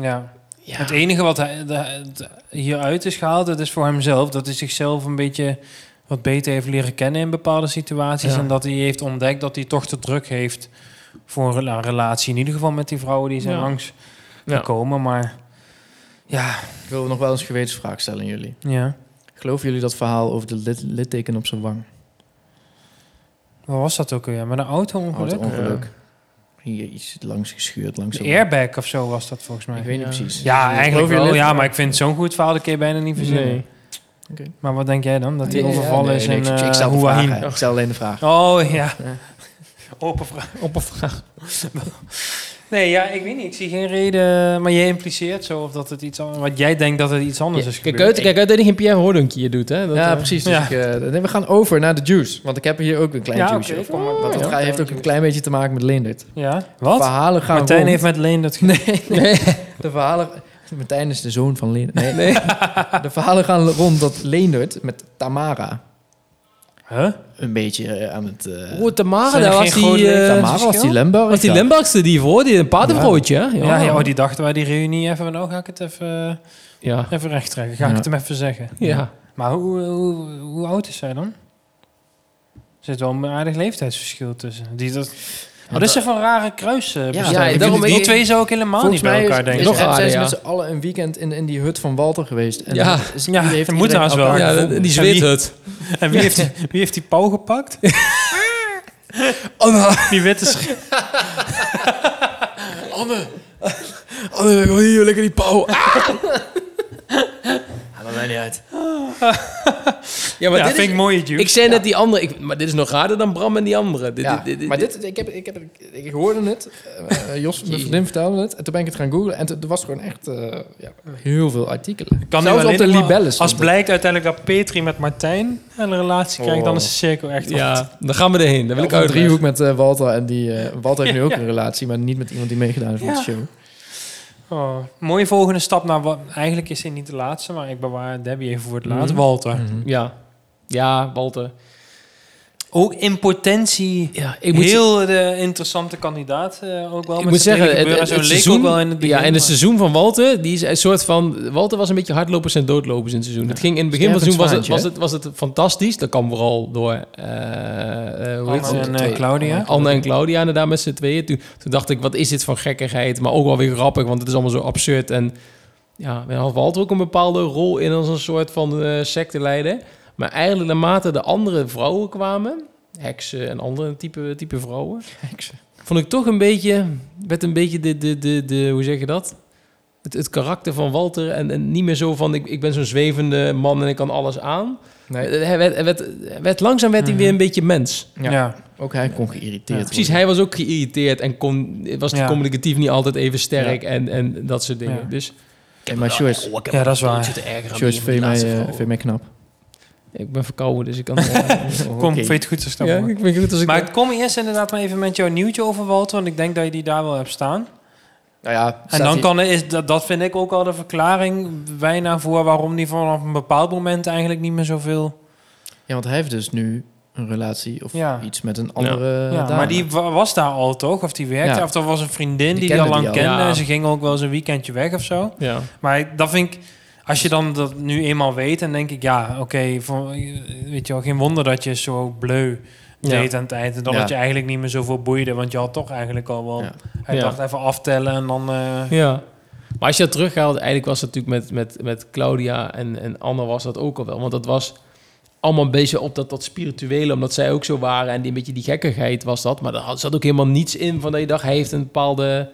Speaker 2: Ja.
Speaker 1: Ja.
Speaker 2: Het enige wat hij de- de- hieruit is gehaald, dat is voor hemzelf. Dat hij zichzelf een beetje wat beter heeft leren kennen in bepaalde situaties.
Speaker 1: Ja.
Speaker 2: En dat hij heeft ontdekt dat hij toch te druk heeft voor een rela- relatie. In ieder geval met die vrouwen die zijn
Speaker 1: Ja.
Speaker 2: langs
Speaker 1: Ja.
Speaker 2: gekomen. Maar ja,
Speaker 3: Ik wil nog wel eens een gewetensvraag stellen aan jullie.
Speaker 2: ja.
Speaker 3: Geloven jullie dat verhaal over de lid- litteken op zijn wang?
Speaker 2: Wat was dat ook weer? Met een auto-ongeluk?
Speaker 3: Auto-ongeluk. Hier iets langs geschuurd, langs
Speaker 2: De
Speaker 3: zijn
Speaker 2: airbag of zo was dat volgens
Speaker 3: wang.
Speaker 2: mij.
Speaker 3: Ik weet niet
Speaker 1: Ja.
Speaker 3: precies.
Speaker 2: Ja, eigenlijk
Speaker 3: Geloof je
Speaker 2: wel.
Speaker 3: lid-
Speaker 2: Ja, maar ik vind zo'n goed verhaal, dat kun je bijna niet verzinnen.
Speaker 1: nee.
Speaker 2: Maar wat denk jij dan? Dat hij
Speaker 3: Nee, ja,
Speaker 2: overvallen
Speaker 3: nee,
Speaker 2: is
Speaker 3: nee,
Speaker 2: in
Speaker 3: ik- ik,
Speaker 2: eh,
Speaker 3: stel de
Speaker 2: Houahin?
Speaker 3: vraag, hè. ik stel alleen de vraag.
Speaker 2: Oh ja.
Speaker 3: Ja.
Speaker 2: Open vraag.
Speaker 1: Op een vraag.
Speaker 2: Nee, ja, ik weet niet. Ik zie geen reden. Maar jij impliceert zo of dat het iets anders... Wat jij denkt dat het iets anders is gebeurd.
Speaker 1: Kijk uit, kijk uit dat hij geen Pierre Hordunkje hier doet, hè? Dat,
Speaker 3: ja,
Speaker 1: eh,
Speaker 3: precies. Dus
Speaker 2: Ja.
Speaker 3: ik, eh, nee, we gaan over naar de juice. Want ik heb hier ook een klein
Speaker 2: Ja,
Speaker 3: juice.
Speaker 2: oké, kom maar.
Speaker 3: Want dat
Speaker 2: Ja.
Speaker 3: ga- heeft ook een klein beetje te maken met Leendert.
Speaker 2: Ja? Wat?
Speaker 3: Verhalen gaan
Speaker 2: Martijn
Speaker 3: rond.
Speaker 2: heeft met Leen dat... ge-
Speaker 3: Nee, nee. De verhalen... Martijn is de zoon van Leendert. Nee, nee. De verhalen gaan rond dat Leendert met Tamara
Speaker 2: Huh?
Speaker 3: een beetje eh, aan het... eh,
Speaker 1: Oh, Tamara,
Speaker 2: Zijn
Speaker 1: daar
Speaker 2: er
Speaker 1: was
Speaker 2: geen
Speaker 1: die...
Speaker 2: grote
Speaker 1: eh,
Speaker 3: Tamara was die Lemberg.
Speaker 1: was die
Speaker 3: ja.
Speaker 1: Limburgse die voor, die een paardenvroodje, hè?
Speaker 2: Ja, ja, oh, die dachten wij die reunie even. Nou, ga ik het even,
Speaker 1: Ja.
Speaker 2: even recht trekken. Ga ik
Speaker 3: Ja.
Speaker 2: het hem even zeggen.
Speaker 1: Ja.
Speaker 2: Maar hoe, hoe, hoe oud is zij dan? Er zit wel een aardig leeftijdsverschil tussen. Die dat... Oh, dat is echt een rare kruis. eh, bestaan.
Speaker 3: ja,
Speaker 2: Ik vind
Speaker 1: daarom-
Speaker 2: die
Speaker 1: ik-
Speaker 2: twee zou ik helemaal niet
Speaker 3: Volgens
Speaker 2: bij
Speaker 3: mij
Speaker 2: elkaar
Speaker 3: is,
Speaker 2: denken.
Speaker 3: is,
Speaker 1: Nog
Speaker 3: zijn
Speaker 1: aarder,
Speaker 3: ze
Speaker 1: ja.
Speaker 3: met z'n allen een weekend in, in die hut van Walter geweest. En
Speaker 1: Ja.
Speaker 3: dan is-
Speaker 2: Ja, dat moet
Speaker 3: iedereen
Speaker 2: haast wel.
Speaker 3: elkaar
Speaker 1: Ja,
Speaker 3: gevonden.
Speaker 1: die zweet het.
Speaker 2: En wie heeft, die, wie heeft die pauw gepakt? Oh, nou. Die witte sch-
Speaker 1: Oh, ik wil hier lekker die pauw.
Speaker 3: Ja, dat maakt niet uit.
Speaker 1: Ja, maar
Speaker 2: Ja,
Speaker 1: dit
Speaker 2: vind ik
Speaker 1: is,
Speaker 2: mooie juice.
Speaker 1: ik zei net die andere... Ik, maar dit is nog raarder dan Bram en die andere. Dit,
Speaker 3: Ja,
Speaker 1: dit- dit-
Speaker 3: maar dit, ik, heb, ik, heb, ik hoorde het. eh, eh, Jos, mijn
Speaker 1: Jee.
Speaker 3: vriendin vertelde het. En toen ben ik het gaan googlen. En toen- er was gewoon echt eh, ja, heel veel artikelen.
Speaker 2: Kan
Speaker 3: Zelfs
Speaker 2: nu
Speaker 3: op de
Speaker 2: alleen maar-
Speaker 3: libellen stond
Speaker 2: Als
Speaker 3: het.
Speaker 2: blijkt uiteindelijk dat Petri met Martijn een relatie krijgt, dan is de cirkel echt rond.
Speaker 1: Oh. ja, dan gaan we erheen. Dan wil ik
Speaker 3: Of een
Speaker 1: uit.
Speaker 3: driehoek met eh, Walter. En die, eh, Walter heeft nu ook
Speaker 2: Ja.
Speaker 3: een relatie, maar niet met iemand die meegedaan heeft met
Speaker 2: Ja.
Speaker 3: de show.
Speaker 2: Oh, mooie volgende stap naar wat... Eigenlijk is dit niet de laatste, maar ik bewaar Debbie even voor het laatst.
Speaker 1: Mhm.
Speaker 2: Walter.
Speaker 1: Ja. Ja, Walter.
Speaker 2: Ook in potentie
Speaker 1: Ja, ik
Speaker 2: heel de interessante kandidaat eh, ook wel.
Speaker 1: Ik moet zeggen, het, het,
Speaker 2: zo
Speaker 1: het
Speaker 2: leek
Speaker 1: seizoen,
Speaker 2: ook wel in het begin.
Speaker 1: ja, en het
Speaker 2: maar-
Speaker 1: seizoen van Walter, die is een soort van... Walter was een beetje hardlopers en doodlopers in het seizoen. Het ging in het begin van het seizoen was het, was,
Speaker 3: Stervend
Speaker 1: het, was het fantastisch. Dat kwam vooral door... eh eh, hoe heet
Speaker 2: Anne
Speaker 1: ze?
Speaker 2: en eh, Claudia.
Speaker 1: Anne en Claudia inderdaad met z'n tweeën. Toen, toen dacht ik, wat is dit van gekkigheid? Maar ook wel weer grappig, want het is allemaal zo absurd. En ja, we had Walter ook een bepaalde rol in als een soort van eh secteleider. Maar eigenlijk naarmate de andere vrouwen kwamen... heksen en andere type, type vrouwen... vond ik toch een beetje... werd een beetje de... de, de, de hoe zeg je dat? Het, het karakter van Walter en, en niet meer zo van... ik, ik ben zo'n zwevende man en ik kan alles aan. Eh,
Speaker 3: Nee,
Speaker 1: Hij werd, hij werd, hij werd, langzaam werd hij
Speaker 2: Mhm.
Speaker 1: weer een beetje mens.
Speaker 3: Ja.
Speaker 2: ja.
Speaker 3: ook hij kon geïrriteerd
Speaker 2: Ja,
Speaker 1: Precies,
Speaker 3: worden.
Speaker 1: hij was ook geïrriteerd en kon, was
Speaker 2: Ja.
Speaker 1: communicatief niet altijd even sterk en, en dat soort dingen.
Speaker 2: Ja.
Speaker 1: Dus
Speaker 3: Kijk maar Joyce.
Speaker 2: Ja, dat is waar.
Speaker 3: Joyce, vind je mij, eh, vind je mij knap?
Speaker 1: ik ben verkouden, dus ik kan...
Speaker 2: Kom,
Speaker 3: Oké.
Speaker 2: vind je het goed zo snel
Speaker 1: ja,
Speaker 2: mogelijk?
Speaker 1: ik ben goed als ik...
Speaker 2: Maar kom eerst inderdaad maar even met jouw nieuwtje over Walter, want ik denk dat je die daar wel hebt staan.
Speaker 3: Nou ja,
Speaker 2: En dan kan is dat, dat vind ik ook al de verklaring bijna voor waarom die vanaf een bepaald moment eigenlijk niet meer zoveel.
Speaker 3: Ja, want hij heeft dus nu een relatie of
Speaker 2: Ja.
Speaker 3: iets met een andere
Speaker 1: Eh,
Speaker 2: ja,
Speaker 3: dame.
Speaker 2: maar die wa- was daar al toch? Of die werkte?
Speaker 3: Ja.
Speaker 2: Of er was een vriendin
Speaker 3: Die
Speaker 2: die die al
Speaker 3: kende
Speaker 2: lang
Speaker 3: die
Speaker 1: al.
Speaker 2: kende.
Speaker 1: Ja.
Speaker 2: En ze ging ook wel eens een weekendje weg of zo.
Speaker 1: ja.
Speaker 2: Maar dat vind ik, als je dan dat nu eenmaal weet, dan denk ik ja, oké, voor- weet je wel, geen wonder dat je zo bleu
Speaker 1: Ja.
Speaker 2: deed aan het eind. En dat
Speaker 3: Ja.
Speaker 2: het je eigenlijk niet meer zoveel boeide, want je had toch eigenlijk al wel.
Speaker 3: Ja.
Speaker 2: Hij
Speaker 1: Ja.
Speaker 2: dacht even aftellen en dan. eh,
Speaker 1: ja. Maar als je dat terughaalt, eigenlijk was dat natuurlijk met, met, met Claudia en, en Anna was dat ook al wel. Want dat was allemaal een beetje op dat, dat spirituele, omdat zij ook zo waren. En die, een beetje die gekkigheid was dat. Maar er had- zat ook helemaal niets in van dat je dacht, hij heeft een bepaalde...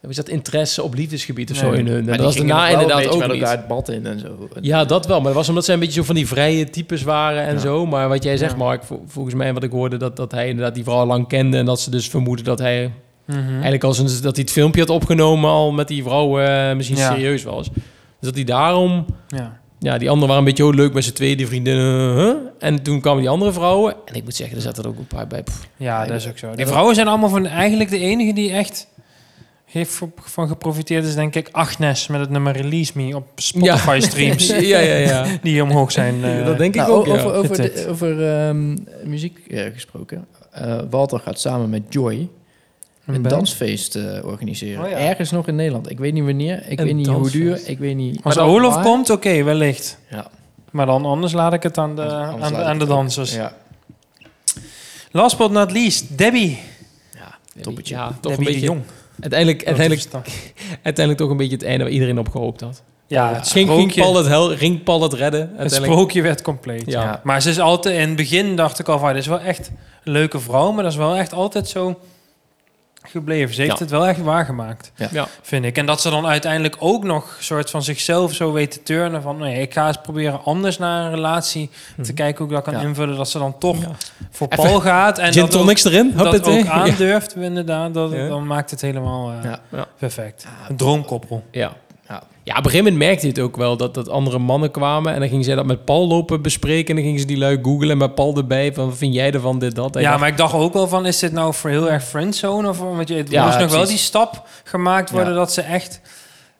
Speaker 1: Hoe is dat interesse op liefdesgebied of zo
Speaker 2: Nee.
Speaker 1: in hun? En
Speaker 3: Maar
Speaker 1: dat
Speaker 3: die
Speaker 1: was
Speaker 3: gingen
Speaker 1: daarna
Speaker 3: nog wel een
Speaker 1: inderdaad
Speaker 3: beetje
Speaker 1: ook
Speaker 3: met
Speaker 1: niet.
Speaker 3: elkaar het bad in en zo.
Speaker 1: Ja, dat wel. Maar dat was omdat zij een beetje zo van die vrije types waren en
Speaker 3: Ja.
Speaker 1: zo. Maar wat jij zegt,
Speaker 2: Ja.
Speaker 1: Mark, vo- volgens mij wat ik hoorde... Dat, dat hij inderdaad die vrouw al lang kende... en dat ze dus vermoeden dat hij...
Speaker 2: mhm.
Speaker 1: eigenlijk als een, dat hij het filmpje had opgenomen... al met die vrouw eh, misschien
Speaker 2: Ja.
Speaker 1: serieus was. Dus dat hij daarom
Speaker 2: Ja.
Speaker 1: ja, die anderen waren een beetje oh, leuk met z'n tweeën, die vriendinnen. huh? eh. En toen kwamen die andere vrouwen. En ik moet zeggen, er zaten er ook een paar bij. Pff,
Speaker 2: Ja, dat is ook zo. De vrouwen zijn allemaal van eigenlijk de enige die echt heeft voor- van geprofiteerd is, denk ik, Agnes met het nummer Release Me op Spotify streams.
Speaker 1: ja, ja, ja.
Speaker 2: Die hier omhoog zijn. eh,
Speaker 1: dat denk ik
Speaker 3: Nou,
Speaker 1: ook, ja.
Speaker 3: over, over, de-
Speaker 2: Getit.
Speaker 3: over ehm, muziek eh, gesproken. Eh, Walter gaat samen met Joy
Speaker 2: een
Speaker 3: een,
Speaker 2: band.
Speaker 3: dansfeest eh, organiseren.
Speaker 2: Oh ja.
Speaker 3: Ergens nog in Nederland. Ik weet niet wanneer, ik
Speaker 1: Een
Speaker 3: weet niet hoe duur,
Speaker 1: dansfeest.
Speaker 3: ik weet niet...
Speaker 2: Als
Speaker 3: Maar dat-
Speaker 2: Olof
Speaker 3: waar-
Speaker 2: komt, oké, wellicht.
Speaker 3: Ja.
Speaker 2: Maar dan anders laat ik het aan de,
Speaker 3: Anders
Speaker 2: aan,
Speaker 3: laat
Speaker 2: de-
Speaker 3: ik
Speaker 2: aan de
Speaker 3: het ook.
Speaker 2: dansers.
Speaker 3: Ja,
Speaker 2: Last but not least, Debbie.
Speaker 3: ja
Speaker 1: Toppetje.
Speaker 3: toppetje.
Speaker 1: Ja, toch
Speaker 2: Debbie
Speaker 1: een
Speaker 2: de
Speaker 1: beetje,
Speaker 2: Jong.
Speaker 1: uiteindelijk, uiteindelijk,
Speaker 2: Oh, dat is
Speaker 1: uiteindelijk toch een beetje het einde waar iedereen op gehoopt had.
Speaker 2: Ja,
Speaker 1: het
Speaker 2: het
Speaker 1: ging, ging
Speaker 2: sprookje,
Speaker 1: Paul het, hel, ging Paul het redden.
Speaker 2: het
Speaker 1: Uiteindelijk.
Speaker 2: sprookje werd compleet.
Speaker 1: ja.
Speaker 3: Ja.
Speaker 2: Maar ze is altijd, in het begin dacht ik al van, dit is wel echt een leuke vrouw, maar dat is wel echt altijd zo gebleven. Ze heeft
Speaker 1: Ja.
Speaker 2: het wel echt waargemaakt,
Speaker 3: Ja.
Speaker 1: Ja.
Speaker 2: vind ik. En dat ze dan uiteindelijk ook nog soort van zichzelf zo weet te turnen van, nee, ik ga eens proberen anders naar een relatie te
Speaker 1: Mhm.
Speaker 2: kijken hoe ik dat kan
Speaker 3: Ja.
Speaker 2: invullen. Dat ze dan toch
Speaker 1: Ja.
Speaker 2: voor
Speaker 1: Even
Speaker 2: Paul gaat en
Speaker 1: Gin
Speaker 2: dat ook,
Speaker 1: tonics erin.
Speaker 2: dat
Speaker 1: Huppatee.
Speaker 2: ook aandurft, inderdaad. Dat,
Speaker 1: Ja.
Speaker 2: Dan maakt het helemaal eh,
Speaker 3: Ja.
Speaker 1: Ja.
Speaker 2: perfect. Een droomkoppel.
Speaker 1: Ja.
Speaker 3: Ja.
Speaker 1: Ja, op een gegeven moment merkte je het ook wel dat, dat andere mannen kwamen en dan gingen zij dat met Paul lopen bespreken en dan gingen ze die lui googlen en met Paul erbij van wat vind jij ervan dit dat. Hij
Speaker 2: Ja,
Speaker 1: dacht,
Speaker 2: maar ik dacht ook wel van, is dit nou voor heel erg friendzone? Of, want je, het
Speaker 1: Ja,
Speaker 2: moest nog wel
Speaker 1: precies.
Speaker 2: die stap gemaakt worden
Speaker 3: Ja.
Speaker 2: dat ze echt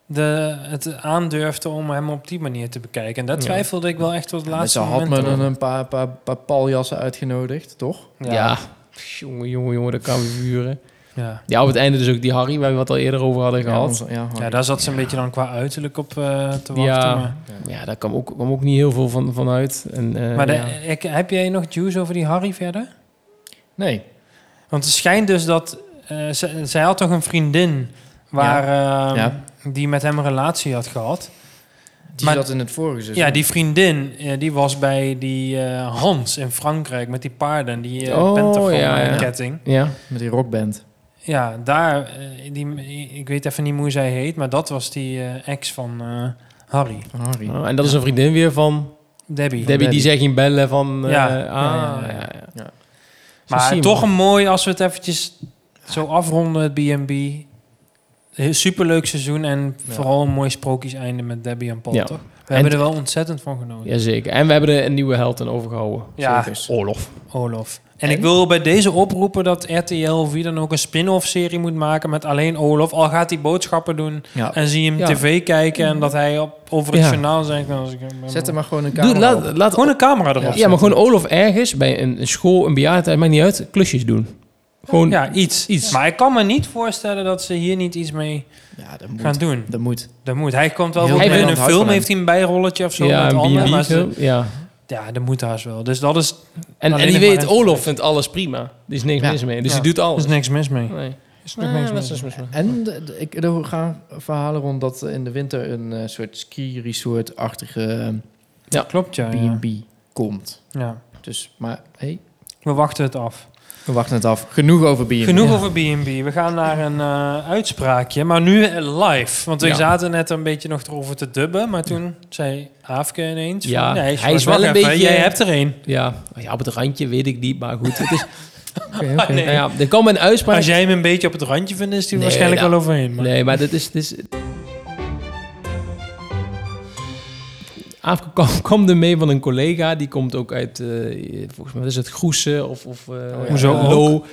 Speaker 2: de, het aandurfde om hem op die manier te bekijken. En daar
Speaker 1: Ja.
Speaker 2: twijfelde ik wel echt tot het
Speaker 3: Maar
Speaker 2: laatste
Speaker 3: Ze had me
Speaker 2: moment.
Speaker 3: dan
Speaker 2: over.
Speaker 3: een paar, paar, paar paljassen uitgenodigd, toch?
Speaker 1: ja. Pff, jongen, jongen, jongen, dat kan weer vuren.
Speaker 2: Ja.
Speaker 1: Ja, op het einde dus ook die Harry waar we het al eerder over hadden
Speaker 3: Ja,
Speaker 1: gehad.
Speaker 3: onze- ja,
Speaker 2: ja, daar zat ze een beetje dan qua uiterlijk op eh, te wachten.
Speaker 1: Ja.
Speaker 2: Maar,
Speaker 1: Ja, daar kwam ook, kwam ook niet heel veel van, van uit. En, eh,
Speaker 2: maar de-
Speaker 1: ja.
Speaker 2: ik- heb jij nog juice over die Harry verder?
Speaker 3: Nee.
Speaker 2: Want het schijnt dus dat... eh, ze- zij had toch een vriendin waar, eh,
Speaker 3: Ja.
Speaker 2: die met hem een relatie had gehad.
Speaker 3: Die
Speaker 2: Maar-
Speaker 3: zat in het vorige
Speaker 1: Dus
Speaker 3: seizoen.
Speaker 2: Ja, die vriendin, eh, die was bij die eh, Hans in Frankrijk met die paarden, die eh
Speaker 1: Oh,
Speaker 2: Pentagon
Speaker 1: ja,
Speaker 2: eh,
Speaker 1: ja.
Speaker 2: ketting.
Speaker 1: ja.
Speaker 3: Met die rockband.
Speaker 2: Ja, daar, eh, die, ik weet even niet hoe zij heet, maar dat was die eh, ex van eh, Harry,
Speaker 3: Van Harry.
Speaker 1: Oh, en dat is een vriendin weer van
Speaker 2: Debbie.
Speaker 1: Debbie, die zij ging bellen van... eh,
Speaker 2: Ja.
Speaker 1: ah,
Speaker 2: Ja, ja, ja.
Speaker 1: ja, ja. Zo zie
Speaker 2: maar
Speaker 1: je
Speaker 2: toch
Speaker 1: maar.
Speaker 2: een mooi, als we het eventjes zo afronden, het B&B. Heel Superleuk seizoen en
Speaker 3: Ja.
Speaker 2: vooral een mooi sprookjes einde met Debbie en Paul,
Speaker 1: Ja.
Speaker 2: toch? We
Speaker 1: En-
Speaker 2: hebben er wel ontzettend van genoten.
Speaker 1: Jazeker. En we hebben er een nieuwe held aan overgehouden.
Speaker 2: Ja,
Speaker 3: Circus.
Speaker 1: Olof.
Speaker 2: Olof. En,
Speaker 3: En?
Speaker 2: ik wil bij deze oproepen dat RTL of wie dan ook een spin-off serie moet maken met alleen Olof. Al gaat hij boodschappen doen
Speaker 3: Ja.
Speaker 2: en zie je hem
Speaker 1: Ja.
Speaker 2: tv kijken en dat hij op, over het
Speaker 1: Ja.
Speaker 2: journaal zegt. nou, als ik hem-
Speaker 3: Zet er maar gewoon een camera
Speaker 1: Doe,
Speaker 3: op.
Speaker 1: laat, laat,
Speaker 2: Gewoon een camera erop.
Speaker 1: Ja,
Speaker 2: zetten.
Speaker 1: maar gewoon Olof ergens bij een, een school, een bejaardentehuis, maakt niet uit, klusjes doen. Gewoon, ja,
Speaker 2: Ja, iets.
Speaker 1: Iets.
Speaker 2: Maar ik kan me niet voorstellen dat ze hier niet iets mee
Speaker 3: Ja, dat
Speaker 2: gaan
Speaker 3: moet.
Speaker 2: doen.
Speaker 3: Dat moet.
Speaker 2: Dat moet. Hij komt wel
Speaker 3: Heel
Speaker 2: binnen in een
Speaker 3: Nederland houdt
Speaker 2: film,
Speaker 3: van
Speaker 2: heeft hij een bijrolletje of zo. met
Speaker 1: een
Speaker 2: anderen,
Speaker 1: B&B
Speaker 2: maar ze-
Speaker 1: film, Ja.
Speaker 2: ja, dat moet haast wel. Dus dat is,
Speaker 1: En,
Speaker 2: Alleen
Speaker 1: en die
Speaker 2: nog maar
Speaker 1: weet,
Speaker 2: een-
Speaker 1: Olof vindt alles prima. Die is niks
Speaker 3: Ja.
Speaker 1: mis mee, dus
Speaker 2: Ja.
Speaker 1: die doet
Speaker 2: er is
Speaker 1: alles.
Speaker 2: niks mis mee.
Speaker 1: Nee.
Speaker 2: Is nog
Speaker 1: Nee,
Speaker 2: niks
Speaker 1: dat
Speaker 2: mis
Speaker 1: is
Speaker 2: mee.
Speaker 1: niks mis mee.
Speaker 3: En de- de- ik, er gaan verhalen rond dat er in de winter een eh, soort ski-resort-achtige eh,
Speaker 2: Klopt, ja.
Speaker 3: B&B
Speaker 2: ja.
Speaker 3: komt.
Speaker 2: ja.
Speaker 3: Dus, maar hey,
Speaker 2: We wachten het af.
Speaker 3: we wachten het af. Genoeg over B&B.
Speaker 2: Genoeg
Speaker 3: Ja.
Speaker 2: over B&B. We gaan naar een eh, uitspraakje, maar nu eh, live. Want we
Speaker 1: Ja.
Speaker 2: zaten net een beetje nog erover te dubben, maar toen zei Aafke ineens...
Speaker 1: Ja,
Speaker 2: van,
Speaker 1: hij
Speaker 2: zwart,
Speaker 1: is wel
Speaker 2: wacht
Speaker 1: een
Speaker 2: even,
Speaker 1: beetje-
Speaker 2: Jij hebt er een.
Speaker 1: Ja. ja, op het randje weet ik niet, maar goed. Het is,
Speaker 3: Oké, oké.
Speaker 2: Nee.
Speaker 1: nou ja, er kwam een uitspraak.
Speaker 2: Als jij hem een beetje op het randje vindt, is hij
Speaker 1: Nee,
Speaker 2: waarschijnlijk
Speaker 1: nou,
Speaker 2: wel overheen. Maar.
Speaker 1: Nee, maar dit is... Dit is Aafke kwam, kwam er mee van een collega. Die komt ook uit, eh, volgens mij wat is het Groesen of, of eh
Speaker 3: ja.
Speaker 2: Oh Hoezo ook?
Speaker 1: Lo.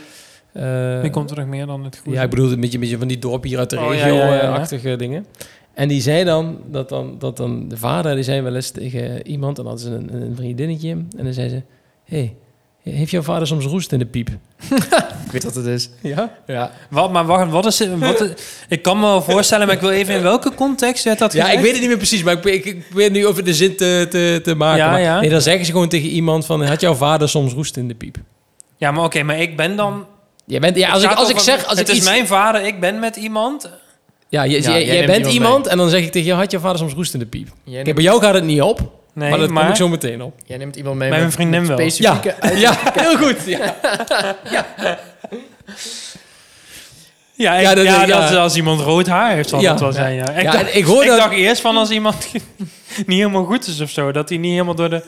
Speaker 1: Eh,
Speaker 2: Nu komt er nog meer dan het goede.
Speaker 1: Ja, ik bedoel een beetje, een beetje van die dorpen hier uit de
Speaker 2: Oh, ja, ja, ja, ja.
Speaker 1: regio-achtige dingen. En die zei dan dat, dan, dat dan de vader, die zei wel eens tegen iemand, en dan hadden ze een, een vriendinnetje, en dan zei ze, hé, hey, heeft jouw vader soms roest in de piep?
Speaker 3: Ik weet wat het is.
Speaker 1: Ja?
Speaker 3: Ja,
Speaker 2: Wat, maar wacht, wat is, het- wat is- Ik kan me wel voorstellen, maar ik wil even in welke context werd dat
Speaker 1: Ja, ik
Speaker 2: gezegd?
Speaker 1: weet het niet meer precies, maar ik, ik, ik weet nu over de zin te, te, te maken.
Speaker 2: Ja,
Speaker 1: maar-
Speaker 2: ja.
Speaker 1: Nee, dan zeggen ze gewoon tegen iemand van, had jouw vader soms roest in de piep?
Speaker 2: Ja, maar oké, maar ik ben dan...
Speaker 1: Je bent, ja, als ik,
Speaker 2: Het
Speaker 1: als
Speaker 2: gaat
Speaker 1: ik
Speaker 2: over-
Speaker 1: zeg, als ik
Speaker 2: het is
Speaker 1: iets...
Speaker 2: mijn vader, ik ben met iemand.
Speaker 1: Ja, je-
Speaker 3: Ja,
Speaker 1: jij,
Speaker 3: jij
Speaker 1: jij
Speaker 3: neemt
Speaker 1: bent
Speaker 3: iemand
Speaker 1: iemand, en dan zeg ik tegen jou, had jouw vader soms roest in de piep?
Speaker 3: jij
Speaker 1: Kijk,
Speaker 3: neemt,
Speaker 1: bij jou gaat het niet op, maar
Speaker 2: Nee, maar...
Speaker 1: dat kom ik zo meteen op.
Speaker 3: jij neemt iemand mee
Speaker 2: Bij
Speaker 3: met
Speaker 2: mijn vriendin
Speaker 3: met
Speaker 2: wel.
Speaker 3: specifieke
Speaker 1: Ja, heel goed. Ja.
Speaker 2: Ja, ik-
Speaker 1: Ja, dat-
Speaker 2: ja,
Speaker 1: ja.
Speaker 2: dat is als iemand rood haar heeft, zal
Speaker 1: Ja.
Speaker 2: dat wel zijn. Ja. Ik,
Speaker 1: Ja,
Speaker 2: dacht,
Speaker 1: en ik hoor
Speaker 2: ik
Speaker 1: dat-
Speaker 2: dacht eerst van als iemand niet helemaal goed is of zo, dat hij niet helemaal door de,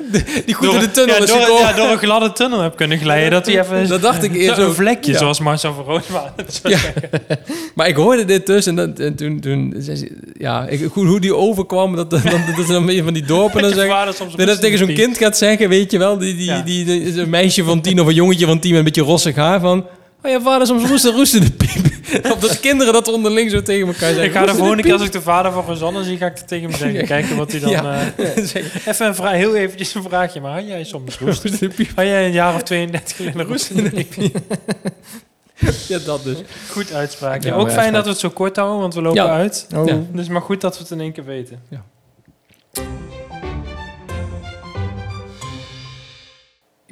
Speaker 1: Die goed
Speaker 2: door,
Speaker 1: in de tunnel
Speaker 2: ja,
Speaker 1: is
Speaker 2: door,
Speaker 1: gekomen.
Speaker 2: ja, door een gladde tunnel heb kunnen glijden. Dat hij even
Speaker 1: Dat dacht ik eerst
Speaker 2: zo, een
Speaker 1: ook.
Speaker 2: vlekje,
Speaker 1: Ja.
Speaker 2: zoals Marcel van Roosmalen. dat zo-
Speaker 1: Ja. Maar ik hoorde dit dus en, dat, en toen, toen zei ze- ja, ik, hoe, hoe die overkwam, dat, dat, dat, dat ze dan weer van die dorpen dan
Speaker 2: dat je
Speaker 1: zeggen.
Speaker 2: vader soms op
Speaker 1: Dat
Speaker 2: een
Speaker 1: dat tegen zo'n
Speaker 2: stiefpiep.
Speaker 1: kind gaat zeggen, weet je wel, die, die,
Speaker 2: Ja.
Speaker 1: die, die- een meisje van tien of een jongetje van tien met een beetje rossig haar van, oh ja, vader, soms roesten, roesten de piep. Of dat kinderen dat onderling zo tegen elkaar zeggen.
Speaker 2: Ik ga de
Speaker 1: "Roesten
Speaker 2: volgende
Speaker 1: de
Speaker 2: keer als ik de vader van Rosanne zie, ga ik het tegen hem zeggen. Kijken wat hij dan...
Speaker 1: Ja.
Speaker 2: eh,
Speaker 1: piep." Zeggen,
Speaker 2: even een vraag, heel eventjes een vraagje. Maar had jij soms roest?
Speaker 1: "Roesten de piep."
Speaker 2: Had jij een jaar of 32 geleden roest? in de piep?
Speaker 1: Ja, dat dus.
Speaker 2: Goed uitspraak.
Speaker 3: Ja,
Speaker 2: Ja,
Speaker 3: mooie
Speaker 2: ook fijn
Speaker 3: uitspraak.
Speaker 2: dat we het zo kort houden, want we lopen
Speaker 1: Ja.
Speaker 2: uit.
Speaker 3: Oh.
Speaker 1: Ja.
Speaker 2: Dus maar goed dat we het in één keer weten.
Speaker 1: Ja.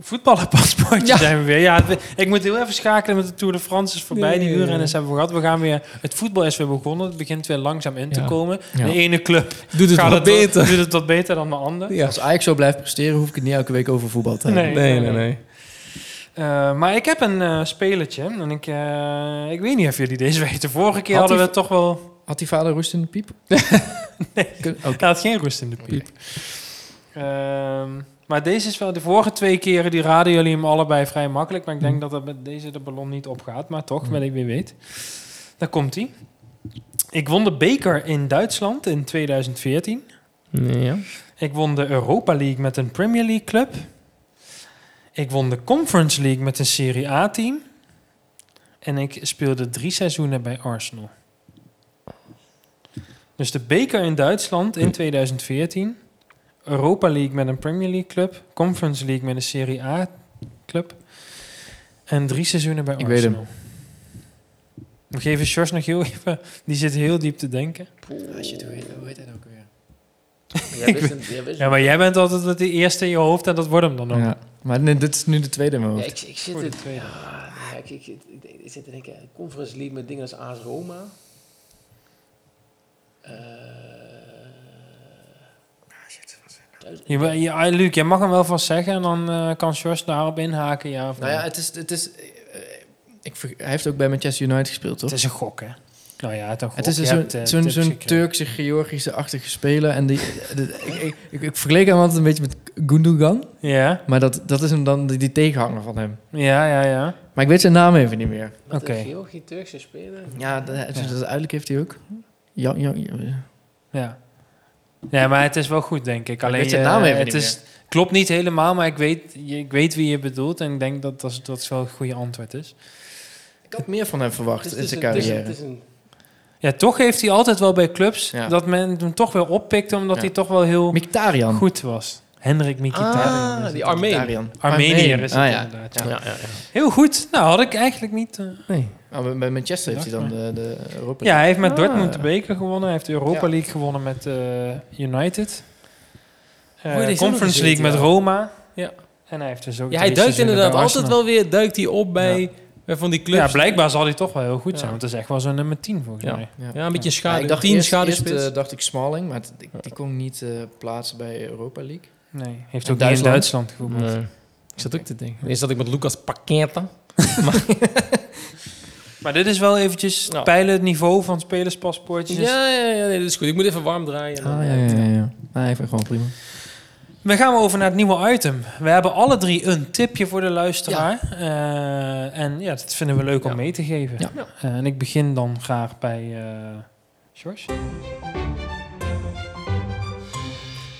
Speaker 2: Voetballerpaspoortje
Speaker 1: Ja.
Speaker 2: zijn we weer. Ja, we- ik moet heel even schakelen met de Tour de France is voorbij.
Speaker 1: Nee,
Speaker 2: die
Speaker 1: nee, nee.
Speaker 2: uren en hebben we gehad. We gaan weer, het voetbal is weer begonnen. Het begint weer langzaam in te
Speaker 1: Ja.
Speaker 2: komen.
Speaker 3: Ja.
Speaker 2: De ene club
Speaker 1: Doet het
Speaker 2: gaat
Speaker 1: wat
Speaker 2: het
Speaker 1: dus
Speaker 2: wat-
Speaker 1: beter.
Speaker 2: doet het wat beter dan de ander.
Speaker 1: Ja.
Speaker 3: Als Ajax zo blijft presteren, hoef ik het niet elke week over voetbal te hebben.
Speaker 1: Nee, nee, nee.
Speaker 2: Eh, maar ik heb een eh spelertje. En ik, eh, ik weet niet of jullie deze weten. Vorige keer
Speaker 3: Had
Speaker 2: hadden
Speaker 3: die-
Speaker 2: we toch wel...
Speaker 3: Had die vader rust in de piep? nee.
Speaker 2: Ik laat geen rust in de piep. Ehm, maar deze is wel... De vorige twee keren die raden jullie hem allebei vrij makkelijk. Maar ik denk dat er met deze de ballon niet opgaat. Maar toch, wel ik weer weet. Daar komt hij. Ik won de beker in Duitsland in 2014.
Speaker 1: Nee, ja.
Speaker 2: Ik won de Europa League met een Premier League club. Ik won de Conference League met een Serie A-team. En ik speelde drie seizoenen bij Arsenal. Dus de beker in Duitsland in 2014. Europa League met een Premier League club. Conference League met een Serie A club. En drie seizoenen bij
Speaker 3: Ik weet
Speaker 2: Arsenal. We geven Sjors nog heel even... Die zit heel diep te denken.
Speaker 3: Hoe heet dat ook weer?
Speaker 2: Ja, maar jij bent altijd de eerste in je hoofd en dat wordt hem dan ook.
Speaker 3: Ja. Maar nee, dit is nu de tweede in mijn
Speaker 4: Ja,
Speaker 3: hoofd.
Speaker 4: ik, ik zit
Speaker 2: Voor de
Speaker 4: het,
Speaker 2: tweede.
Speaker 4: ja, ja, ik, ik, ik, ik- ik zit te denken, Conference League met dingen als AS Roma. Eh,
Speaker 2: Je, wa- je, ah, Luc, jij mag hem wel vast zeggen en dan eh, kan Sjors daarop inhaken, ja of
Speaker 3: nou
Speaker 2: nee.
Speaker 3: ja, het is... Het is eh, eh, ik, ver- hij heeft ook bij Manchester United gespeeld, toch?
Speaker 2: het is een gok, hè? Nou ja, het, een gok.
Speaker 3: Het is
Speaker 2: Je
Speaker 3: een zo'n
Speaker 2: hebt, eh,
Speaker 3: zo'n-
Speaker 2: tips
Speaker 3: zo'n
Speaker 2: gekregen.
Speaker 3: Turkse, Georgische-achtige speler. En die, de- ik, ik, ik vergeleek hem altijd een beetje met Gundogan.
Speaker 2: Ja,
Speaker 3: Maar dat, dat is hem dan die, die tegenhanger van hem.
Speaker 2: ja, ja, ja.
Speaker 3: Maar ik weet zijn naam even niet meer.
Speaker 4: met
Speaker 2: Oké.
Speaker 4: een Georgië Turkse speler.
Speaker 3: Ja, dat,
Speaker 2: Ja.
Speaker 3: dat dus uiterlijk heeft hij ook. Ja, ja, ja.
Speaker 2: ja. Ja, maar het is wel goed, denk ik. Alleen,
Speaker 3: weet zijn
Speaker 2: eh,
Speaker 3: naam even
Speaker 2: het
Speaker 3: niet
Speaker 2: is, Klopt niet helemaal, maar ik weet, je- ik weet wie je bedoelt. En ik denk dat dat, dat wel het goede antwoord is.
Speaker 3: Ik had meer van hem verwacht
Speaker 4: Het is
Speaker 3: in zijn
Speaker 4: een- het is een-
Speaker 3: carrière.
Speaker 4: het is een-
Speaker 2: Ja, toch heeft hij altijd wel bij clubs
Speaker 3: Ja.
Speaker 2: dat men hem toch wel oppikte, omdat
Speaker 3: Ja.
Speaker 2: hij toch wel heel
Speaker 3: Mkhitaryan.
Speaker 2: goed was. Hendrik Mkhitaryan.
Speaker 1: Ah,
Speaker 2: is
Speaker 1: die
Speaker 2: het.
Speaker 1: Armeen.
Speaker 2: Armenier is het
Speaker 3: Ah, ja.
Speaker 2: inderdaad,
Speaker 3: Ja.
Speaker 2: ja. Heel goed. Nou, had ik eigenlijk niet... eh,
Speaker 1: Nee.
Speaker 3: Ah, bij- bij Manchester heeft hij dan de, de Europa
Speaker 2: Ja, hij heeft met
Speaker 3: Ah.
Speaker 2: Dortmund de beker gewonnen. Hij heeft de Europa
Speaker 3: Ja.
Speaker 2: League gewonnen met eh, United. Eh,
Speaker 1: Oh, die is ook nog
Speaker 2: Conference
Speaker 1: gezeten,
Speaker 2: League met
Speaker 1: ja.
Speaker 2: Roma.
Speaker 1: Ja.
Speaker 2: En hij heeft dus ook
Speaker 1: Ja, hij
Speaker 2: drie
Speaker 1: duikt
Speaker 2: seizoenen
Speaker 1: inderdaad
Speaker 2: bij
Speaker 1: altijd
Speaker 2: Arsenal.
Speaker 1: wel weer duikt hij op bij, bij van die clubs.
Speaker 2: Ja, blijkbaar zal hij toch wel heel goed zijn.
Speaker 1: Ja.
Speaker 2: Want dat is echt wel zo'n nummer 10 volgens
Speaker 1: Ja.
Speaker 2: mij.
Speaker 3: Ja.
Speaker 1: Ja, een beetje
Speaker 3: Ja,
Speaker 1: schade.
Speaker 3: Ah, ik dacht
Speaker 1: 10
Speaker 3: eerst,
Speaker 1: schaduwspits.
Speaker 3: eerst, eh, dacht ik Smalling, maar het- die, die kon ik niet eh, plaatsen bij Europa League.
Speaker 2: Nee, heeft
Speaker 3: En
Speaker 2: ook niet in
Speaker 3: Duitsland?
Speaker 2: Duitsland gewonnen.
Speaker 1: Nee. Ik zat ook te denken. Eerst zat ik met Lucas Paqueta.
Speaker 2: Maar dit is wel eventjes
Speaker 1: Ja.
Speaker 2: peilen het niveau van spelerspaspoortjes.
Speaker 1: Ja, ja, ja, nee, dat is goed. Ik moet even warm draaien.
Speaker 3: Ah,
Speaker 1: en dan-
Speaker 3: hij vindt gewoon prima.
Speaker 2: We gaan over naar het nieuwe item. We hebben alle drie een tipje voor de luisteraar. Eh, en ja, dat vinden we leuk om
Speaker 1: Ja.
Speaker 2: mee te geven.
Speaker 3: Ja.
Speaker 2: Eh, en ik begin dan graag bij eh George.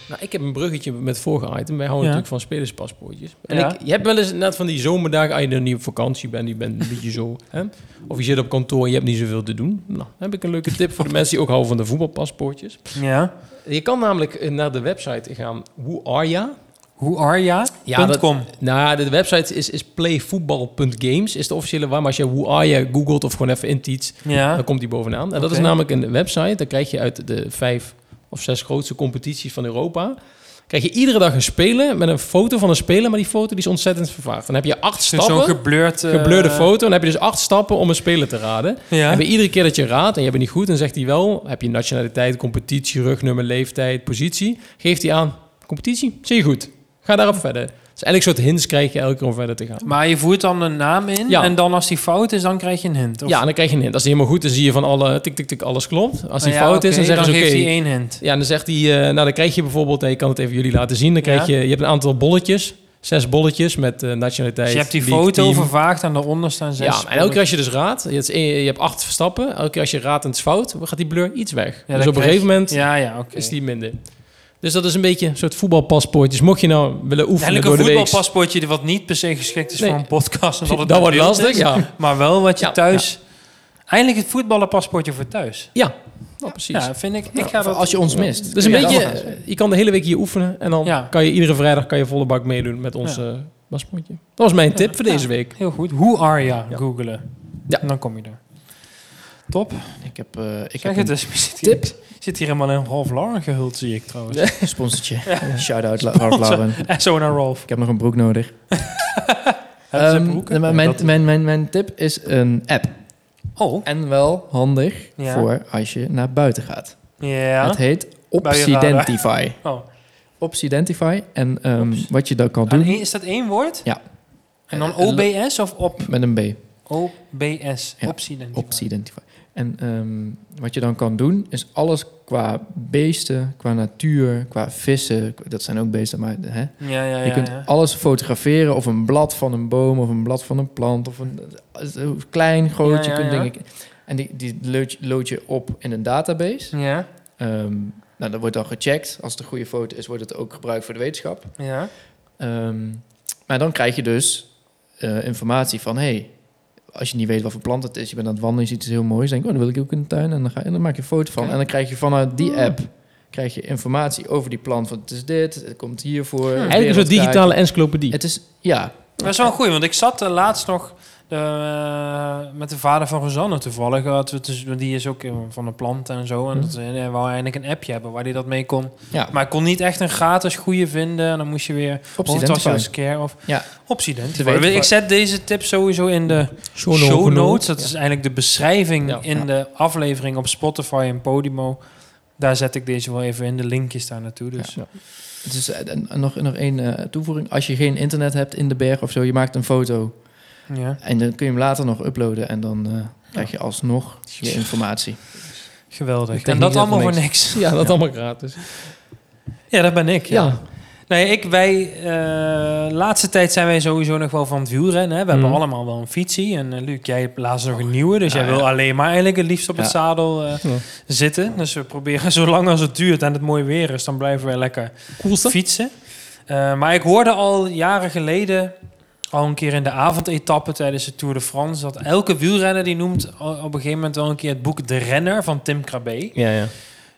Speaker 1: Nou, ik heb een bruggetje met het vorige item. Wij houden
Speaker 2: Ja.
Speaker 1: natuurlijk van spelerspaspoortjes. En
Speaker 2: Ja.
Speaker 1: ik, je hebt wel eens inderdaad van die zomerdagen, als je dan niet op vakantie bent, je bent een beetje zo. Hè? Of je zit op kantoor en je hebt niet zoveel te doen. Nou, dan heb ik een leuke tip voor de mensen die ook houden van de voetbalpaspoortjes.
Speaker 2: Ja.
Speaker 1: Je kan namelijk eh, naar de website gaan. Who are ya?
Speaker 2: Hoe arja?
Speaker 1: Ja, dat-
Speaker 2: .com.
Speaker 1: Nou, de website is, is playvoetbal.games, is de officiële waar. Maar als je Who Are You googelt of gewoon even intiet,
Speaker 2: Ja.
Speaker 1: dan komt die bovenaan. En dat
Speaker 2: Ah. Oké.
Speaker 1: is namelijk een website, dan krijg je uit de vijf of zes grootste competities van Europa... krijg je iedere dag een speler met een foto van een speler... maar die foto die is ontzettend vervaagd. Dan heb je acht
Speaker 2: Dus Zo'n
Speaker 1: stappen,
Speaker 2: gebleurd... eh,
Speaker 1: gebleurde foto... dan heb je dus acht stappen om een speler te raden.
Speaker 2: Ja.
Speaker 1: En bij iedere keer dat je raadt en je bent niet goed... dan zegt hij wel, heb je nationaliteit, competitie, rugnummer, leeftijd, positie... geeft hij aan, competitie, zie je goed. Ga daarop verder. Dus eigenlijk soort hints krijg je elke keer om verder te gaan.
Speaker 2: Maar je voert dan een naam in
Speaker 1: Ja.
Speaker 2: en dan als die fout is, dan krijg je een hint. Of-
Speaker 1: Ja, en dan krijg je een hint. Als die helemaal goed is, zie je van alle tik, tik, tik, alles klopt. Als die
Speaker 2: Ah, ja,
Speaker 1: fout is, dan
Speaker 2: oké,
Speaker 1: zeggen ze oké.
Speaker 2: geeft hij één hint.
Speaker 1: Ja, en dan zegt hij, eh, nou dan krijg je bijvoorbeeld, nee, ik kan het even jullie laten zien. Dan krijg
Speaker 2: Ja.
Speaker 1: je, je hebt een aantal bolletjes, zes bolletjes met eh, nationaliteit.
Speaker 2: Dus je hebt die
Speaker 1: league,
Speaker 2: foto
Speaker 1: team.
Speaker 2: vervaagd en daaronder staan zes.
Speaker 1: Ja, en elke keer als je dus raadt, je hebt, één- je hebt acht stappen. Elke keer als je raadt en het is fout, gaat die blur iets weg.
Speaker 2: Ja,
Speaker 1: dus
Speaker 2: dan
Speaker 1: op een
Speaker 2: krijg-
Speaker 1: gegeven moment
Speaker 2: Ja, ja, oké.
Speaker 1: is die minder. Dus dat is een beetje een soort voetbalpaspoort. Dus mocht je nou willen oefenen
Speaker 2: Eigenlijk
Speaker 1: door
Speaker 2: een
Speaker 1: de week...
Speaker 2: voetbalpaspoortje wat niet per se geschikt is
Speaker 1: Nee.
Speaker 2: voor een podcast. Omdat het
Speaker 1: Dat
Speaker 2: een
Speaker 1: wordt
Speaker 2: beeld
Speaker 1: lastig,
Speaker 2: is,
Speaker 1: ja.
Speaker 2: Maar wel wat je
Speaker 1: Ja,
Speaker 2: thuis... Eigenlijk het voetballenpaspoortje voor thuis.
Speaker 1: Ja, nou, precies.
Speaker 2: Ja, vind ik. Ik ga
Speaker 3: Ja,
Speaker 2: dat...
Speaker 3: als je ons mist.
Speaker 1: Dus een
Speaker 2: Ja,
Speaker 1: beetje,
Speaker 2: dat mag.
Speaker 1: eh, je kan de hele week hier oefenen. En dan
Speaker 2: Ja.
Speaker 1: kan je iedere vrijdag kan je volle bak meedoen met ons
Speaker 2: Ja.
Speaker 1: eh, paspoortje. Dat was mijn tip voor
Speaker 2: Ja.
Speaker 1: deze week.
Speaker 2: Heel goed. Who are ya? Googelen.
Speaker 1: Ja.
Speaker 2: En dan kom je er. Top.
Speaker 3: Ik heb, eh, ik
Speaker 2: Ik
Speaker 3: heb
Speaker 2: zeg
Speaker 3: een
Speaker 2: het dus. Je zit hier,
Speaker 3: tip.
Speaker 2: zit hier helemaal in Rolf Lauren gehuld, zie ik trouwens.
Speaker 3: Sponsortje. Shout-out, La- Ralph Lauren.
Speaker 2: En zo naar Rolf.
Speaker 3: Ik heb nog een broek nodig.
Speaker 2: Hebben ze
Speaker 3: Ehm,
Speaker 2: broeken?
Speaker 3: mijn, mijn, mijn, mijn, mijn tip is een app.
Speaker 2: Oh.
Speaker 3: En wel handig
Speaker 2: Ja.
Speaker 3: voor als je naar buiten gaat.
Speaker 2: Ja.
Speaker 3: Het heet
Speaker 2: Bij je radar.
Speaker 3: Opsidentify.
Speaker 2: Oh.
Speaker 3: Opsidentify. En ehm,
Speaker 2: Ops.
Speaker 3: wat je dan kan
Speaker 2: En
Speaker 3: doen
Speaker 2: één- is dat één woord?
Speaker 3: Ja.
Speaker 2: En dan
Speaker 3: Eh, eh,
Speaker 2: OBS of op
Speaker 3: met een B.
Speaker 2: OBS?
Speaker 3: Ja,
Speaker 2: Optie dan.
Speaker 3: Opsidentify. En ehm, wat je dan kan doen is alles qua beesten, qua natuur, qua vissen. Dat zijn ook beesten, maar hè,
Speaker 2: Ja, ja, ja.
Speaker 3: je kunt
Speaker 2: ja.
Speaker 3: alles fotograferen of een blad van een boom of een blad van een plant of een eh, klein, groot.
Speaker 2: Ja, ja,
Speaker 3: je kunt
Speaker 2: ja.
Speaker 3: dingen- En die, die lood, je- lood je op in een database.
Speaker 2: Ja,
Speaker 3: Ehm, nou, dat wordt dan gecheckt. Als het een goede foto is, wordt het ook gebruikt voor de wetenschap.
Speaker 2: ja.
Speaker 3: Ehm, maar dan krijg je dus eh, informatie van... Hey, als je niet weet wat voor plant het is, je bent aan het wandelen, je ziet iets heel moois, denk ik, oh, dan wil ik ook in de tuin en dan, ga, en dan maak je een foto van.
Speaker 2: Oké.
Speaker 3: En dan krijg je vanuit die app krijg je informatie over die plant. Van het is dit, het komt hiervoor.
Speaker 1: Eigenlijk een soort
Speaker 3: wereldkaartje.
Speaker 1: digitale encyclopedie.
Speaker 3: Het is, ja,
Speaker 2: Dat is wel een goeie, want ik zat eh, laatst nog eh, met de vader van Rosanne toevallig. Had we dus- want die is ook eh, van de plant en zo. En
Speaker 3: Hm.
Speaker 2: dat, eh, hij wou eigenlijk een appje hebben waar hij dat mee kon.
Speaker 3: ja.
Speaker 2: Maar ik kon niet echt een gratis goede vinden. En dan moest je weer...
Speaker 3: Op
Speaker 2: Of het was wel eens care of...
Speaker 3: Ja.
Speaker 2: Opsident.
Speaker 3: Te weten
Speaker 2: Ik
Speaker 3: voor-
Speaker 2: zet deze tip sowieso in de show, notes. Dat is eigenlijk de beschrijving
Speaker 1: Ja.
Speaker 2: in
Speaker 3: Ja.
Speaker 2: de aflevering op Spotify en Podimo. Daar zet ik deze wel even in. De linkjes daar naartoe. Dus.
Speaker 3: Ja. Het is eh, en- en nog, nog één eh, toevoeging. Als je geen internet hebt in de berg of zo, je maakt een foto
Speaker 2: ja.
Speaker 3: en dan kun je hem later nog uploaden en dan eh, krijg je alsnog je informatie.
Speaker 2: Geweldig.
Speaker 1: Ik
Speaker 2: En
Speaker 1: denk
Speaker 2: dat
Speaker 1: niet dat
Speaker 2: allemaal
Speaker 1: er
Speaker 2: voor niks.
Speaker 1: Ja, dat allemaal gratis.
Speaker 2: Ja, dat ben ik. Ja.
Speaker 1: Ja,
Speaker 2: Nee, ik, wij, eh, laatste tijd zijn wij sowieso nog wel van het wielrennen. Hè. We hebben
Speaker 1: Mhm.
Speaker 2: allemaal wel een fietsie. En eh, Luc, jij hebt laatst nog een nieuwe. Dus
Speaker 3: Oh, Ja,
Speaker 2: jij wil
Speaker 3: ja.
Speaker 2: alleen maar eigenlijk het liefst op het
Speaker 3: Ja.
Speaker 2: zadel eh,
Speaker 1: Ja.
Speaker 2: zitten. Dus we proberen zo lang als het duurt en het mooi weer is, dan blijven wij lekker
Speaker 1: coolste.
Speaker 2: fietsen. Eh, maar ik hoorde al jaren geleden, al een keer in de avondetappe tijdens de Tour de France, dat elke wielrenner die noemt al- op een gegeven moment wel een keer het boek De Renner van Tim Krabbe.
Speaker 1: Ja, ja.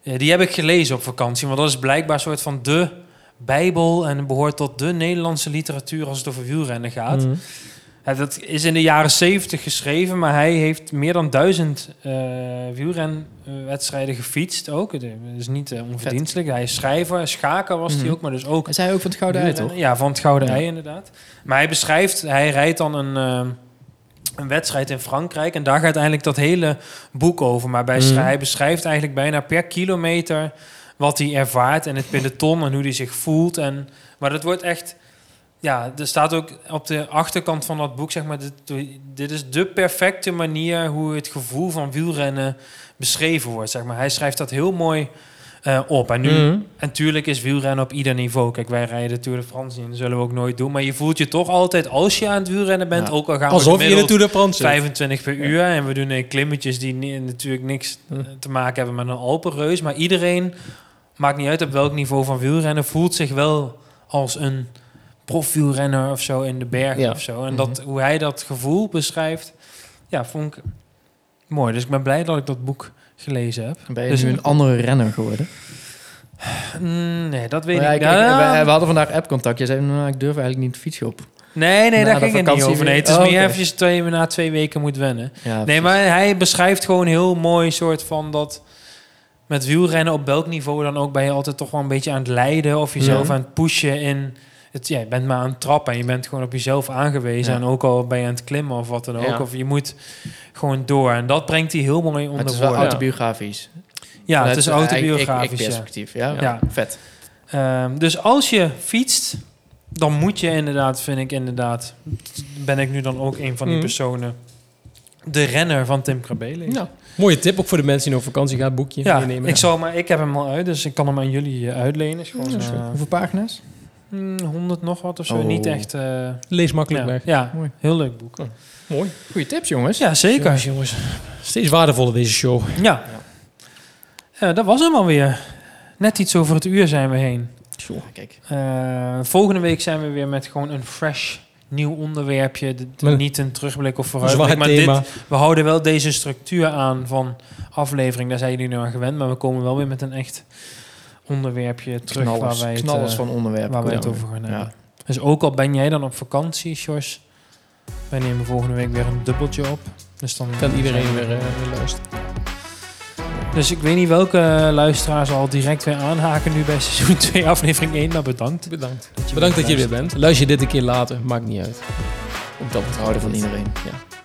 Speaker 2: Eh, die heb ik gelezen op vakantie, want dat is blijkbaar een soort van de Bijbel en behoort tot de Nederlandse literatuur als het over wielrennen gaat.
Speaker 1: Mhm.
Speaker 2: Ja, dat is in de jaren 70 geschreven, maar hij heeft meer dan duizend eh, wielrenwedstrijden gefietst ook. Het is niet eh, onverdienstelijk. Hij is schrijver, schaker was hij
Speaker 3: Mhm.
Speaker 2: ook, maar dus ook
Speaker 3: En zij ook van het Gouden Ei, toch?
Speaker 2: Wielrennen, Ja, van het Gouden
Speaker 3: Ja.
Speaker 2: Ei inderdaad. Maar hij beschrijft, hij rijdt dan een, eh, een wedstrijd in Frankrijk en daar gaat eigenlijk dat hele boek over. Maar bij,
Speaker 1: Mhm.
Speaker 2: hij beschrijft eigenlijk bijna per kilometer wat hij ervaart in het peloton en hoe hij zich voelt. En, maar dat wordt echt, ja, er staat ook op de achterkant van dat boek, zeg maar, dit, dit is de perfecte manier hoe het gevoel van wielrennen beschreven wordt. Zeg maar. Hij schrijft dat heel mooi eh, op. En nu
Speaker 1: Mhm.
Speaker 2: en tuurlijk is wielrennen op ieder niveau. Kijk, wij rijden de Tour de France niet en dat zullen we ook nooit doen. Maar je voelt je toch altijd als je aan het wielrennen bent,
Speaker 3: Ja.
Speaker 2: ook al gaan we
Speaker 1: Alsof je in de
Speaker 2: gemiddeld
Speaker 1: Tour de France zit.
Speaker 2: 25 per uur en we doen eh, klimmetjes die ni- natuurlijk niks eh, te maken hebben met een Alpenreus. Maar iedereen, maakt niet uit op welk niveau van wielrennen, voelt zich wel als een profwielrenner of zo in de bergen
Speaker 1: Ja. Mhm.
Speaker 2: of zo. En dat, hoe hij dat gevoel beschrijft, ja, vond ik mooi. Dus ik ben blij dat ik dat boek gelezen heb.
Speaker 3: Dan ben je
Speaker 2: Dus-
Speaker 3: nu een andere renner geworden.
Speaker 2: Mm, nee, dat weet
Speaker 3: Maar ja,
Speaker 2: ik
Speaker 3: ik-
Speaker 2: niet.
Speaker 3: ik-
Speaker 2: Ah.
Speaker 3: we, we hadden vandaag appcontact. Jij zei, nou, ik durf eigenlijk niet fietsen op.
Speaker 2: Nee, nee,
Speaker 3: Na
Speaker 2: daar ging
Speaker 3: de
Speaker 2: het niet
Speaker 3: vakantie
Speaker 2: over. Nee,
Speaker 3: weer.
Speaker 2: het is
Speaker 3: Oh,
Speaker 2: meer
Speaker 3: oké.
Speaker 2: eventjes dat je na twee weken moet wennen.
Speaker 3: Ja,
Speaker 2: Nee, maar hij beschrijft gewoon heel mooi soort van dat... met wielrennen op welk niveau dan ook... ben je altijd toch wel een beetje aan het leiden... of jezelf
Speaker 1: Ja.
Speaker 2: aan het pushen in... Het, ja, je bent maar aan het trappen en je bent gewoon op jezelf aangewezen.
Speaker 3: Ja.
Speaker 2: En ook al ben je aan het klimmen of wat dan ook.
Speaker 1: Ja.
Speaker 2: Of je moet gewoon door. En dat brengt hij heel mooi
Speaker 3: Maar
Speaker 2: onder
Speaker 3: het is wel
Speaker 2: woorden.
Speaker 1: uit-
Speaker 3: autobiografisch.
Speaker 2: Ja, het
Speaker 3: Vanuit,
Speaker 2: is
Speaker 3: eh, ik- ik-
Speaker 2: autobiografisch.
Speaker 3: ik
Speaker 2: ja.
Speaker 3: perspectief, ja.
Speaker 2: Ja.
Speaker 3: Vet.
Speaker 2: Ehm, dus als je fietst, dan moet je inderdaad, vind ik inderdaad, ben ik nu dan ook een van die
Speaker 1: Mhm.
Speaker 2: personen, de renner van Tim Krabbe
Speaker 1: Ja.
Speaker 3: Nou,
Speaker 1: Mooie tip ook voor de mensen die nog op vakantie gaan, boekje
Speaker 2: Ja,
Speaker 1: meenemen.
Speaker 2: ik, zal, maar, ik heb hem al uit, dus ik kan hem aan jullie eh, uitlenen. Is gewoon,
Speaker 1: dat is
Speaker 2: eh,
Speaker 3: Hoeveel pagina's?
Speaker 2: mm, 100 nog wat of zo.
Speaker 3: Oh.
Speaker 2: Niet echt. eh,
Speaker 1: Lees makkelijk
Speaker 2: ja,
Speaker 1: weg.
Speaker 2: ja,
Speaker 3: Mooi.
Speaker 2: heel leuk boek.
Speaker 1: Mooi.
Speaker 3: Goeie tips, jongens.
Speaker 2: Ja,
Speaker 1: Jongens,
Speaker 2: zeker.
Speaker 1: jongens. Steeds waardevoller deze show.
Speaker 2: Ja. Eh, dat was hem alweer. Net iets over het uur zijn we heen.
Speaker 3: Kijk.
Speaker 2: Eh, volgende week zijn we weer met gewoon een fresh nieuw onderwerpje. De- de-
Speaker 1: Met-
Speaker 2: niet een terugblik of
Speaker 1: Zwaar
Speaker 2: vooruitblik. Maar
Speaker 1: thema.
Speaker 2: dit, we houden wel deze structuur aan van aflevering. Daar zijn jullie nu aan gewend. Maar we komen wel weer met een echt onderwerpje terug
Speaker 3: knallers,
Speaker 2: waar wij het,
Speaker 3: knallers
Speaker 2: eh,
Speaker 3: van onderwerpen.
Speaker 2: waar wij het
Speaker 3: Goed.
Speaker 2: over gaan
Speaker 3: Ja.
Speaker 2: hebben. Dus ook al ben jij dan op vakantie, Sjors, wij nemen volgende week weer een dubbeltje op. Dus dan
Speaker 1: Kan iedereen weer, eh, weer luisteren.
Speaker 2: Dus ik weet niet welke luisteraars al direct weer aanhaken nu bij seizoen 2, aflevering 1. Maar bedankt.
Speaker 1: Bedankt.
Speaker 2: je
Speaker 1: Bedankt dat je er
Speaker 2: weer
Speaker 1: weer bent. Luister je dit een keer later, maakt niet uit. Op dat
Speaker 3: We houden van iedereen.
Speaker 1: Ja.